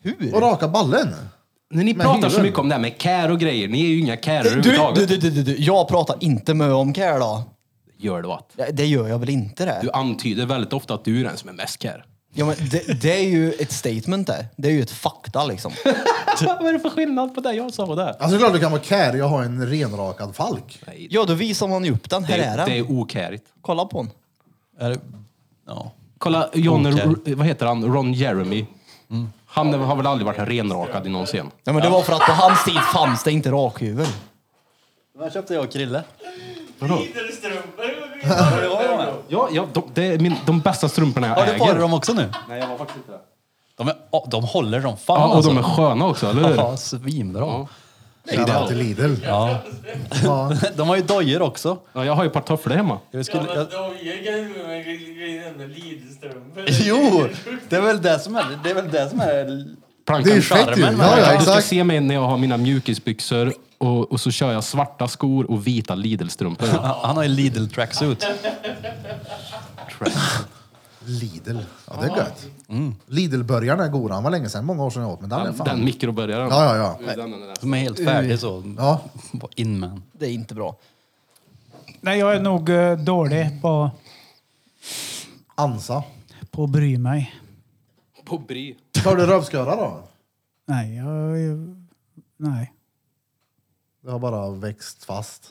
Speaker 4: Hur?
Speaker 2: Och raka ballen.
Speaker 6: När ni
Speaker 2: Men
Speaker 6: pratar så
Speaker 2: huvuden.
Speaker 6: mycket om det här med care och grejer. Ni är ju inga care
Speaker 4: Du, du,
Speaker 6: överhuvudtaget.
Speaker 4: du, du, du, du, jag pratar inte med om care då.
Speaker 6: Gör det åt.
Speaker 4: Det- Det gör jag väl inte det?
Speaker 6: Du antyder väldigt ofta att du är den som är mest care.
Speaker 4: Ja, men det, det är ju ett statement det. Det är ju ett fakta liksom.
Speaker 6: Vad är det för skillnad på det jag sa och det?
Speaker 2: Alltså det är klart du kan vara care, jag har en renrakad falk.
Speaker 4: Ja, då visar man ju upp den. Här
Speaker 6: Det,
Speaker 4: är den.
Speaker 6: det är okärigt.
Speaker 4: Kolla på den.
Speaker 1: Är det- Ja.
Speaker 6: Kolla, John,
Speaker 1: Okär.
Speaker 6: R- vad heter han? Ron Jeremy. Han har väl aldrig varit renrakad i någon scen?
Speaker 4: Ja, men det var för att på hans tid fanns det inte rakhuvud.
Speaker 1: När köpte jag och Krille?
Speaker 7: Ja, ja de, det är min, de bästa strumporna jag
Speaker 1: Har du på dig
Speaker 7: äger.
Speaker 1: dem också nu?
Speaker 7: Nej, jag har faktiskt inte det.
Speaker 1: De, är, ja, de håller som fan
Speaker 7: Ja, och
Speaker 1: alltså.
Speaker 7: de är sköna också, eller hur?
Speaker 1: Ja, svinbra.
Speaker 2: Shoutout till Lidl.
Speaker 1: Ja.
Speaker 2: Ja.
Speaker 1: De har ju dojor också.
Speaker 7: Ja, jag har ju ett par tofflor hemma.
Speaker 1: Jag
Speaker 8: Ja,
Speaker 1: skulle,
Speaker 8: men
Speaker 1: jag,
Speaker 8: dojor kan ju vara en grej, ändå Lidström.
Speaker 1: jo, det är väl det som är det. Är väl det som är
Speaker 7: Plankan
Speaker 2: Det är ju fett ju.
Speaker 1: charmen,
Speaker 2: Ja, ja,
Speaker 7: du ska
Speaker 2: exakt.
Speaker 7: se mig när jag har mina mjukisbyxor och, och så kör jag svarta skor och vita Lidl-strumpor.
Speaker 1: han, han har ju Lidl tracksuit.
Speaker 2: Lidl. Ja, det är gött. Lidl-burgaren är god. Han var länge sedan, många år sedan jag åt. Men den är fan...
Speaker 7: Mm. Den mikrobörjaren.
Speaker 2: Ja, ja, ja.
Speaker 1: Som är helt färdig så.
Speaker 2: Ja,
Speaker 1: Bara In med den.
Speaker 4: Det är inte bra.
Speaker 3: Nej, jag är nog eh, dålig på,
Speaker 2: ansa.
Speaker 3: på att bry mig.
Speaker 7: På Bry.
Speaker 2: Tar du rövsköra då?
Speaker 3: Nej, jag... jag nej.
Speaker 2: Det har bara växt fast.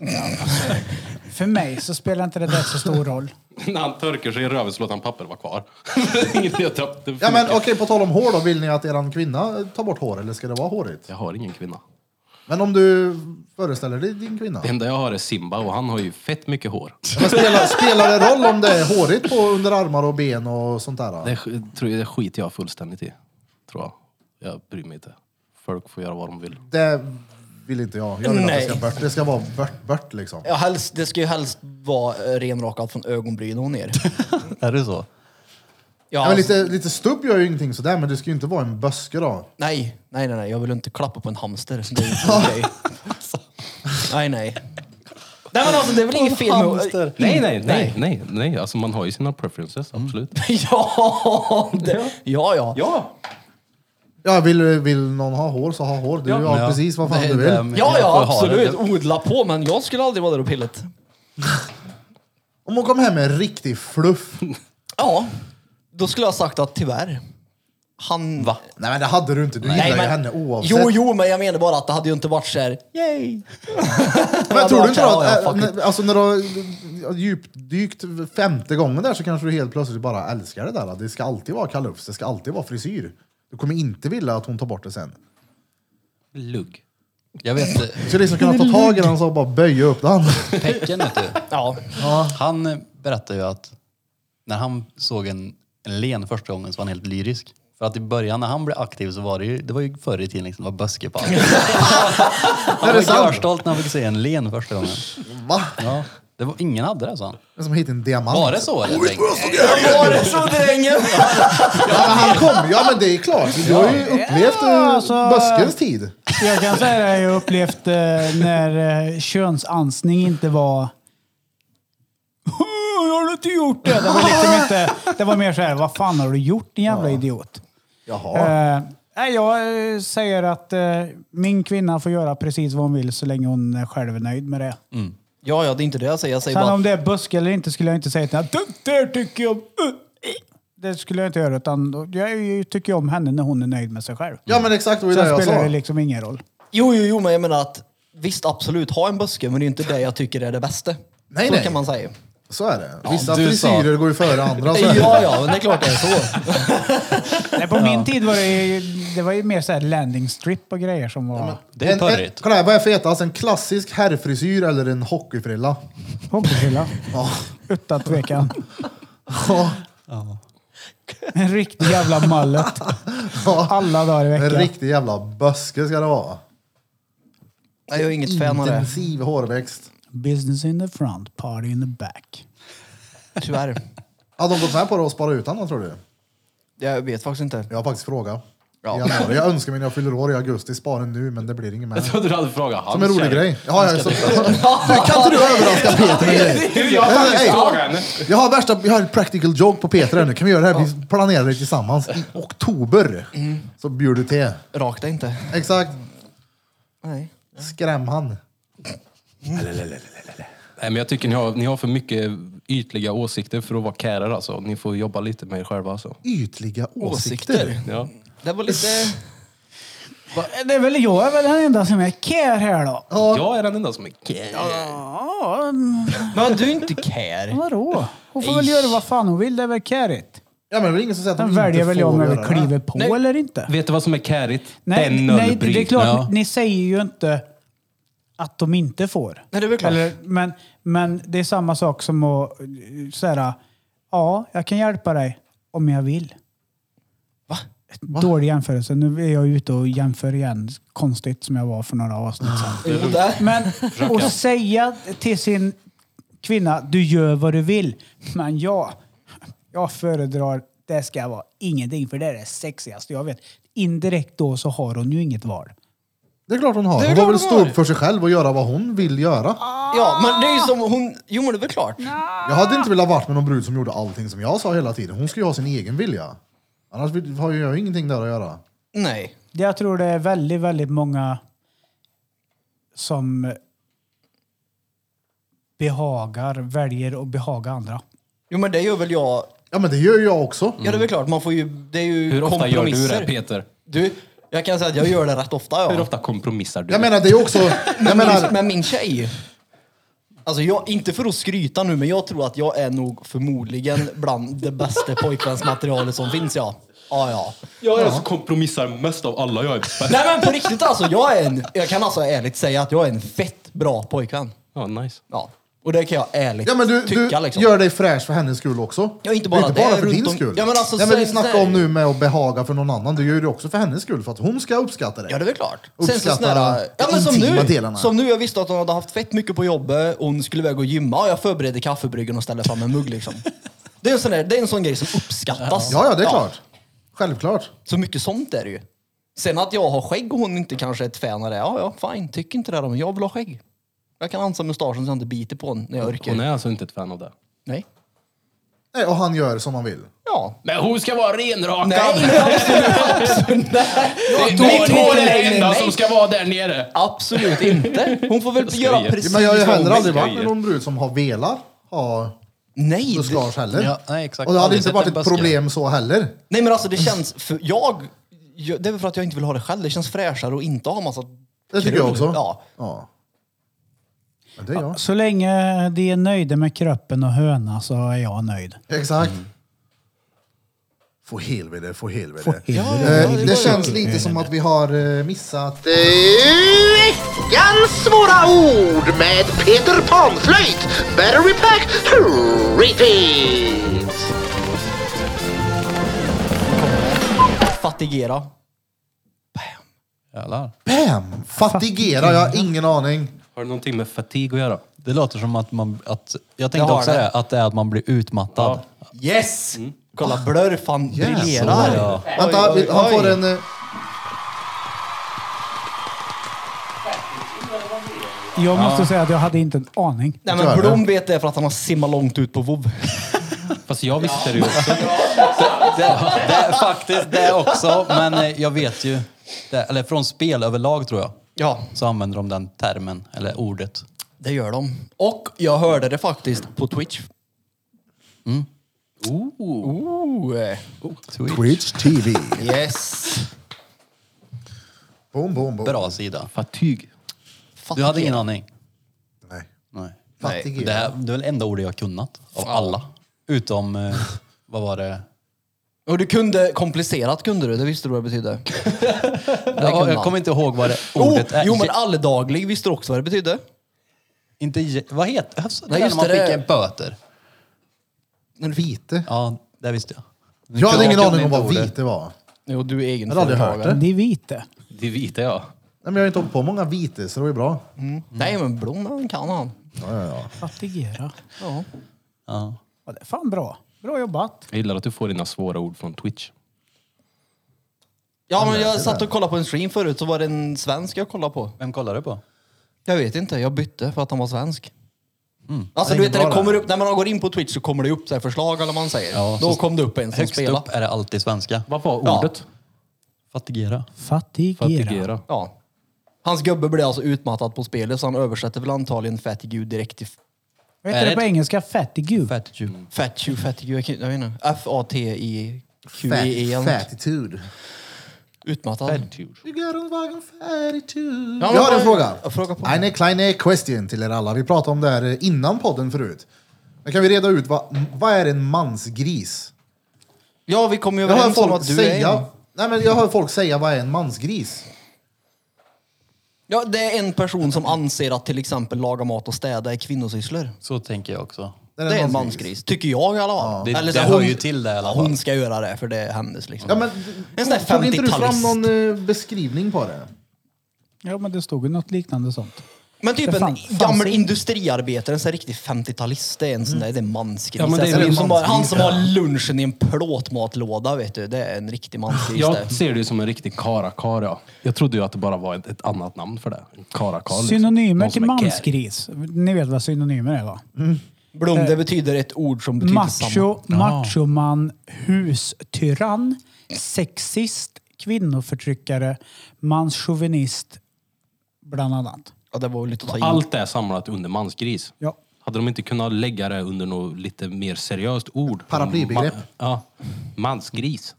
Speaker 3: För mig så spelar inte det där så stor roll.
Speaker 7: När han törker sig i röven så låter han papper vara kvar. Inget jag tappade.
Speaker 2: Ja men okej, på tal om hår då. Vill ni att eran kvinna tar bort hår eller ska det vara hårigt?
Speaker 7: Jag har ingen kvinna.
Speaker 2: Men om du föreställer dig din kvinna.
Speaker 7: Det enda jag har är Simba och han har ju fett mycket hår.
Speaker 2: Men spelar, spelar det roll om det är hårigt på underarmar och ben och sånt där?
Speaker 7: Det, sk- tror jag, det skiter jag fullständigt i. Tror jag. Jag bryr mig inte. Folk får göra vad de vill.
Speaker 2: Det vill inte jag. Jag vill
Speaker 4: Nej.
Speaker 2: att det ska bort. Det ska vara bort, bort liksom.
Speaker 4: Ja, helst, det ska ju helst vara eh, renrakat från ögonbrynen och ner.
Speaker 1: Är det så?
Speaker 4: Ja,
Speaker 2: Ja, men lite, lite stubb gör ju ingenting sådär, men det ska ju inte vara en böske då.
Speaker 4: nej, nej, nej, nej, jag vill inte klappa på en hamster. Så det är inte okej. Nej, nej. Nej, men alltså, det är väl inget fel med...
Speaker 1: hamster.
Speaker 7: Nej, nej, nej, nej, nej. Alltså man har ju sina preferences, absolut.
Speaker 4: Ja, det, ja, ja.
Speaker 7: Ja!
Speaker 2: Ja, vill, vill någon ha hår så ha hår. Du har
Speaker 1: Ja.
Speaker 2: precis vad fan
Speaker 1: Det är
Speaker 2: du
Speaker 1: det
Speaker 2: vill.
Speaker 1: med-
Speaker 4: Ja,
Speaker 1: jag får
Speaker 4: ja,
Speaker 1: ha det.
Speaker 4: absolut. Odla på, men jag skulle aldrig vara där och pillet.
Speaker 2: Om hon kom hem med en riktig fluff.
Speaker 4: Ja, då skulle jag ha sagt att tyvärr. Han... Va?
Speaker 2: Nej men det hade du inte. Du gillar ju henne oavsett.
Speaker 4: Jo, jo, men jag menar bara att det hade ju inte varit så här... Yay!
Speaker 2: Men tror du inte då
Speaker 4: Ja, ja,
Speaker 2: att,
Speaker 4: fuck
Speaker 2: äh,
Speaker 4: it.
Speaker 2: när- alltså när du har ja, djupdykt femte gången där så kanske du helt plötsligt bara älskar det där. Det ska alltid vara kalufs, det ska alltid vara frisyr. Du kommer inte vilja att hon tar bort det sen.
Speaker 1: Lugg. Jag vet, eh,
Speaker 2: Du ska liksom kunna ta tag i den och bara böja upp den.
Speaker 1: Pecken vet du.
Speaker 4: Ja,
Speaker 1: Han eh, berättade ju att när han såg en, en len första gången så var han helt lyrisk. För att i början när han blev aktiv så var det ju, det var ju förr i tiden liksom, det var böske på allt. Han var görstolt när han fick se en len första gången.
Speaker 2: Va?
Speaker 1: Ja, det var, ingen hade det sa han.
Speaker 2: Det är Som hit en diamant.
Speaker 1: Var det så eller? Tänk-
Speaker 4: var det så drängen?
Speaker 2: Ja, men han kom. Ja men det är klart. Du har ju upplevt
Speaker 3: Ja,
Speaker 2: eh,
Speaker 3: alltså-
Speaker 2: böskens tid.
Speaker 3: Jag kan säga det, jag har upplevt eh, när eh, könsansning inte var... "Åh, Har du inte gjort det? Det var liksom inte... Det var mer så här, vad fan har du gjort din jävla idiot?
Speaker 2: Jaha.
Speaker 3: Eh, nej, jag eh, säger att eh, min kvinna får göra precis vad hon vill så länge hon är själv är nöjd med
Speaker 2: Mm.
Speaker 3: det.
Speaker 4: Ja, ja, det är inte det jag säger. Jag säger
Speaker 3: Sen
Speaker 4: bara...
Speaker 3: om det är buske eller inte skulle jag inte säga till henne, "Du, det här tycker jag om. Uh, eh." Det skulle jag inte göra, utan då- jag tycker om henne när hon är nöjd med sig själv.
Speaker 2: Ja men exakt, det var ju det
Speaker 3: Sen
Speaker 2: jag
Speaker 3: spelar det
Speaker 2: sa.
Speaker 3: liksom ingen roll.
Speaker 4: Jo, jo, jo, men jag menar att visst, absolut, ha en buske, men det är inte det jag tycker är det bästa.
Speaker 2: Nej,
Speaker 4: så
Speaker 2: nej.
Speaker 4: kan man säga.
Speaker 2: Så är det. Vissa
Speaker 1: du sa-
Speaker 2: frisyrer går ju före andra. Så är det.
Speaker 4: Ja, ja, men det är klart det är så.
Speaker 3: Nej, på min tid var det ju, det var ju mer så här landing strip och grejer som var...
Speaker 1: Det är
Speaker 2: En- en-
Speaker 1: törrigt.
Speaker 2: Kolla här, vad är fetast? En klassisk herrfrisyr eller en hockeyfrilla?
Speaker 3: Hockeyfrilla.
Speaker 2: Ja.
Speaker 3: Utan tvekan. En riktig jävla mallet. Alla dagar i
Speaker 2: En
Speaker 3: veckan.
Speaker 2: riktig jävla böske ska det vara.
Speaker 4: Nej, jag är inget fan av det.
Speaker 2: Intensiv hårväxt.
Speaker 3: Business in the front, party in the back.
Speaker 4: Tyvärr.
Speaker 2: Hade de gått med på det och sparat ut den då, tror du?
Speaker 4: Jag vet faktiskt inte.
Speaker 2: Jag har faktiskt fråga.
Speaker 4: Ja.
Speaker 2: I januari. Jag önskar mig när jag fyller år i augusti, spara nu men det blir inget med.
Speaker 7: Så du hade frågat han.
Speaker 2: Som en rolig grej. Ja, ja, så,
Speaker 4: Kan inte du överraska Peter med
Speaker 7: Du, jag har faktiskt
Speaker 2: Hej.
Speaker 7: frågat henne.
Speaker 2: jag har värsta, jag har ett practical joke på Peter här nu. Kan vi göra det här? Vi planerar det tillsammans. I oktober så bjuder du till.
Speaker 4: Rakt det inte.
Speaker 2: Exakt.
Speaker 4: Nej.
Speaker 2: Skräm han.
Speaker 7: Nej, men jag tycker ni har, ni har för mycket ytliga åsikter för att vara kärar alltså. Ni får jobba lite med er själva alltså.
Speaker 2: Ytliga åsikter.
Speaker 4: Åsikter.
Speaker 7: Ja.
Speaker 4: Det var lite...
Speaker 3: Det är väl jag är väl den enda som är care här då.
Speaker 7: Jag är den enda som är kär.
Speaker 3: Ja, mm,
Speaker 4: Men du är inte care.
Speaker 3: vadå? Hon får väl göra vad fan hon vill, det är väl carigt.
Speaker 2: Ja, men det är ingen som säger att
Speaker 3: Sen
Speaker 2: de
Speaker 3: väljer
Speaker 2: inte
Speaker 3: väl
Speaker 2: får
Speaker 3: jag om jag vill
Speaker 2: göra det.
Speaker 3: kliva på eller inte.
Speaker 7: Vet du vad som är kärigt?
Speaker 3: Nej,
Speaker 7: det är
Speaker 3: nej, det är
Speaker 7: nollbrytning.
Speaker 3: klart,
Speaker 1: Ja.
Speaker 3: ni säger ju inte att de inte får.
Speaker 4: Nej, det är väl klart.
Speaker 3: Eller, men, men det är samma sak som att säga, ja, jag kan hjälpa dig om jag vill.
Speaker 4: Va?
Speaker 3: Dålig jämförelse. Nu är jag ute och jämför igen, konstigt som jag var för några avsnitt sedan.
Speaker 4: Jo, där.
Speaker 3: Men att säga till sin kvinna, du gör vad du vill. Men jag, jag föredrar, det ska vara ingenting för det är det sexigaste jag vet. Indirekt då så har hon ju inget val.
Speaker 2: Det är klart hon har.
Speaker 4: är
Speaker 2: Hon
Speaker 4: klart
Speaker 2: får väl
Speaker 4: hon
Speaker 2: stå
Speaker 4: har.
Speaker 2: upp för sig själv och göra vad hon vill göra.
Speaker 4: Ja, men det är ju som hon... Jo, men det är väl klart.
Speaker 2: Jag hade inte velat varit med någon brud som gjorde allting som jag sa hela tiden. Hon ska ju ha sin egen vilja. Annars vill- har ju jag ingenting där att göra.
Speaker 4: Nej.
Speaker 3: Jag tror det är väldigt, väldigt många som behagar, väljer att behaga andra.
Speaker 4: Jo, men det gör väl jag...
Speaker 2: Ja men det gör ju jag också.
Speaker 4: Ja, det är väl klart. Man får ju... Det är ju
Speaker 7: Hur ofta gör du
Speaker 4: kompromisser.
Speaker 7: det Peter?
Speaker 4: Du, jag kan säga att jag gör det rätt ofta, ja.
Speaker 7: Hur ofta kompromissar du?
Speaker 2: Jag menar det är ju också... Jag
Speaker 4: Men,
Speaker 2: menar,
Speaker 4: men min tjej. Alltså jag, inte för att skryta nu, men jag tror att jag är nog förmodligen bland det bästa pojkvänsmaterialet som finns, ja. Ja, ja.
Speaker 7: jag är som kompromissar mest av alla. Jag är bäst.
Speaker 4: Nej men på riktigt alltså, jag är en, jag kan alltså ärligt säga att jag är en fett bra pojkvän.
Speaker 7: Ja, nice.
Speaker 4: Ja. Och det kan jag ärligt
Speaker 2: ja, men du, du
Speaker 4: tycka liksom.
Speaker 2: gör dig fräsch för hennes skull också.
Speaker 4: Ja, inte bara
Speaker 2: det. är Inte
Speaker 4: det,
Speaker 2: bara för
Speaker 4: runt
Speaker 2: din
Speaker 4: om-
Speaker 2: skull.
Speaker 4: Ja, men alltså,
Speaker 2: Nej, men vi
Speaker 4: så-
Speaker 2: snackar
Speaker 4: så-
Speaker 2: om nu med att behaga för någon annan. Du gör det också för hennes skull för att hon ska uppskatta dig.
Speaker 4: Ja, det är väl klart. Sen så
Speaker 2: Uppskattar
Speaker 4: snälla,
Speaker 2: de
Speaker 4: ja, men som,
Speaker 2: intima
Speaker 4: nu,
Speaker 2: delarna.
Speaker 4: som nu, jag visste att hon hade haft fett mycket på jobbet och hon skulle iväg och gymma och jag förberedde kaffebryggen och ställde fram en mugg liksom. Det är en sån, där, det är en sån grej som uppskattas.
Speaker 2: Ja, ja det är klart. Självklart.
Speaker 4: Så mycket sånt är det ju. Sen att jag har skägg och hon inte kanske är ett fan av det. Ja, ja, fine. Tycker inte det om. Jag vill ha skägg. Jag kan ansa mustaschen så jag inte biter på den när jag orkar.
Speaker 7: Hon är alltså inte ett fan av det.
Speaker 4: Nej.
Speaker 2: Nej, och han gör som han vill.
Speaker 4: Ja.
Speaker 7: Men hon ska vara renrakad!
Speaker 4: Nej, nej, absolut, absolut. Nej.
Speaker 7: Mitt hår är
Speaker 4: Nej,
Speaker 7: det
Speaker 4: nej,
Speaker 7: enda
Speaker 4: nej.
Speaker 7: som ska vara där nere!
Speaker 4: Absolut inte. Hon får väl
Speaker 7: skojar.
Speaker 4: göra precis
Speaker 2: Men jag har ju
Speaker 4: vad hon
Speaker 2: heller
Speaker 4: vill.
Speaker 2: aldrig varit
Speaker 7: jag
Speaker 2: med
Speaker 7: ju.
Speaker 2: någon brud som har velat ha
Speaker 4: Nej, det,
Speaker 2: mustasch heller.
Speaker 1: Ja, nej, exakt.
Speaker 2: Och det hade
Speaker 1: Aldrig
Speaker 2: inte
Speaker 1: sett
Speaker 2: varit
Speaker 1: en
Speaker 2: ett
Speaker 1: buske.
Speaker 2: problem så heller.
Speaker 4: nej men alltså det känns... För jag, jag, det är väl för att jag inte vill ha det själv. Det känns fräschare att inte ha massa
Speaker 2: Det tycker
Speaker 4: krull.
Speaker 2: jag också.
Speaker 4: Ja.
Speaker 2: Ja. Ja, Det är jag.
Speaker 4: alltså-
Speaker 3: Så länge de är nöjda med kroppen och höna så är jag nöjd.
Speaker 2: Exakt.
Speaker 4: Mm.
Speaker 2: Få helvete, få helvete.
Speaker 3: Ja,
Speaker 2: Eh, det, känns
Speaker 4: Mm.
Speaker 2: lite som att vi har eh, missat...
Speaker 9: Veckans svåra ord med Peter Panflöjt. Battery Pack Repeat.
Speaker 4: Fatigera.
Speaker 1: Jävlar.
Speaker 2: Bam! Fatigera, jag
Speaker 4: Mm.
Speaker 2: har ingen aning.
Speaker 7: Har det någonting med fatig att göra?
Speaker 1: Det låter som att man... Att, jag
Speaker 4: Jag
Speaker 1: tänkte
Speaker 4: har
Speaker 1: också
Speaker 4: det.
Speaker 1: det, att det är att man blir utmattad.
Speaker 4: Yes!
Speaker 1: Mm.
Speaker 4: Kolla, blurr fan
Speaker 2: Jävlar.
Speaker 4: briljerar.
Speaker 1: Ja.
Speaker 2: Vänta,
Speaker 4: Oj, oj,
Speaker 2: vi- han
Speaker 4: oj.
Speaker 2: får en... eh,
Speaker 3: Jag måste säga att jag hade inte en aning.
Speaker 4: Nej men Blom vet det för att han har simmat långt ut på vov.
Speaker 7: Fast jag visste det ju också.
Speaker 1: Det, det, faktiskt, det också. Men eh, jag vet ju... Det, eller från spel överlag tror jag.
Speaker 4: Ja,
Speaker 1: Så använder de den termen, eller ordet.
Speaker 4: det gör de. Och jag hörde det faktiskt på Twitch. Ooh. eh,
Speaker 1: Twitch.
Speaker 2: Twitch TV.
Speaker 4: Yes.
Speaker 2: Boom, boom, boom.
Speaker 1: Bra sida.
Speaker 7: Fatyg.
Speaker 1: Du hade ingen aning?
Speaker 2: Nej.
Speaker 1: Nej. Det,
Speaker 2: Fatigera.
Speaker 1: här, det är väl enda ordet jag har kunnat av alla. Utom, eh, vad var det?
Speaker 4: Och du kunde komplicerat kunde du, det visste du vad det betydde.
Speaker 1: Jag,
Speaker 4: kunde
Speaker 1: jag
Speaker 4: han.
Speaker 1: kommer inte ihåg vad det
Speaker 4: Jo,
Speaker 1: ordet Äh, är.
Speaker 4: Oh, jo men alldaglig visste du också vad det betydde.
Speaker 1: Inte, ge- vad heter det?
Speaker 4: Nej,
Speaker 1: Nej,
Speaker 4: just
Speaker 1: när man
Speaker 4: det,
Speaker 1: fick
Speaker 4: det-
Speaker 1: en böter.
Speaker 2: Vite.
Speaker 1: Ja, det visste jag.
Speaker 2: Jag hade ingen
Speaker 1: kunde
Speaker 2: aning om
Speaker 1: inte
Speaker 2: vad
Speaker 1: ordet.
Speaker 2: vite var.
Speaker 4: Jo, du är
Speaker 2: Jag har aldrig hört
Speaker 4: egenföretagare.
Speaker 2: det. Nej,
Speaker 3: Det är vite.
Speaker 7: Det vita jag.
Speaker 2: men jag har inte hållit på många vite, så det var ju bra.
Speaker 4: Nej men Blom han kan han.
Speaker 3: Fatigera.
Speaker 4: Ja.
Speaker 1: Ja.
Speaker 3: Ja, det är fan bra. Bra jobbat.
Speaker 7: Jag gillar att du får dina svåra ord från Twitch.
Speaker 4: Ja men jag satt och kollade på en stream förut så var det en svensk jag kollade på.
Speaker 1: Vem kollar du på?
Speaker 4: Jag vet inte, jag bytte för att han var svensk. Alltså du
Speaker 2: Det är
Speaker 4: vet
Speaker 2: inget
Speaker 4: när det
Speaker 2: bra
Speaker 4: kommer
Speaker 2: där.
Speaker 4: upp, när man går in på Twitch så kommer det upp så här förslag eller vad man säger.
Speaker 1: Ja,
Speaker 4: Då
Speaker 1: så-
Speaker 4: kom det upp en som
Speaker 1: Högst
Speaker 4: spelade.
Speaker 1: upp är det alltid svenska.
Speaker 7: Vad var
Speaker 4: Ja.
Speaker 7: ordet?
Speaker 1: Fatigera.
Speaker 3: Fatigera.
Speaker 7: Fatigera.
Speaker 4: Ja. Hans gubbe blev alltså utmattad på spelet så han översätter väl antagligen fattig gud direkt till
Speaker 3: Vad heter
Speaker 1: Är det-
Speaker 3: det, på engelska? Fatigue.
Speaker 1: Fatitude.
Speaker 4: Fat you, fat you, jag kan- jag vet inte. F-A-T-I-Q-E-E.
Speaker 2: Fat,
Speaker 4: E eller något.
Speaker 2: fatitude.
Speaker 4: Utmattad.
Speaker 2: You got a wagon fatitude.
Speaker 4: Ja, men
Speaker 2: Jag har
Speaker 4: vad-
Speaker 2: en fråga.
Speaker 4: jag frågar på.
Speaker 2: Eine kleine question till er alla. Vi pratade om det här eh, innan podden förut. Men kan vi reda ut, vad, vad är en mansgris?
Speaker 4: Ja, vi kommer ju
Speaker 2: Jag hör
Speaker 4: överens om
Speaker 2: folk
Speaker 4: att du är
Speaker 2: säga...
Speaker 4: en.
Speaker 2: Nej, men jag hör folk säga, vad är en mansgris?
Speaker 4: Ja, det är en person som anser att till exempel laga mat och städa är kvinnosysslor.
Speaker 1: Så tänker jag också.
Speaker 4: Det är en mansgris. Tycker jag i alla fall.
Speaker 1: Det-
Speaker 4: Eller
Speaker 1: det
Speaker 4: så
Speaker 1: hör ju till det i alla fall.
Speaker 4: Hon ska göra det för det är hennes liksom.
Speaker 2: Ja, men,
Speaker 4: en sån där
Speaker 2: tog inte du fram
Speaker 4: 50-talist.
Speaker 2: någon eh, beskrivning på det?
Speaker 3: Ja, men det stod ju något liknande sånt.
Speaker 4: Men typ
Speaker 3: Det
Speaker 4: en
Speaker 3: fan- fanns
Speaker 4: gammal
Speaker 3: det-
Speaker 4: industriarbetare, en sån här riktig 50-talist, det är en sån där, det är en mansgris.
Speaker 6: Ja, men det är
Speaker 4: alltså,
Speaker 6: ju en
Speaker 4: som bara, han
Speaker 2: mansgris,
Speaker 4: som har lunchen i en plåtmatlåda, vet du. Det är en riktig mansgris det.
Speaker 6: Jag ser det ju som en riktig karakar. Ja. Jag trodde ju att det bara var ett, ett annat namn för det. En Karakar. liksom.
Speaker 3: Synonymer
Speaker 6: Någon
Speaker 3: till
Speaker 6: som är kär.
Speaker 3: mansgris. Ni vet vad synonymer är va?
Speaker 4: Blom, det betyder ett ord som betyder samma.
Speaker 3: Macho, machoman, hustyrann, sexist, kvinnoförtryckare, manschauvinist, bland annat.
Speaker 4: Ja, det var väl lite att ta i.
Speaker 6: Allt det är samlat under mansgris.
Speaker 3: Ja.
Speaker 6: Hade de inte kunnat lägga det under något lite mer seriöst ord?
Speaker 2: Paraplybegrepp.
Speaker 6: Ma- ja. Mansgris.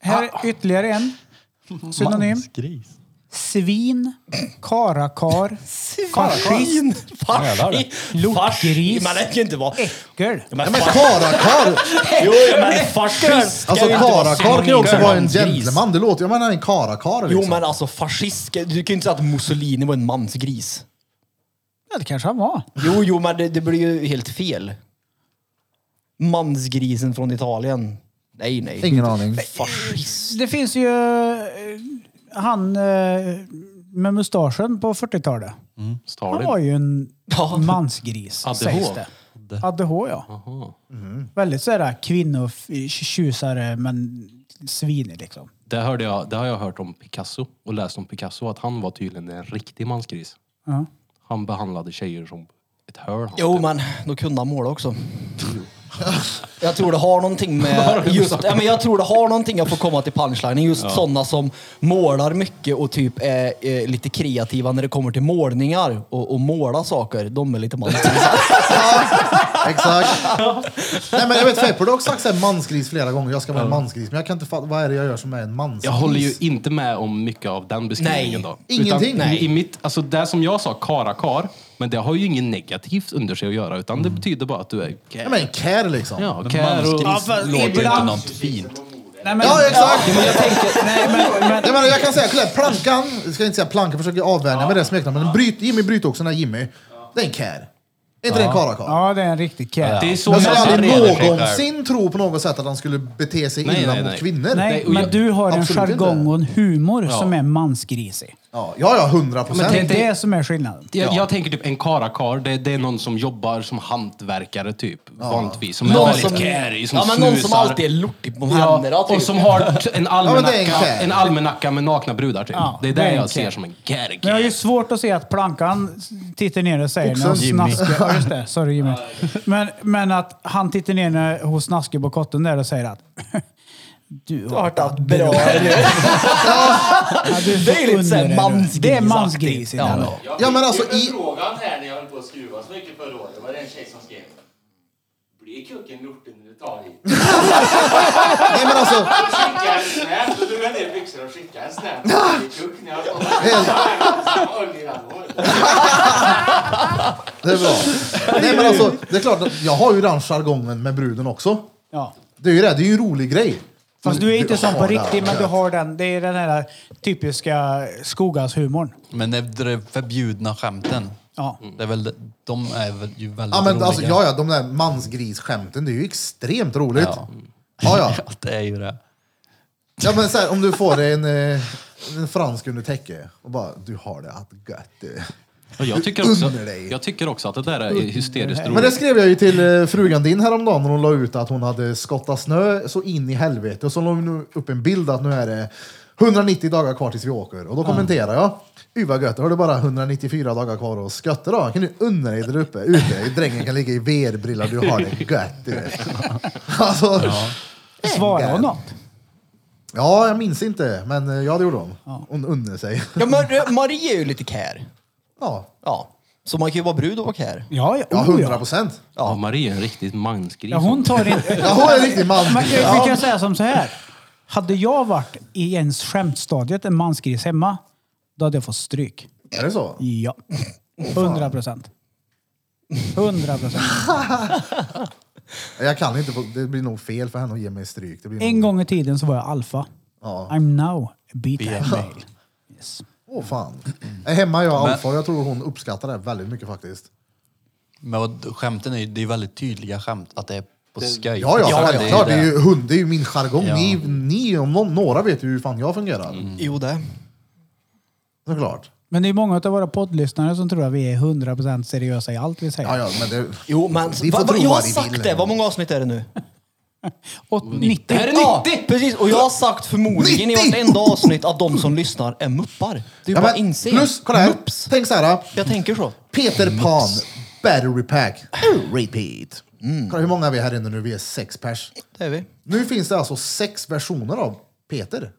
Speaker 3: Här är
Speaker 4: Ah.
Speaker 3: ytterligare en synonym.
Speaker 1: Mansgris.
Speaker 3: Svin, karakar, fascist,
Speaker 4: Fascin! Fascin!
Speaker 3: Lortgris.
Speaker 4: Men det kan ju inte vara...
Speaker 3: äckel.
Speaker 4: Men
Speaker 2: Men
Speaker 4: fa-
Speaker 2: karakar!
Speaker 4: jo, men fascist ska
Speaker 2: Alltså
Speaker 4: ju inte vara
Speaker 2: karakar kan ju också
Speaker 4: synonymer.
Speaker 2: vara en gentleman. Det låter ju... Jag menar en karakar liksom.
Speaker 4: Jo, men alltså fascist, ska- du kan ju inte säga att Mussolini var en mansgris.
Speaker 3: Ja, det kanske han var.
Speaker 4: Jo, jo, men det, det blir ju helt fel. Mansgrisen från Italien. Nej, nej.
Speaker 2: Ingen aning.
Speaker 4: Fascist.
Speaker 3: Det finns ju eh, han eh, med mustaschen på 40-talet. Han
Speaker 6: Stalin.
Speaker 3: var ju en
Speaker 4: Ja.
Speaker 3: mansgris,
Speaker 6: ADH.
Speaker 3: sägs det. ADH, ja. Mm. Väldigt sådär kvinnotjusare, men svinig liksom.
Speaker 6: Det, hörde jag, det har jag hört om Picasso och läst om Picasso att han var tydligen en riktig mansgris.
Speaker 3: Ja.
Speaker 6: Han behandlade tjejer som ett hörn. typ.
Speaker 4: Jo, men då kunde han måla också. Jag tror det har någonting med just, ja, men jag tror det har någonting att få komma till punchlinen. Just sådana som målar mycket och typ är eh, lite kreativa när det kommer till målningar och, och måla saker. De är lite mansgrisar.
Speaker 2: Exakt. Nej men jag vet Fepper, du har också sagt såhär mansgris flera gånger. Jag ska vara en mansgris. Men jag kan inte fatta, vad är det jag gör som är en mansgris?
Speaker 6: Jag håller ju inte med om mycket av den beskrivningen
Speaker 4: Nej,
Speaker 6: då.
Speaker 2: ingenting.
Speaker 6: Utan,
Speaker 2: Nej.
Speaker 6: I mitt, alltså det som jag sa, karakar, men det har ju inget negativt under sig att göra utan det betyder bara att du är
Speaker 2: Ja, men en care liksom.
Speaker 6: Ja, kär och...
Speaker 3: Ja, för
Speaker 1: Låter ju inte
Speaker 3: ibland-
Speaker 1: något fint.
Speaker 3: Nej, men,
Speaker 2: Ja, exakt.
Speaker 3: men jag tänker, nej, men, men,
Speaker 2: Jag, menar, jag kan säga klä, plankan, jag ska inte säga plankan, jag försöker avvänja mig det smeknamnet. Men bryt, Jimmy Brytåsen är Jimmy. Det är en care. Är inte det en karakar?
Speaker 3: ja, det är en riktig kär.
Speaker 6: Det är så
Speaker 2: Jag skulle
Speaker 6: man
Speaker 2: aldrig
Speaker 6: reder sig själv.
Speaker 2: någonsin tro på något sätt att han skulle bete sig
Speaker 6: Nej,
Speaker 2: illa
Speaker 6: nej,
Speaker 2: mot
Speaker 6: nej.
Speaker 2: kvinnor.
Speaker 3: Nej,
Speaker 6: och
Speaker 3: men
Speaker 6: jag-
Speaker 3: du har en
Speaker 2: absolut inte.
Speaker 3: jargong och en humor som är mansgrisig.
Speaker 2: Ja, ja, ja, hundra
Speaker 6: Men
Speaker 3: Det
Speaker 2: procent.
Speaker 3: är
Speaker 6: tänk dig-
Speaker 3: det som är skillnaden.
Speaker 6: Jag, jag tänker typ en karakar, det, det är någon som jobbar som hantverkare typ, vanligtvis. Som är
Speaker 4: Någon
Speaker 6: väldigt
Speaker 4: som-
Speaker 6: kärig, som
Speaker 4: ja, men någon som
Speaker 6: snusar.
Speaker 4: alltid är lortig på
Speaker 6: Ja,
Speaker 4: händerna. typ.
Speaker 6: och som har t- en
Speaker 2: men det är en
Speaker 6: almanacka,
Speaker 2: kär.
Speaker 6: en almanacka med nakna brudar typ.
Speaker 3: Ja,
Speaker 6: det är
Speaker 3: det är
Speaker 6: det
Speaker 3: en
Speaker 6: jag ser
Speaker 3: kär.
Speaker 6: som en kärg.
Speaker 3: Men jag har ju svårt att se att plankan tittar ner och säger när hon
Speaker 1: Jimmy.
Speaker 3: snaskar. Ja, just det. Sorry Jimmy. Men, men att han tittar ner när hon snaskar på kotten där och säger att du har
Speaker 4: Klart att bra är det.
Speaker 3: Ja, du
Speaker 4: Det är lite så här
Speaker 3: under-
Speaker 4: mansgrisaktigt.
Speaker 3: Det är mansgris i den.
Speaker 4: Ja.
Speaker 8: Jag
Speaker 2: Ja, men alltså,
Speaker 8: fick ju
Speaker 2: i-
Speaker 8: frågan här när jag höll på att skruva så mycket förra året. Det var det en tjej som skrev. Blir kucken lortig när du tar i? Då
Speaker 2: Nej, men alltså,
Speaker 8: skickade jag en snap. Då drog jag ner byxorna och skickade en snap. Blir kuck när jag tar i?
Speaker 2: det är bra. Nej, men alltså, det är klart, att jag har ju den jargongen med bruden också.
Speaker 3: Ja.
Speaker 2: Det är ju det, det är ju en rolig grej.
Speaker 3: Fast du är inte sån på
Speaker 2: har det
Speaker 3: riktigt, men
Speaker 2: här.
Speaker 3: du har den. Det är den här typiska skogarshumorn.
Speaker 1: Men det är de förbjudna skämten.
Speaker 3: Ja.
Speaker 1: Det är väl, de är väl ju väldigt
Speaker 2: Ja, men alltså,
Speaker 1: roliga.
Speaker 2: ja, ja, de där mansgrisskämten, det är ju extremt roligt. Ja, ja. ja.
Speaker 1: Ja, det är ju det.
Speaker 2: men så här, om du får en, eh, en fransk under täcke och bara, du har det att gött du.
Speaker 6: Och jag, tycker också,
Speaker 2: Under dig.
Speaker 6: jag tycker också att det där är hysteriskt
Speaker 2: Men det
Speaker 6: roligt.
Speaker 2: skrev jag ju till eh, frugan din häromdagen när hon la ut att hon hade skottat snö så in i helvete. Och så la hon nu upp en bild att nu är det 190 dagar kvar tills vi åker. Och då kommenterar jag. Uy vad gött, då har du bara 194 dagar kvar och skötte då. Kan du unna dig där uppe? Ute. Drängen kan ligga i VR-brillor, du har det gött du. Alltså,
Speaker 3: Svarar hon något?
Speaker 2: ja, jag minns inte, men eh, ja det gjorde hon. Hon unnar sig.
Speaker 4: Ja, men eh, Marie är ju lite kär.
Speaker 2: Ja,
Speaker 4: Ja. Så man kan ju vara brud och vara kär.
Speaker 3: Ja, Oh, ja.
Speaker 2: ja
Speaker 3: oh,
Speaker 2: 100
Speaker 3: ja.
Speaker 2: procent.
Speaker 6: Ja, Marie är en riktigt mansgris.
Speaker 3: ja hon tar inte...
Speaker 2: Ja, hon är en riktig man.
Speaker 3: Man kan,
Speaker 2: Ja.
Speaker 3: vi kan säga som så här. Hade jag varit i ens skämtstadiet en mansgris hemma, då hade jag fått stryk.
Speaker 2: Är det så?
Speaker 3: Ja. 100 procent. 100 procent.
Speaker 2: Jag kan inte, få- det blir nog fel för henne att ge mig stryk. Det blir
Speaker 3: En
Speaker 2: nog...
Speaker 3: gång i tiden så var jag alfa.
Speaker 2: Ja.
Speaker 3: I'm now a beta male.
Speaker 2: Åh fan. Äh, Hemma är jag Alfa och jag tror hon uppskattar det väldigt mycket faktiskt.
Speaker 1: Men vad- skämten är ju, det är väldigt tydliga skämt. Att det är på skoj.
Speaker 2: Ja, ja,
Speaker 1: det är ju
Speaker 2: självklart. Det är
Speaker 1: det.
Speaker 2: ju hund, det är ju min jargong.
Speaker 1: Ja.
Speaker 2: Ni, ni om någon, några vet ju hur fan jag fungerar.
Speaker 4: Jo det.
Speaker 2: Såklart.
Speaker 3: Men det är många av våra poddlyssnare som tror att vi är 100% seriösa i allt vi säger.
Speaker 2: Ja, ja, men det...
Speaker 4: Jo men
Speaker 2: Vi får
Speaker 4: va, va,
Speaker 2: tro
Speaker 4: jag har
Speaker 2: vad vi vill.
Speaker 4: sagt det. Vad många avsnitt är det nu?
Speaker 3: Och 90.
Speaker 4: Det här är 90! precis, och jag har sagt förmodligen
Speaker 2: 90!
Speaker 4: i vartenda avsnitt att de som lyssnar är muppar. Det är
Speaker 2: Ja,
Speaker 4: bara
Speaker 2: men,
Speaker 4: inse.
Speaker 2: plus, kolla här.
Speaker 4: Mupps.
Speaker 2: Tänk så här.
Speaker 4: Jag tänker så.
Speaker 2: Peter Pan, battery pack, repeat. Kolla hur många är vi här inne nu? Vi är sex pers.
Speaker 4: Det är vi.
Speaker 2: Nu finns det alltså sex versioner av Peter.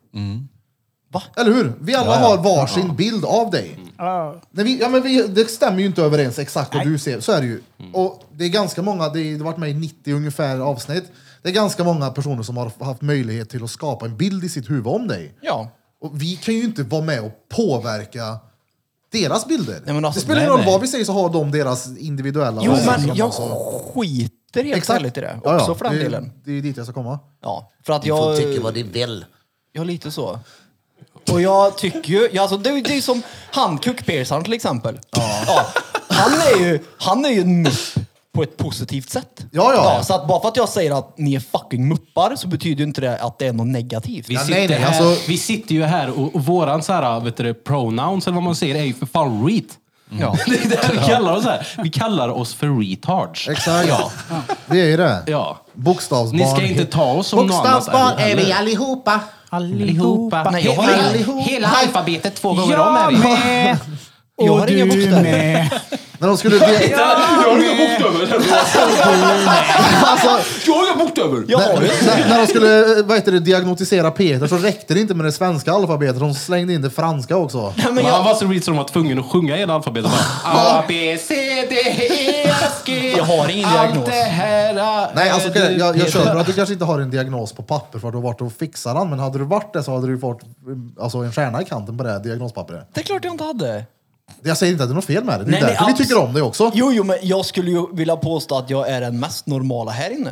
Speaker 4: Va?
Speaker 2: Eller hur? Vi alla har varsin bild av dig. Nej, vi, ja, men vi, det stämmer ju inte överens exakt vad du ser. Så är det ju. Och det är ganska många, det är- det har varit med i 90 ungefär avsnitt. Det är ganska många personer som har haft möjlighet till att skapa en bild i sitt huvud om dig.
Speaker 4: Ja.
Speaker 2: Och vi kan ju inte vara med och påverka deras bilder.
Speaker 4: Nej, men alltså,
Speaker 2: det spelar ingen
Speaker 4: nej,
Speaker 2: roll
Speaker 4: nej.
Speaker 2: vad vi säger så har de deras individuella.
Speaker 4: Jo
Speaker 2: variationer,
Speaker 4: men jag
Speaker 2: alltså.
Speaker 4: skiter helt ärligt i det. Också
Speaker 2: Ja, ja.
Speaker 4: för den
Speaker 2: det, är-
Speaker 4: delen.
Speaker 2: Det är ju dit jag ska komma.
Speaker 4: Ja. För att jag...
Speaker 9: ni vill.
Speaker 4: Ja, lite så. Och jag tycker ju, ja, alltså, det, är ju- det är ju som han kuckpiercaren till exempel. Ja. Han är ju, han är ju en mupp på ett positivt sätt.
Speaker 2: Ja, ja.
Speaker 4: så att bara för att jag säger att ni är fucking muppar så betyder ju inte det att det är något negativt.
Speaker 6: Vi,
Speaker 2: Ja,
Speaker 6: sitter
Speaker 2: nej, nej,
Speaker 6: här,
Speaker 2: alltså-
Speaker 6: vi sitter ju här och, och våran så här, vet du, det, pronouns eller vad man säger är ju för fan reet.
Speaker 2: Mm.
Speaker 4: Ja.
Speaker 6: Det är det vi kallar oss här. Vi kallar oss för retards.
Speaker 2: Exakt. Vi är ju det.
Speaker 6: Ja.
Speaker 2: Bokstavsbarn.
Speaker 6: Ni ska inte ta oss som något annat.
Speaker 2: allihopa.
Speaker 3: Allihopa.
Speaker 4: Nej, jag har inga-
Speaker 2: Hela
Speaker 6: alfabetet två
Speaker 3: Jag med!
Speaker 4: Jag
Speaker 3: Och
Speaker 4: har inga
Speaker 3: du
Speaker 4: bokstäver.
Speaker 3: med.
Speaker 2: När de skulle... ja. alltså,
Speaker 6: Jag har inga bokstäver!
Speaker 4: Jag har ju
Speaker 2: när, när de skulle vad heter det, diagnostisera Peter så räckte det inte med det svenska alfabetet. De slängde in det franska också.
Speaker 4: Nej, men
Speaker 6: Han
Speaker 4: jag,
Speaker 6: var så reet så de var tvungna att sjunga hela alfabetet. Bara, A, B, C, D, E, F, G.
Speaker 4: jag har ingen
Speaker 6: Allt
Speaker 4: diagnos.
Speaker 6: det här... äh, är-
Speaker 2: Nej, alltså, okej, jag, jag
Speaker 6: Peter.
Speaker 2: köper att du kanske inte har en diagnos på papper för att du har varit och fixat den. Men hade du varit det så hade du fått alltså, en stjärna i kanten på det här diagnospappret.
Speaker 4: Det är klart jag inte hade.
Speaker 2: Jag säger inte att det är något fel med det. Det är
Speaker 4: Nej, nej,
Speaker 2: därför vi
Speaker 4: abs-
Speaker 2: tycker om det också.
Speaker 4: Jo, jo, men jag skulle ju vilja påstå att jag är den mest normala här inne.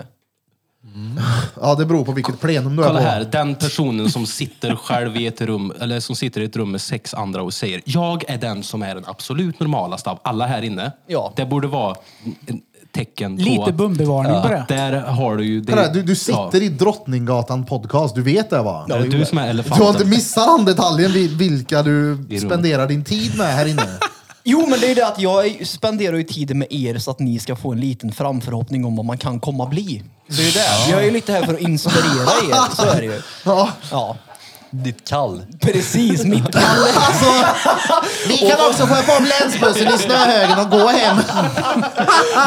Speaker 2: Ja, det beror på vilket plenum du är
Speaker 6: Kolla
Speaker 2: på.
Speaker 6: här, den personen som sitter själv i ett rum, eller som sitter i ett rum med sex andra och säger jag är den som är den absolut normalaste av alla här inne.
Speaker 4: Ja.
Speaker 6: Det borde vara en tecken på...
Speaker 3: Lite bumbevarning på det.
Speaker 6: att Där har du ju... det-
Speaker 2: Kolla här, Du, du
Speaker 6: Ja.
Speaker 2: sitter i Drottninggatan podcast, du vet det va?
Speaker 6: Är det du som är
Speaker 2: Du har inte
Speaker 6: elefanten?
Speaker 2: missat den detaljen vid- vilka du
Speaker 6: rummet.
Speaker 2: spenderar din tid med här inne.
Speaker 4: Jo, men det är ju det att jag är- spenderar ju tiden med er så att ni ska få en liten framförhoppning om vad man kan komma bli. Det är ju det. Jag är ju lite här för att inspirera er, så är det ju.
Speaker 2: Ja.
Speaker 4: Ja,
Speaker 1: Ditt kall.
Speaker 4: precis. Mitt kall.
Speaker 2: Vi kan också sköta om länsbussen i snöhögen och gå hem.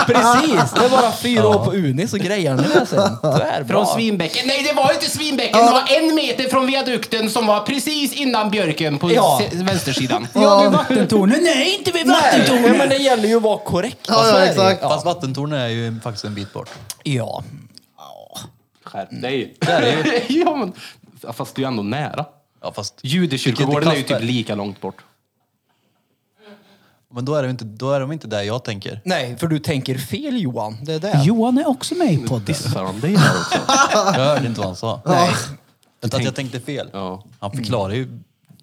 Speaker 4: Precis. Det är bara fyra år på Uni så grejar ni det sen. Så är det
Speaker 6: Från
Speaker 4: bra.
Speaker 6: Svinbäcken. Nej, det var inte Svinbäcken. Det var en meter från viadukten som var precis innan björken på
Speaker 4: Ja.
Speaker 6: se- vänstersidan.
Speaker 3: Ja, vid vattentornet. Nej, inte vid
Speaker 4: Nej,
Speaker 3: vattentornet!
Speaker 4: men det gäller ju att vara korrekt.
Speaker 2: Ja,
Speaker 4: Så
Speaker 2: ja,
Speaker 4: är det ju.
Speaker 2: exakt.
Speaker 4: Ja.
Speaker 1: Fast vattentornet är ju faktiskt en bit bort.
Speaker 4: ja.
Speaker 6: Skärp dig. ja, men, fast du är ändå nära.
Speaker 1: Ja, fast...
Speaker 6: Judekyrkogården är ju
Speaker 1: Vilket kast-
Speaker 6: typ lika långt bort.
Speaker 1: Men då är, de inte, då är de inte där jag tänker.
Speaker 4: Nej, för du tänker fel Johan. Det är det.
Speaker 3: Johan är också med i podden.
Speaker 6: Dissar han dig här också?
Speaker 1: Jag hörde inte vad han sa.
Speaker 4: Nej.
Speaker 1: Utan att jag tänkte fel.
Speaker 6: Ja.
Speaker 1: Han förklarar ju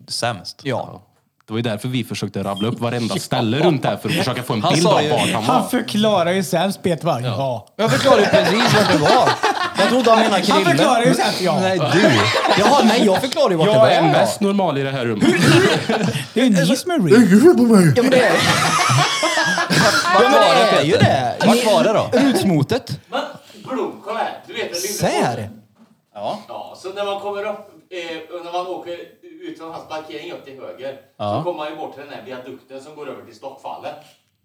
Speaker 1: sämst.
Speaker 4: Ja.
Speaker 6: Det var ju därför vi försökte rabbla upp varenda ställe runt där för att försöka få en
Speaker 1: Han
Speaker 6: bild
Speaker 1: sa
Speaker 6: av
Speaker 1: ju-
Speaker 6: vart han
Speaker 3: Han
Speaker 6: var.
Speaker 3: förklarar ju sämst Peter bara, ja.
Speaker 4: Jag förklarar ju precis vad det var. Jag trodde han menade
Speaker 3: Han förklarar
Speaker 4: Krille.
Speaker 3: ju sämst, ja.
Speaker 1: Nej, du!
Speaker 4: Jaha, nej, jag förklarar ju vart det var.
Speaker 6: Jag är mest normal i det här rummet.
Speaker 3: Det är ju ni som är real.
Speaker 2: Gud på mig!
Speaker 4: Ja men det är Ja men det är ju det.
Speaker 1: Vart var det då?
Speaker 4: Rutmotet.
Speaker 8: Men Blom, kolla här. Du vet väl inte?
Speaker 4: Sär.
Speaker 8: Ja, så när man kommer upp, eh, och när man åker ut från hans parkering upp till höger, så kommer man ju bort till den här viadukten som går över till Stockfallet.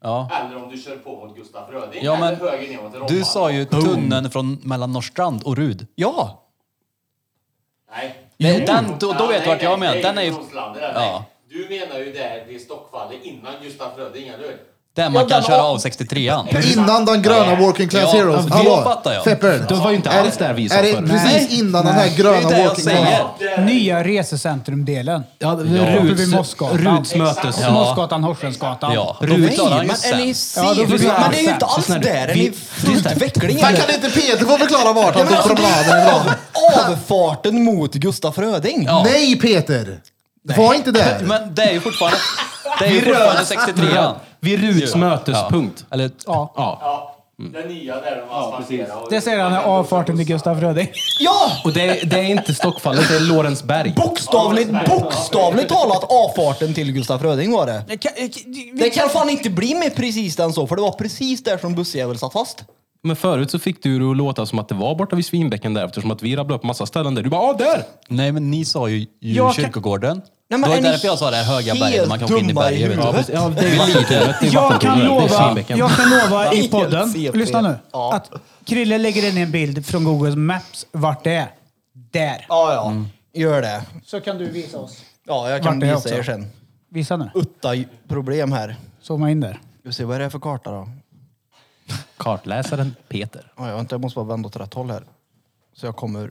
Speaker 1: Ja.
Speaker 8: Eller om du kör på mot Gustaf Fröding,
Speaker 1: Ja, men
Speaker 8: eller höger ner mot Romma.
Speaker 1: Du sa ju tunneln från mellan Norrstrand och Rud.
Speaker 4: Ja.
Speaker 8: Nej.
Speaker 1: Nej, den, då, då
Speaker 8: Ja,
Speaker 1: vet
Speaker 8: nej,
Speaker 1: du vart jag
Speaker 8: nej,
Speaker 1: menar. Den är
Speaker 8: nej,
Speaker 1: ju
Speaker 8: Roslander, nej.
Speaker 1: Ja.
Speaker 8: Du menar ju där vid Stockfallet innan Gustaf Fröding, eller hur?
Speaker 1: där
Speaker 4: Ja,
Speaker 1: man
Speaker 4: den
Speaker 1: kan köra
Speaker 4: har-
Speaker 1: av 63an.
Speaker 2: Innan den gröna working class
Speaker 1: Ja,
Speaker 2: heroes.
Speaker 1: då fattar jag.
Speaker 2: Feppern.
Speaker 6: Det var ju inte alls där vi sa
Speaker 2: Är det
Speaker 6: förut.
Speaker 2: precis innan den här gröna
Speaker 1: det jag
Speaker 2: working
Speaker 1: säger.
Speaker 2: class?
Speaker 8: Ja, där.
Speaker 3: Nya resecentrumdelen.
Speaker 6: Ja,
Speaker 3: Uppe vid Mossgatan.
Speaker 6: Ruds mötes.
Speaker 3: Ja. Mossgatan, Horsensgatan.
Speaker 1: Ja, då
Speaker 6: Rut.
Speaker 1: förklarar han
Speaker 4: Men
Speaker 1: ju
Speaker 4: är ni
Speaker 1: sämst.
Speaker 3: Ja, då
Speaker 4: seriösa?
Speaker 3: förklarar
Speaker 4: Men det är ju inte
Speaker 3: han
Speaker 4: alls
Speaker 6: sen.
Speaker 4: där. Är
Speaker 6: Vi-
Speaker 4: ni utveckling
Speaker 2: Fan
Speaker 4: eller?
Speaker 2: kan inte Peter få förklara vart
Speaker 6: alltså,
Speaker 2: han tog promenaden ifrån?
Speaker 4: Avfarten mot Gustaf Fröding.
Speaker 2: Nej Peter! Det var inte det.
Speaker 1: Men det är ju fortfarande, det är ju fortfarande 63
Speaker 7: Vid Ruts mötespunkt.
Speaker 1: Eller, ja.
Speaker 7: Ja.
Speaker 8: Den nya där de alltså, asfalterar. och-
Speaker 3: Det säger han i avfarten till Gustaf Röding.
Speaker 4: Ja!
Speaker 7: Och det är, det är inte Stockfallet, det är Lorensberg.
Speaker 4: Bokstavligt, bokstavligt talat avfarten till Gustaf Röding var det.
Speaker 3: Det kan- eh, vi-
Speaker 4: Det kan fan inte bli mer precis än så, för det var precis där som bussjäveln satt fast.
Speaker 7: Men förut så fick du det att låta som att det var borta vid Svinbäcken där eftersom att vi rabblade upp massa ställen där. Du bara ah, där!
Speaker 1: Nej men ni sa ju ju
Speaker 3: Jag kan-
Speaker 1: kyrkogården.
Speaker 4: men
Speaker 1: det var
Speaker 4: är
Speaker 1: ju
Speaker 4: ni
Speaker 1: därför jag sa det här höga berget, där man kan åka in i
Speaker 4: helt dumma i
Speaker 1: berget. Vet
Speaker 4: huvudet?
Speaker 1: du.
Speaker 7: Ja, det är vattentornet.
Speaker 3: Jag kan lova,
Speaker 7: Svinbäcken.
Speaker 3: jag kan lova i podden,
Speaker 4: Helt CP.
Speaker 3: lyssna nu,
Speaker 4: Ja.
Speaker 3: att Krille lägger in en bild från Google Maps vart det är. Där.
Speaker 4: Ja, ja. Mm. Gör det.
Speaker 3: Så kan du visa oss.
Speaker 4: Ja, jag
Speaker 3: Vart
Speaker 4: kan
Speaker 3: är jag
Speaker 4: visa
Speaker 3: också?
Speaker 4: er sen.
Speaker 3: Visa nu.
Speaker 4: Utta problem här.
Speaker 3: Zooma in där.
Speaker 4: Vi ser vad är det är för karta då?
Speaker 7: Kartläsaren Peter.
Speaker 4: Ja, jag, vänta, jag måste bara vända åt rätt håll här. Så jag kommer...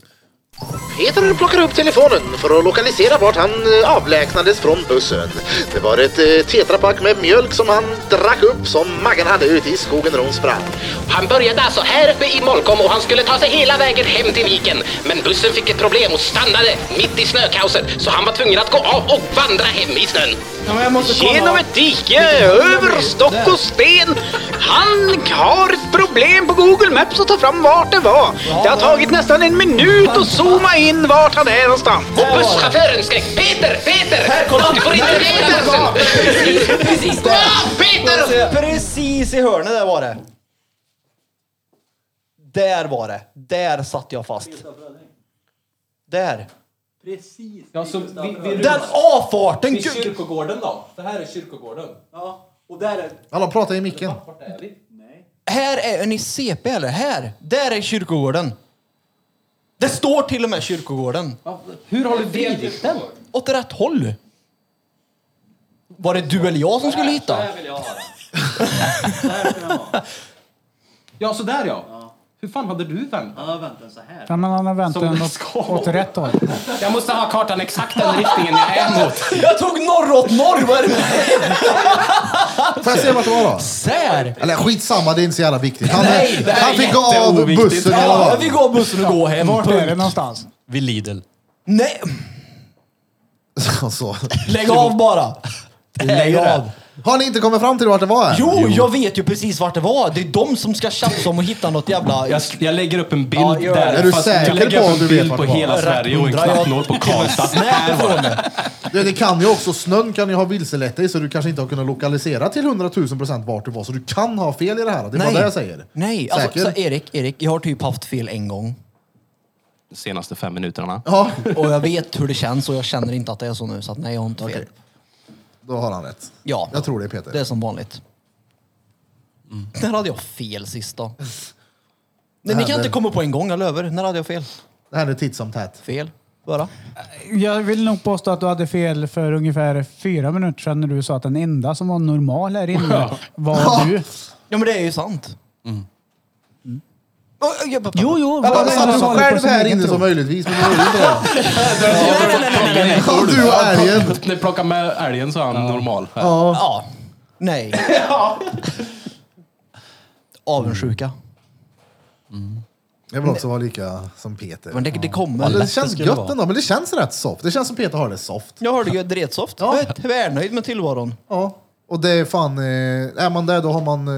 Speaker 9: Peter plockar upp telefonen för att lokalisera vart han eh, avlägsnades från bussen. Det var ett eh, tetrapack med mjölk som han drack upp som magen hade ute i skogen när hon sprang.
Speaker 10: Han började alltså här uppe i Molkom och han skulle ta sig hela vägen hem till viken. Men bussen fick ett problem och stannade mitt i snökaoset så han var tvungen att gå av och vandra hem i snön.
Speaker 4: Ja, men jag måste kolla.
Speaker 10: Genom ett dike, över stock och sten. Han har ett problem på Google Maps att ta fram vart det var. Det har tagit nästan en minut att zooma in vart han är någonstans.
Speaker 4: var
Speaker 10: Och
Speaker 4: det.
Speaker 10: busschauffören skrek Peter, Peter!
Speaker 4: Här, kolla!
Speaker 10: Du får inte
Speaker 4: Nej,
Speaker 10: lämna
Speaker 4: Peter,
Speaker 10: bussen!
Speaker 4: ja, Precis där!
Speaker 10: Ja, Peter!
Speaker 4: Precis i hörnet där var det. Där var det. Där satt jag fast. Där.
Speaker 7: Ja, så vi,
Speaker 4: Den avfarten!
Speaker 7: vid
Speaker 4: gud.
Speaker 7: kyrkogården då? Det här är kyrkogården.
Speaker 2: Alla pratar i micken.
Speaker 4: Här är, är ni CP eller? Här! Där är kyrkogården. Det står till och med kyrkogården.
Speaker 7: Hur har du vridit den?
Speaker 4: Åt rätt håll. Var det du eller jag som skulle hitta?
Speaker 7: Ja, sådär ja. Hur fan hade du vänt?
Speaker 3: Ja, men han har vänt
Speaker 7: Som
Speaker 3: den
Speaker 7: det
Speaker 3: åt-
Speaker 7: ska
Speaker 3: åt
Speaker 7: vara.
Speaker 3: rätt håll.
Speaker 7: Jag måste ha kartan exakt den riktningen jag är mot.
Speaker 4: Jag tog norråt norr! Vad är det med
Speaker 2: Får jag se vart det var då?
Speaker 4: Där!
Speaker 2: Eller skitsamma, det är inte så jävla viktigt. Han, eh,
Speaker 4: Nej, det här är
Speaker 2: han fick gå av
Speaker 7: jätteoviktigt.
Speaker 2: bussen. eller
Speaker 4: Ja,
Speaker 2: vad?
Speaker 4: vi går bussen och går hem.
Speaker 3: Vart är det
Speaker 4: Punkt.
Speaker 3: någonstans?
Speaker 1: Vid Lidl.
Speaker 4: Nej!
Speaker 2: Så- så.
Speaker 4: Lägg av bara! Lägg av!
Speaker 2: Har ni inte kommit fram till vart det var? än?
Speaker 4: Jo, jag vet ju precis vart det var. Det är de som ska tjafsa om att hitta något jävla...
Speaker 7: Jag, jag lägger upp en bild
Speaker 4: Ja, gör det.
Speaker 7: där.
Speaker 4: Är
Speaker 2: du
Speaker 7: fast
Speaker 2: säker
Speaker 7: jag lägger
Speaker 2: på
Speaker 7: upp
Speaker 2: att
Speaker 7: en
Speaker 2: du vet
Speaker 7: bild
Speaker 2: vart
Speaker 7: på
Speaker 2: det var?
Speaker 7: hela Sverige och en
Speaker 4: Undrar jag-
Speaker 7: knappnål på Karlstad. Där var det.
Speaker 2: Det, det kan ju också, snön kan ju ha vilselett dig så du kanske inte har kunnat lokalisera till 100 000 procent vart du var. Så du kan ha fel i det här. Det är bara det jag säger.
Speaker 4: Nej, alltså,
Speaker 2: Säker?
Speaker 4: så Erik, Erik, jag har typ haft fel en gång.
Speaker 7: Senaste fem minuterna.
Speaker 2: Ja,
Speaker 4: Och jag vet hur det känns och jag känner inte att det är så nu. Så att nej, jag har inte fel.
Speaker 2: Okej. då har han rätt.
Speaker 4: Ja.
Speaker 2: Jag tror det Peter.
Speaker 4: Det är som vanligt. När hade jag fel sist då? Nej, ni kan inte komma på en gång, jag lovar. När hade jag fel?
Speaker 2: Det här är titt som tätt.
Speaker 4: Fel? Bara?
Speaker 3: Jag vill nog påstå att du hade fel för ungefär fyra minuter sedan när du sa att den enda som var normal här inne var du.
Speaker 4: Ja, men det är ju sant. Mm. Oj, oj, oj, oj, oj.
Speaker 3: Jo, jo.
Speaker 2: Jag bara
Speaker 3: vad-
Speaker 2: satt
Speaker 3: vad-
Speaker 2: du
Speaker 3: vad-
Speaker 2: själv
Speaker 3: vad-
Speaker 2: här
Speaker 3: vad-
Speaker 2: inne
Speaker 3: vad-
Speaker 2: som möjligtvis, men det var ju inte det.
Speaker 4: liksom Nej, nej, nej, nej, nej, nej.
Speaker 2: Ja, Du och älgen.
Speaker 7: När jag plockade med älgen så är han normal. Här.
Speaker 4: Ja. Nej. Avundsjuka.
Speaker 2: Jag vill också vara lika som Peter.
Speaker 4: Men det, det kommer.
Speaker 2: Men det känns
Speaker 1: skulle det
Speaker 2: gött
Speaker 1: vara.
Speaker 2: ändå, men det känns rätt soft. Det känns som Peter har det soft.
Speaker 4: Jag hörde ju dretsoft. Jag är tvärnöjd med tillvaron.
Speaker 2: Ja. Och det är fan, eh, är man där då har man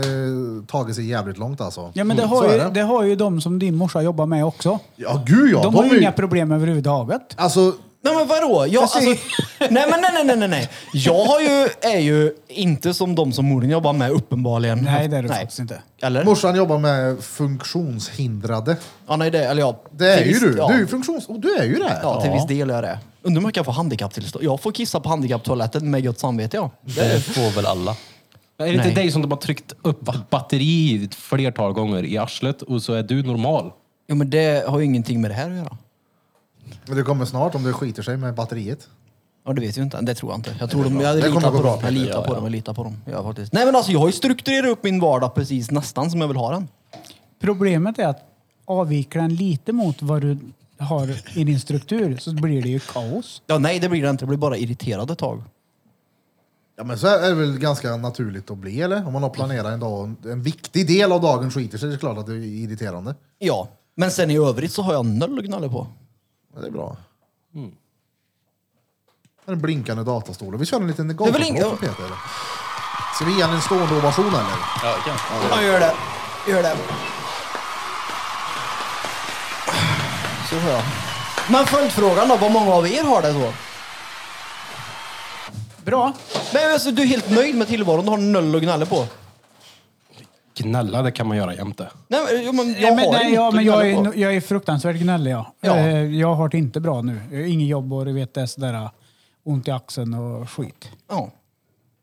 Speaker 2: eh, tagit sig jävligt långt alltså.
Speaker 3: Ja, men det
Speaker 2: Så
Speaker 3: har,
Speaker 2: är
Speaker 3: ju, det har ju de som din morsa jobbar med också.
Speaker 2: Ja gud ja.
Speaker 3: De har ju inga problem överhuvudtaget.
Speaker 2: Alltså,
Speaker 4: Nej men vadå? Jag, alltså, nej men nej, nej, nej, nej, nej. Jag har ju, är ju inte som de som morden jobbar med uppenbarligen.
Speaker 3: Nej, det är det faktiskt inte.
Speaker 4: Eller?
Speaker 2: morsan jobbar med funktionshindrade.
Speaker 4: Ja, nej, det, eller ja,
Speaker 2: Det är
Speaker 4: till
Speaker 2: ju
Speaker 4: viss-
Speaker 2: du.
Speaker 4: Ja,
Speaker 2: Du är ju funktions... Och du är ju det.
Speaker 4: ja, till viss del är det. Undrar om jag kan få handikapptillstånd. Jag får kissa på handikapptoaletten med gott samvete jag.
Speaker 1: Det får väl alla.
Speaker 7: Är det inte
Speaker 4: Nej.
Speaker 7: dig som de har tryckt upp ett batteri ett flertal gånger i arslet och så är du normal?
Speaker 4: Jo men det har ju ingenting med det här att göra.
Speaker 2: Men det kommer snart om det skiter sig med batteriet.
Speaker 4: Ja, det vet jag inte. Det tror jag inte. Jag tror de, jag
Speaker 2: Det kommer
Speaker 4: litar
Speaker 2: gå
Speaker 4: på
Speaker 2: bra,
Speaker 4: dem. Jag
Speaker 2: Peter.
Speaker 4: litar på dem. Jag litar på dem. Ja, faktiskt. Nej men alltså jag har ju strukturerat upp min vardag precis nästan som jag vill ha den.
Speaker 3: Problemet är att avviker den lite mot vad du har i din struktur så blir det ju kaos.
Speaker 4: Ja, nej det blir det inte. Det blir bara irriterad ett tag.
Speaker 2: Ja men så är det väl ganska naturligt att bli eller? Om man har planerat en dag och en- en viktig del av dagen skiter sig, det är klart att det är irriterande.
Speaker 4: Ja. Men sen i övrigt så har jag noll att gnälla på.
Speaker 2: Men det är bra. Den blinkande datastolen. Vi kör en liten
Speaker 4: är väl
Speaker 2: golfapplåd
Speaker 4: ing-
Speaker 2: för Peter. Ska vi ge honom en stående ovation eller?
Speaker 1: Ja, det kan jag.
Speaker 4: Ja, gör det. Gör det. Så får jag. Men följdfrågan då, vad många av er har det så?
Speaker 3: Bra.
Speaker 4: Men alltså, du är helt nöjd med tillvaron, du har noll att gnälla på.
Speaker 7: Gnälla, det kan man göra jämte.
Speaker 4: Nej, men, jo, men jag
Speaker 3: Nej, men,
Speaker 4: har
Speaker 3: nej,
Speaker 4: inget
Speaker 3: ja,
Speaker 4: att
Speaker 3: men
Speaker 4: gnälla
Speaker 3: jag,
Speaker 4: på.
Speaker 3: är, jag är fruktansvärt gnällig. Ja.
Speaker 4: Ja.
Speaker 3: Eh, Jag har det inte bra nu. Jag har Ingen jobb och du vet det sådär eh, ont i axeln och skit.
Speaker 4: Ja.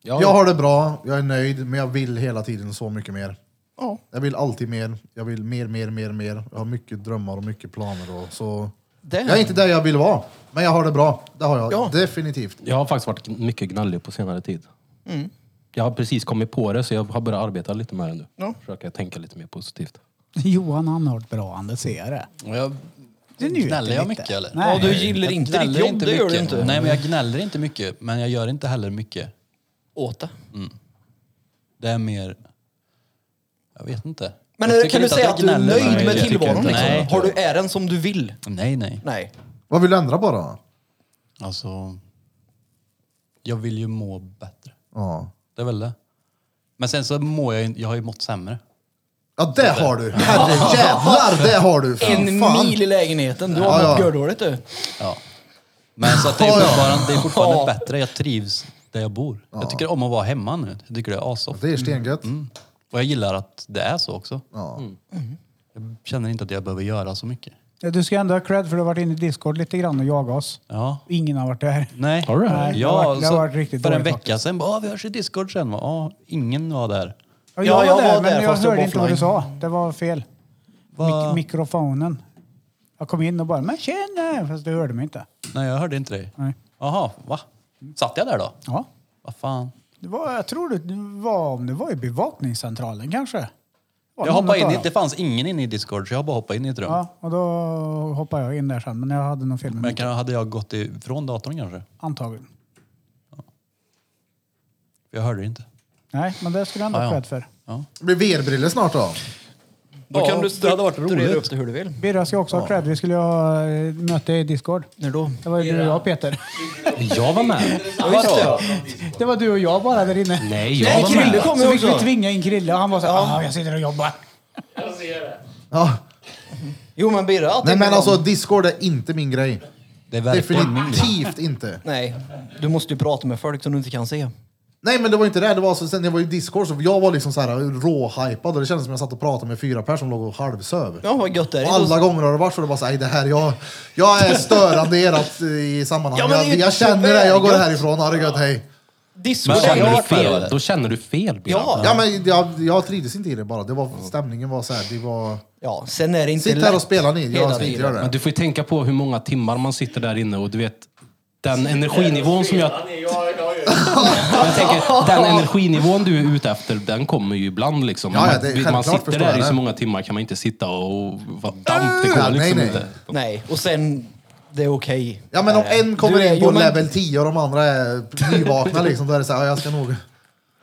Speaker 2: Jag har det bra, jag är nöjd, men jag vill hela tiden så mycket mer.
Speaker 4: Ja.
Speaker 2: Jag vill alltid mer, jag vill mer, mer, mer, mer. Jag har mycket drömmar och mycket planer. Och så...
Speaker 4: Det-
Speaker 2: Jag är inte där jag vill vara, men jag har det bra. Det har jag
Speaker 4: Ja.
Speaker 2: definitivt.
Speaker 7: Jag har faktiskt varit mycket gnällig på senare tid. Jag har precis kommit på det, så jag har börjat arbeta lite med det nu.
Speaker 4: Ja.
Speaker 7: Försöka tänka lite mer positivt.
Speaker 3: Johan han har det bra, han det ser
Speaker 4: Mm.
Speaker 3: jag det.
Speaker 1: Och jag
Speaker 3: Det njuter
Speaker 1: gnäller jag
Speaker 3: lite.
Speaker 1: mycket eller?
Speaker 3: Nej.
Speaker 4: Ja, du gillar
Speaker 1: Jag
Speaker 4: inte ditt
Speaker 1: gnäller
Speaker 4: jobb, det gör
Speaker 1: mycket.
Speaker 4: du inte.
Speaker 1: Nej, men jag gnäller inte mycket. Men jag gör inte heller mycket.
Speaker 4: Åt det.
Speaker 1: Det är mer... Jag vet inte.
Speaker 4: Men
Speaker 1: jag
Speaker 4: eh,
Speaker 1: tycker
Speaker 4: kan du
Speaker 1: inte
Speaker 4: säga
Speaker 1: jag
Speaker 4: att du är
Speaker 1: gnäller.
Speaker 4: nöjd
Speaker 1: Nej,
Speaker 4: med
Speaker 1: jag tycker
Speaker 4: tillvaron?
Speaker 1: inte-
Speaker 4: Liksom?
Speaker 1: Nej.
Speaker 4: Har du är den som du vill?
Speaker 1: Nej, nej.
Speaker 4: Nej.
Speaker 2: Vad vill du ändra på då?
Speaker 1: Alltså... Jag vill ju må bättre.
Speaker 2: Ja,
Speaker 1: Det är väl det. Men sen så mår jag ju... Jag har ju mått sämre.
Speaker 2: ja det har du! Herrejävlar, det har du! Fy
Speaker 4: En
Speaker 2: fan.
Speaker 4: mil i lägenheten. Du har
Speaker 2: Ja,
Speaker 4: mått
Speaker 2: ja.
Speaker 4: gördåligt du.
Speaker 1: Ja. Men så att det är
Speaker 2: Ja, ja.
Speaker 1: fortfarande, det är fortfarande
Speaker 4: Ja.
Speaker 1: bättre. Jag trivs där jag bor. Jag tycker om att vara hemma nu. Jag tycker det är assoft.
Speaker 2: Det är stengött.
Speaker 1: Och jag gillar att det är så också.
Speaker 2: Ja.
Speaker 1: Jag känner inte att jag behöver göra så mycket.
Speaker 3: Ja, Du ska ändå ha cred för du har varit inne i Discord lite grann och jagat oss.
Speaker 1: Ja.
Speaker 3: Ingen har varit där.
Speaker 1: Nej.
Speaker 7: Har du det?
Speaker 1: Nej,
Speaker 3: det
Speaker 1: ja,
Speaker 3: har varit- det har
Speaker 1: så
Speaker 3: varit riktigt
Speaker 1: För en
Speaker 3: dåligt
Speaker 1: vecka sedan bara, "Ah, vi hörs i Discord sen. Ja, ingen var där.
Speaker 3: Ja,
Speaker 4: Ja, jag var där,
Speaker 3: men jag
Speaker 4: fast jag
Speaker 3: hörde
Speaker 4: var
Speaker 3: inte vad du
Speaker 4: offline.
Speaker 3: sa. Det var fel. Mik
Speaker 1: Va?
Speaker 3: mikrofonen. Jag kom in och bara, men tjena! Fast du hörde mig inte.
Speaker 1: Nej, jag hörde inte dig.
Speaker 3: Nej.
Speaker 1: Jaha, va? Satt jag där då?
Speaker 3: Ja.
Speaker 1: Vad fan?
Speaker 3: Det var, jag tror det var, om det var i bevakningscentralen kanske. Det var
Speaker 1: Jag
Speaker 3: någon
Speaker 1: hoppade in,
Speaker 3: av
Speaker 1: i-
Speaker 3: dem.
Speaker 1: det fanns ingen inne i Discord så jag bara hoppade in i ett rum.
Speaker 3: Ja, och då hoppade jag in där sen. Men jag hade nog fel
Speaker 1: Men
Speaker 3: med mig.
Speaker 1: kan, hade jag gått ifrån datorn kanske?
Speaker 3: Antagligen.
Speaker 1: För jag hörde inte.
Speaker 3: Nej, men det skulle jag ändå
Speaker 1: Ja,
Speaker 3: ha
Speaker 1: ja.
Speaker 3: cred för.
Speaker 2: Det blir VR-briller snart då.
Speaker 4: Då
Speaker 1: Ja,
Speaker 4: kan du
Speaker 1: det hade varit
Speaker 4: strukturera
Speaker 1: roligt.
Speaker 4: upp det hur du vill.
Speaker 3: Birra ska också ha cred. Vi skulle ha eh, möte i Discord.
Speaker 4: När då?
Speaker 3: Det var ju du och jag Peter.
Speaker 7: Jag var med!
Speaker 3: Det var du och jag bara där inne.
Speaker 7: Nej, jag
Speaker 4: Nej,
Speaker 7: var
Speaker 4: Krille
Speaker 7: med!
Speaker 4: kom ju
Speaker 3: Så fick vi
Speaker 4: också.
Speaker 3: tvinga in Krille och han var så här, ah, jag sitter och jobbar.
Speaker 8: Jag ser det.
Speaker 2: Ja.
Speaker 4: Jo men Birra. jag
Speaker 2: Nej
Speaker 4: tänker
Speaker 2: men
Speaker 4: om-
Speaker 2: alltså Discord är inte min grej.
Speaker 1: Det är verkligen min grej.
Speaker 2: Definitivt inte.
Speaker 4: Nej, du måste ju prata med folk som du inte kan se.
Speaker 2: Nej men det var inte det, det var så, sen jag var i Discord så jag var liksom så här råhypad och det kändes som jag satt och pratade med fyra personer som låg och halvsöv.
Speaker 4: Ja, vad gött det är.
Speaker 2: Och alla gånger har det varit så det bara såhär, det här, jag, jag är störande i ert eh, i sammanhang.
Speaker 4: Ja, men det är
Speaker 2: jag,
Speaker 4: ju
Speaker 2: jag känner det, jag går
Speaker 4: gött.
Speaker 2: härifrån, ha det gött, hej.
Speaker 4: Discord
Speaker 1: Men
Speaker 4: är
Speaker 1: känner du
Speaker 4: jag
Speaker 1: fel?
Speaker 7: Då känner du fel, Björn.
Speaker 4: Ja.
Speaker 2: Ja men jag, jag trivdes inte i det bara, det var, stämningen var såhär, det var...
Speaker 4: Ja, sen är det inte
Speaker 2: Sitt här och spela ni,
Speaker 4: hela
Speaker 2: jag ska inte
Speaker 4: tiden.
Speaker 2: göra
Speaker 7: Men
Speaker 2: det.
Speaker 7: du får ju tänka på hur många timmar man sitter där inne och du vet den energinivån som jag...
Speaker 8: Han är- Jag, jag, jag,
Speaker 7: Jag tänker, den energinivån du är ute efter, den kommer ju ibland liksom.
Speaker 2: Ja, ja, det
Speaker 7: man,
Speaker 2: är
Speaker 7: man
Speaker 2: självklart,
Speaker 7: sitter
Speaker 2: förstår jag
Speaker 7: där i
Speaker 2: det.
Speaker 7: så många timmar kan man inte sitta och vara damp. Det går
Speaker 2: Ja, nej,
Speaker 7: liksom
Speaker 2: nej.
Speaker 7: inte.
Speaker 4: Nej, och sen, det är okej.
Speaker 2: Ja men om
Speaker 4: Nej.
Speaker 2: en kommer
Speaker 4: Du är-
Speaker 2: in
Speaker 4: jo,
Speaker 2: på
Speaker 4: men-
Speaker 2: level 10 och de andra är nyvakna liksom, då är det såhär, ja, jag ska nog...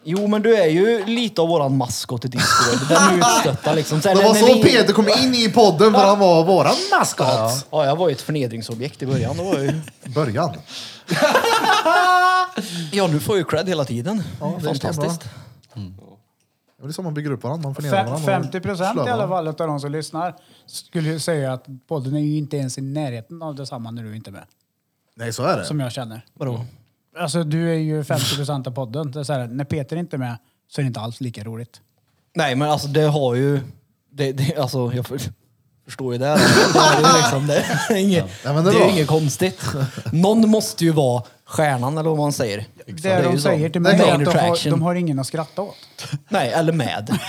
Speaker 4: Jo, men du är ju lite av våran maskot i Discord. Den utstötta liksom. Sen
Speaker 2: Det var
Speaker 4: när
Speaker 2: så
Speaker 4: vi-
Speaker 2: Peter kom in i podden för han var våran maskot.
Speaker 4: Ja, jag var ju ett förnedringsobjekt i början. Då var jag ju...
Speaker 2: Början.
Speaker 4: Ja, nu får jag ju cred hela tiden.
Speaker 2: det är
Speaker 4: Fantastiskt.
Speaker 2: Det är så man bygger upp varandra, man förnedrar
Speaker 3: Fe-
Speaker 2: varandra.
Speaker 3: 50 procent i alla
Speaker 2: fall.
Speaker 3: fall av de som lyssnar skulle ju säga att podden är ju inte ens i närheten av detsamma när du inte är med.
Speaker 2: Nej så är det.
Speaker 3: Som jag känner.
Speaker 4: Vadå?
Speaker 3: Alltså du är ju 50 procent av podden. Det är så här, när Peter inte är med så är det inte alls lika roligt.
Speaker 4: Nej, men alltså det har ju... Det, det, alltså, jag för, förstår ju det. Det är ju liksom, det är inget,
Speaker 2: Ja, men det
Speaker 4: det är
Speaker 2: är bra.
Speaker 4: ju inget konstigt. Någon måste ju vara stjärnan eller vad man säger.
Speaker 3: Det, de
Speaker 4: ju så.
Speaker 3: säger till
Speaker 4: Det
Speaker 3: mig
Speaker 4: är
Speaker 3: är att
Speaker 4: main
Speaker 3: de har,
Speaker 4: attraction.
Speaker 3: de har ingen att skratta åt.
Speaker 4: Nej, eller med.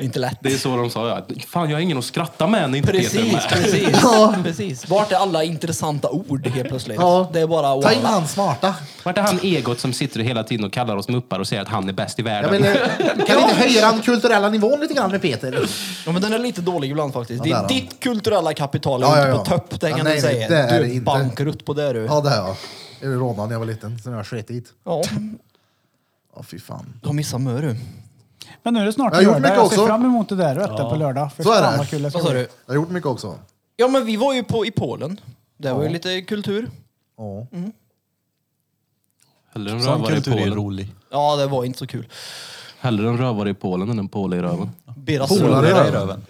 Speaker 4: Inte lätt.
Speaker 7: Det är så de sa. Ja. Fan, jag har ingen att skratta med när inte Peter är
Speaker 4: Precis,
Speaker 7: med.
Speaker 4: precis. precis. Vart är alla intressanta ord helt plötsligt?
Speaker 2: Ja.
Speaker 4: Det är bara
Speaker 2: Ta in
Speaker 4: wow.
Speaker 2: han smarta.
Speaker 7: Vart är han egot som sitter hela tiden och kallar oss muppar och säger att han är bäst i
Speaker 2: Jag
Speaker 7: världen?
Speaker 2: vill, eh, kan vi inte höja den kulturella nivån lite grann med Peter?
Speaker 4: Ja, men den är lite dålig ibland faktiskt.
Speaker 2: Ja,
Speaker 4: Det
Speaker 2: där
Speaker 4: är
Speaker 2: har
Speaker 4: ditt kulturella kapital är
Speaker 2: Ja,
Speaker 4: inte
Speaker 2: ja, ja.
Speaker 4: på topp, det
Speaker 2: Ja,
Speaker 4: kan
Speaker 2: nej,
Speaker 4: du
Speaker 2: nej,
Speaker 4: säga.
Speaker 2: det är
Speaker 4: du
Speaker 2: det
Speaker 4: är
Speaker 2: inte.
Speaker 4: bankrutt på det du.
Speaker 2: Ja det har jag. Jag blev rånad när jag var liten, sen har jag sket dit.
Speaker 4: Ja,
Speaker 2: Ja fy fan.
Speaker 4: du har missat mö du.
Speaker 3: Men nu är det snart
Speaker 2: Jag har gjort
Speaker 3: lördag.
Speaker 2: mycket
Speaker 3: Jag ser
Speaker 2: också.
Speaker 3: fram emot det där och äta på lördag. För
Speaker 2: Så är
Speaker 3: fan
Speaker 2: det.
Speaker 3: vad kul det ska
Speaker 4: Vad sa
Speaker 3: bli.
Speaker 4: du?
Speaker 2: Jag har gjort mycket också.
Speaker 4: Ja, men vi var ju på, i Polen. Det var ju lite kultur.
Speaker 2: Ja.
Speaker 6: Hellre en
Speaker 1: Sån
Speaker 6: rövare i
Speaker 1: kultur är
Speaker 6: Polen.
Speaker 1: rolig.
Speaker 4: Ja, det var inte så kul.
Speaker 6: Hellre en rövare i Polen än en påle i röven.
Speaker 4: Beras
Speaker 2: Polare i
Speaker 1: Polare i
Speaker 2: röven.
Speaker 1: röven.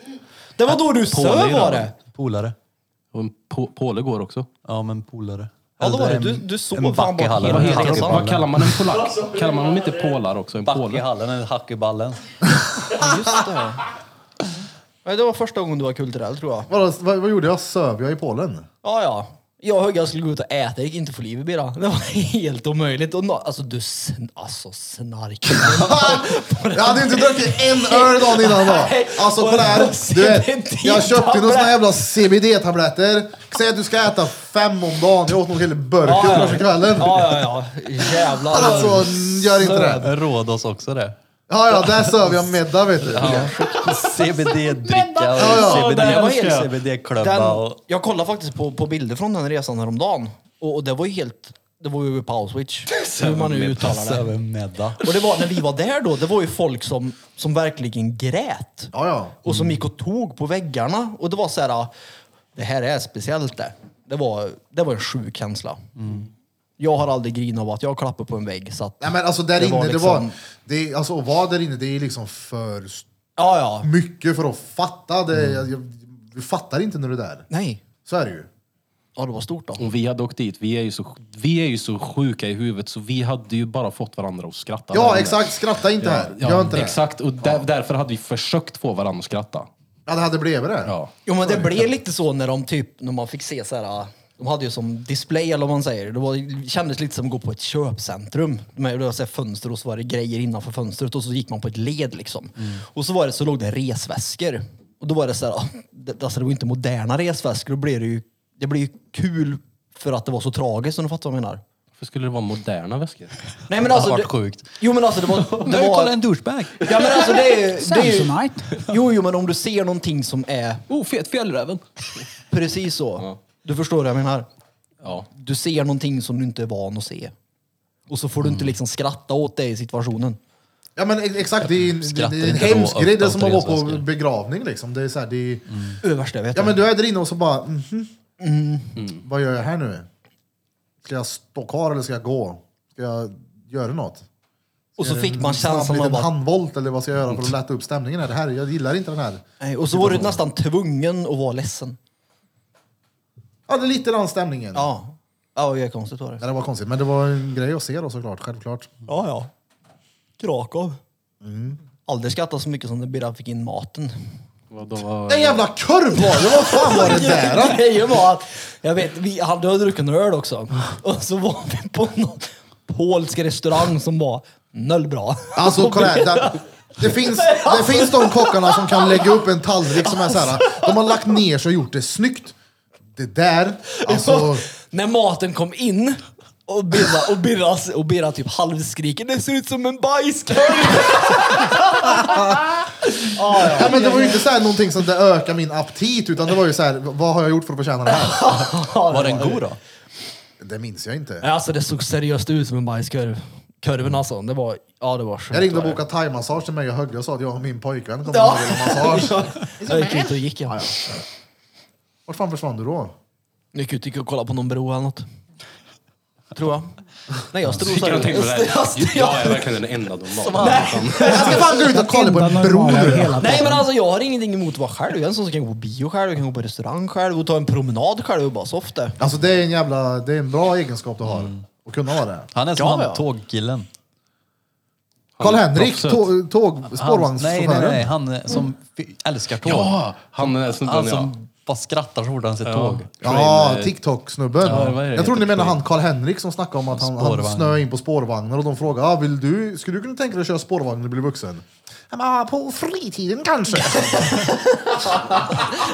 Speaker 4: Det var då du söv var det.
Speaker 1: Polare.
Speaker 6: Och en po- påle går också.
Speaker 1: Ja, men polare.
Speaker 4: Ja, då var det.
Speaker 1: Hellre
Speaker 4: Du,
Speaker 1: en-
Speaker 4: du sov
Speaker 1: en
Speaker 4: fan
Speaker 1: back i
Speaker 4: bara
Speaker 1: hallen.
Speaker 4: hela
Speaker 1: Vad heter
Speaker 4: tiden.
Speaker 1: det?
Speaker 6: Vad kallar man en polack? Kallar man dem inte pålar också? En
Speaker 1: Back i
Speaker 6: påle?
Speaker 1: hallen eller hack i ballen.
Speaker 4: Just det. Nej, det var första gången du var kulturell tror jag.
Speaker 2: Vadå, vad, vad gjorde jag? Söv jag i Polen?
Speaker 4: Ja, ja. Jag och Högga skulle gå ut och äta, det gick inte att få liv i Bira. Det var helt omöjligt. Och no, alltså du sn- alltså, snark.
Speaker 2: Jag hade inte druckit en öl dagen innan då. Alltså kolla här. Du vet, jag köpte ju några såna jävla CBD-tabletter. Säg att du ska äta fem om dagen. Jag åt nog hela burken första kvällen.
Speaker 4: Ja, ja, ja. Jävlar.
Speaker 2: Alltså gör inte det.
Speaker 1: Rhodos också det.
Speaker 2: Ja, ja, där söv jag middag vet du.
Speaker 1: CBD-dricka
Speaker 2: ja.
Speaker 1: och
Speaker 4: Det var
Speaker 1: CBD-
Speaker 4: helt-
Speaker 1: CBD-klubba
Speaker 4: Den,
Speaker 1: och...
Speaker 4: jag kollade faktiskt på, på bilder från den resan häromdagen. Och, och det var ju helt... Det var ju på Auschwitz. Hur man nu
Speaker 1: typ
Speaker 4: uttalar det.
Speaker 1: Sömnmedda.
Speaker 4: Och det var när vi var där då, det var ju folk som, som verkligen grät.
Speaker 2: Ja, ja.
Speaker 4: Och som gick och tog på väggarna. Och det var så här, ah, det här är speciellt det. Det var, det var en sjuk känsla. Mm. Jag har aldrig grinat av att jag klappar på en vägg. Så att,
Speaker 2: Nej men alltså där
Speaker 4: Det
Speaker 2: inne,
Speaker 4: var
Speaker 2: det var...
Speaker 4: liksom-
Speaker 2: Det, alltså att vara där inne, det är liksom för s-
Speaker 4: ja, ja.
Speaker 2: mycket för att fatta. Det, jag, jag, du fattar inte när du är där.
Speaker 4: Nej.
Speaker 2: Så är det ju.
Speaker 4: Ja, det var stort då.
Speaker 6: Och vi hade åkt dit. Vi är, ju så, vi är ju så sjuka i huvudet så vi hade ju bara fått varandra att skratta. där
Speaker 2: Ja
Speaker 6: inne.
Speaker 2: exakt, skratta inte här.
Speaker 6: Ja,
Speaker 2: Gör inte det.
Speaker 6: exakt. Och där, därför hade vi försökt få varandra att skratta.
Speaker 2: Ja, det hade blivit det.
Speaker 6: Ja.
Speaker 4: Jo men det blev lite så när de typ, när man fick se så här. De hade ju som display eller vad man säger. Det, var, det kändes lite som att gå på ett köpcentrum. Med, det var så här fönster och så var det grejer innanför fönstret och så gick man på ett led liksom.
Speaker 1: Mm.
Speaker 4: Och så var det så låg det resväskor. Och då var det så här, det, alltså det var ju inte moderna resväskor. Då blev det ju, det blev ju kul för att det var så tragiskt om du fattar vad jag menar.
Speaker 6: Varför skulle det vara moderna väskor?
Speaker 4: Nej men alltså.
Speaker 1: Det har varit sjukt.
Speaker 4: Jo men alltså det var... Det
Speaker 1: Nu kolla
Speaker 4: var
Speaker 1: en douchebag!
Speaker 4: ja men alltså det är ju... det är ju-
Speaker 3: Samsonite.
Speaker 4: Jo jo men om du ser någonting som är
Speaker 6: Oh, fet fjällräven!
Speaker 4: precis så. Du förstår vad jag menar.
Speaker 6: Ja.
Speaker 4: du ser någonting som du inte är van att se. Och så får du inte
Speaker 2: Mm.
Speaker 4: liksom skratta åt det i situationen.
Speaker 2: Ja men ex- exakt, det är en, det
Speaker 1: Skratta
Speaker 2: är en
Speaker 1: inte
Speaker 2: hemsk
Speaker 1: då,
Speaker 2: grej. Det är
Speaker 1: åtta
Speaker 2: som att
Speaker 1: av
Speaker 2: vara
Speaker 1: tre
Speaker 2: på
Speaker 1: svenskar.
Speaker 2: begravning liksom. Det är så här, det är,
Speaker 4: Det är det värsta jag vet.
Speaker 2: Ja men du är där inne och så bara, mhm.
Speaker 4: Mm.
Speaker 2: Mm. Vad gör jag här nu? Ska jag stå kvar eller ska jag gå? Ska jag göra något?
Speaker 4: och så
Speaker 2: Ska jag göra
Speaker 4: fick
Speaker 2: en
Speaker 4: man
Speaker 2: Eh, snabb
Speaker 4: känslan av
Speaker 2: liten
Speaker 4: att... Mm.
Speaker 2: handvolt eller vad ska jag göra för att lätta upp stämningen här? Det här jag gillar inte den här.
Speaker 4: Nej, och så var du nästan tvungen att vara ledsen.
Speaker 2: Ja, det är lite den stämningen.
Speaker 4: Ja. Ja, det är konstigt var det.
Speaker 2: Ja, det var konstigt, men det var en grej att se då såklart, självklart.
Speaker 4: Ja, ja. Krakow.
Speaker 2: Mm.
Speaker 4: Aldrig skrattat så mycket som när Birra fick in maten.
Speaker 6: Vad- då var-
Speaker 2: Den jävla kurv var det! Vad fan var det där? då?
Speaker 4: Grejen var att, jag vet, vi hade ju druckit en öl också. Och så var vi på någon polsk restaurang som var noll bra.
Speaker 2: Alltså kolla här. Där, det, finns, det finns de kockarna som kan lägga upp en tallrik som är så här. De har lagt ner sig och gjort det snyggt. Det där, alltså.
Speaker 4: När maten kom in och Birra, och Birra, och Birra typ halvskriker det ser ut som en bajskorv.
Speaker 2: Ja, men det var ju inte så här någonting som det ökar min aptit utan det var ju så här. vad har jag gjort för att förtjäna det här?
Speaker 1: Var den god då?
Speaker 2: Det minns jag inte.
Speaker 4: Alltså det såg seriöst ut som en bajskorv. Kurven alltså, det var, ja det var sjukt.
Speaker 2: Jag ringde och
Speaker 4: var det.
Speaker 2: bokade thaimassage till mig och Högge och sa att jag och min pojkvän kommer
Speaker 4: Ja.
Speaker 2: att vilja ha massage.
Speaker 4: Jag gick ut och gick ja.
Speaker 2: Vart fan försvann du då?
Speaker 4: Jag gick ut och gick och kollade på någon bro eller något. Tror jag. Nej jag
Speaker 6: Fick jag
Speaker 4: strosade.
Speaker 6: någonting på det
Speaker 4: Jag-
Speaker 6: här? Jag är verkligen den enda normala.
Speaker 2: Jag ska fan gå ut och kolla på en bro nu.
Speaker 4: Nej men alltså jag har ingenting emot att vara själv. Jag är en sån som kan gå på bio själv, jag kan gå på restaurang själv och ta en promenad själv och bara softa.
Speaker 2: Alltså det är en jävla, det är en bra egenskap du har.
Speaker 1: Mm.
Speaker 2: Att kunna ha det.
Speaker 1: Han är som
Speaker 4: Ja,
Speaker 1: han
Speaker 4: ja.
Speaker 1: tågkillen.
Speaker 2: Karl-Henrik,
Speaker 6: proffset.
Speaker 2: tåg, tåg,
Speaker 1: Han, nej, nej, nej.
Speaker 2: spårvagnschauffören.
Speaker 1: Han eh, som fi- älskar tåg.
Speaker 6: Ja! Han är snubben
Speaker 1: Han
Speaker 6: ja.
Speaker 1: som bara skrattar så fort han ser
Speaker 6: Ja.
Speaker 1: tåg.
Speaker 2: Ja, TikTok-snubben.
Speaker 6: Ja, vad är det?
Speaker 2: jag trodde ni
Speaker 6: Heter
Speaker 2: menade han
Speaker 6: det?
Speaker 2: Karl-Henrik som snackade om att han, han
Speaker 1: Spårvagn.
Speaker 2: snöade in på spårvagnar och de frågade ah, vill du, skulle du kunna tänka dig att köra spårvagn när du blir vuxen? Han bara, "Ah, på fritiden kanske.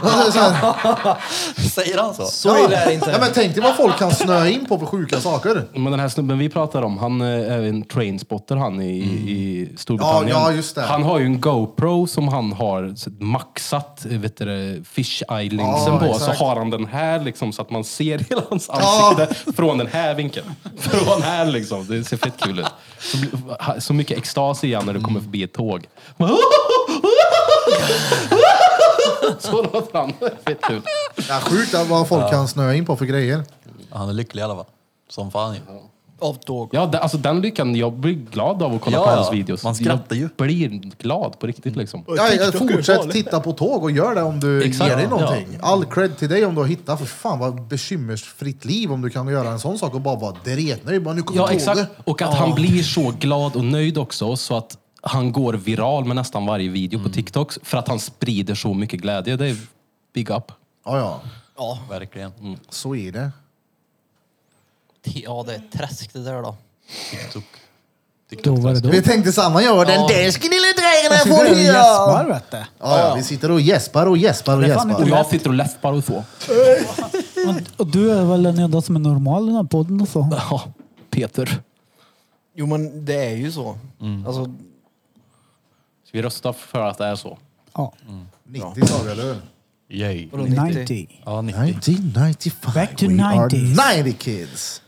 Speaker 2: Ja, så här.
Speaker 1: Säger han så?
Speaker 4: Så är det inte.
Speaker 2: ja, men tänk dig vad folk kan snöa in på för sjuka saker.
Speaker 6: Men den här snubben vi pratar om, han eh, är en trainspotter han i, i Storbritannien.
Speaker 2: Mm. Ja, ja, just det.
Speaker 6: Han har ju en GoPro som han har maxat eh, vet du, det, fish eye linsen
Speaker 2: Ja,
Speaker 6: på.
Speaker 2: exakt.
Speaker 6: Så har han den här liksom så att man ser hela hans ansikte från den här vinkeln. Från här liksom. Det ser fett kul ut. Så, blir- ha- så mycket extas i han när du kommer förbi ett tåg. Så låter han. Fett kul.
Speaker 2: Ja, sjukt att vad folk kan snöa in på för grejer.
Speaker 1: Han är lycklig i alla fall. Som fan ju. Ja,
Speaker 4: Av tåg.
Speaker 6: Ja, det, alltså den lyckan. Jag blir glad av att kolla
Speaker 1: Ja,
Speaker 6: på
Speaker 1: ja.
Speaker 6: hans videos.
Speaker 1: Man skrattar ju.
Speaker 6: Jag blir glad på riktigt liksom.
Speaker 2: Ja, ja,
Speaker 4: TikTok är ju
Speaker 2: fortsätt
Speaker 4: farligt.
Speaker 2: titta på tåg och gör det om du
Speaker 6: Exakt.
Speaker 2: ger dig
Speaker 6: Ja,
Speaker 2: någonting. All cred till dig om du har hittat, för fan vad bekymmersfritt liv om du kan göra en sån sak och bara vara dretnöjd. Bara, nu kommer
Speaker 6: Ja,
Speaker 2: tåget.
Speaker 6: exakt. Och att han blir så glad och nöjd också så att han går viral med nästan varje video på TikTok för att han sprider så mycket glädje. Det är big up.
Speaker 2: Ja, ja.
Speaker 1: verkligen.
Speaker 2: Så är det.
Speaker 4: Ja, det är ett träsk det där då.
Speaker 3: Då var det då.
Speaker 2: Vi tänkte samma gör den där
Speaker 3: Jag
Speaker 2: snilledragen
Speaker 3: sitter
Speaker 2: får
Speaker 3: där och
Speaker 2: hyra.
Speaker 3: gäspar vet du.
Speaker 2: Ja, ja, vi sitter och gäspar och gäspar och
Speaker 3: Det är fan
Speaker 2: gäspar.
Speaker 3: inte-
Speaker 6: Jag sitter och läspar och så.
Speaker 3: Och- Och du är väl den enda som är normal i den här podden och så.
Speaker 6: Ja, Peter. Mm.
Speaker 4: Jo, men det är ju så. Alltså,
Speaker 6: Ska vi rösta för att det är så?
Speaker 3: Ja.
Speaker 2: 90 sa vi, eller hur?
Speaker 1: Yay.
Speaker 4: vadå, 90?
Speaker 3: 90.
Speaker 1: Ja, 90.
Speaker 2: 1995.
Speaker 3: Back to
Speaker 2: We are
Speaker 3: 90s.
Speaker 2: 90 kids.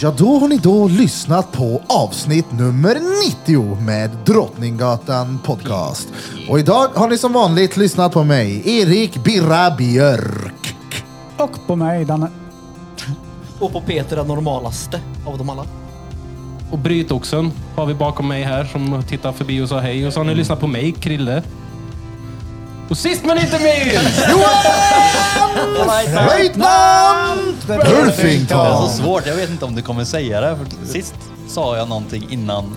Speaker 2: Ja, då har ni då lyssnat på avsnitt nummer 90 med Drottninggatan Podcast. Och idag har ni som vanligt lyssnat på mig, Erik Birra Björk.
Speaker 3: Och på mig, Danne.
Speaker 4: Och på Peter den normalaste av dem alla.
Speaker 6: Och Brytoxen har vi bakom mig här som tittar förbi och sa hej. Och så har ni lyssnat på mig, Krille. Och sist men inte minst!
Speaker 2: Löjtnant
Speaker 1: Det är
Speaker 2: Pulfington!
Speaker 1: så svårt. Jag vet inte om du kommer säga det. För sist sa jag någonting innan.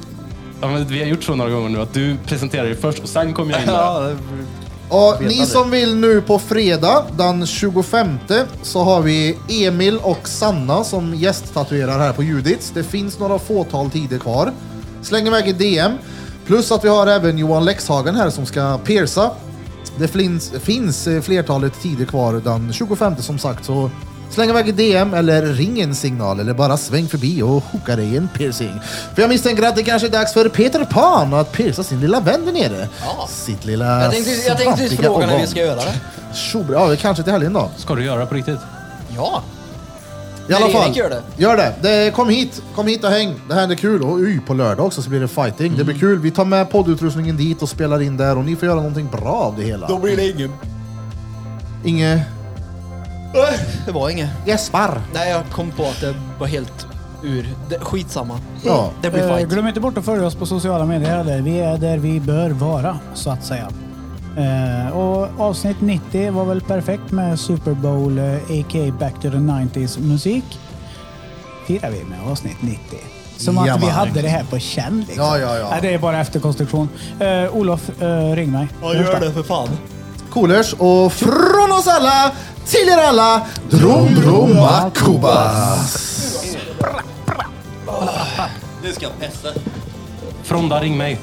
Speaker 6: Ja, men vi har gjort så några gånger nu att du presenterar dig först och sen kommer jag in där.
Speaker 2: Och ni som vill nu på fredag den 25 så har vi Emil och Sanna som gästtatuerar här på Judits. Det finns några fåtal tider kvar. Släng iväg i DM. Plus att vi har även Johan Lexhagen här som ska pierca. Det finns, finns eh, flertalet tider kvar den 25 som sagt så släng iväg i DM eller ring en signal eller bara sväng förbi och hooka dig i en piercing. För jag misstänker att det kanske är dags för Peter Pan att pierca sin lilla vän där nere.
Speaker 4: Ja.
Speaker 2: Sitt lilla
Speaker 4: Jag tänkte, jag tänkte
Speaker 6: Alltså,
Speaker 4: just
Speaker 2: Svampiga
Speaker 4: fråga när vi
Speaker 2: organ.
Speaker 4: ska göra det.
Speaker 2: Tjobra, ja, det kanske till helgen då.
Speaker 6: Ska du göra det på riktigt?
Speaker 4: Ja.
Speaker 2: I alla
Speaker 4: Nej,
Speaker 2: fall,
Speaker 4: Erik gör det.
Speaker 2: Gör det. det. Kom hit, kom hit och häng. Det här är kul. Och uj, på lördag också så blir det fighting. Det
Speaker 4: Mm.
Speaker 2: blir kul. Vi tar med poddutrustningen dit och spelar in där och ni får göra någonting bra av det hela.
Speaker 4: blir det ingen.
Speaker 2: Inge
Speaker 4: Det var inget.
Speaker 2: gäspar.
Speaker 4: Nej, jag kom på att det var helt ur. Det, skitsamma.
Speaker 2: Ja.
Speaker 4: Det blir
Speaker 3: Eh,
Speaker 4: fight.
Speaker 3: Glöm inte bort att följa oss på sociala medier. heller. Vi är där vi bör vara, så att säga. Eh, och avsnitt 90 var väl perfekt med Super Bowl, eh, a.k.a. Back to the 90s musik. Firar vi med avsnitt 90. Som att vi
Speaker 2: Jajamän.
Speaker 3: hade det här på känn. Liksom.
Speaker 2: Ja, ja, ja.
Speaker 3: Nej, det är bara efterkonstruktion. Eh, Olof, eh, ring mig.
Speaker 4: Ja, gör det för fan.
Speaker 2: Coolers och från oss alla till er alla. Drom, drom, akubas.
Speaker 1: Nu ska jag pessa.
Speaker 6: Fronda, ring mig.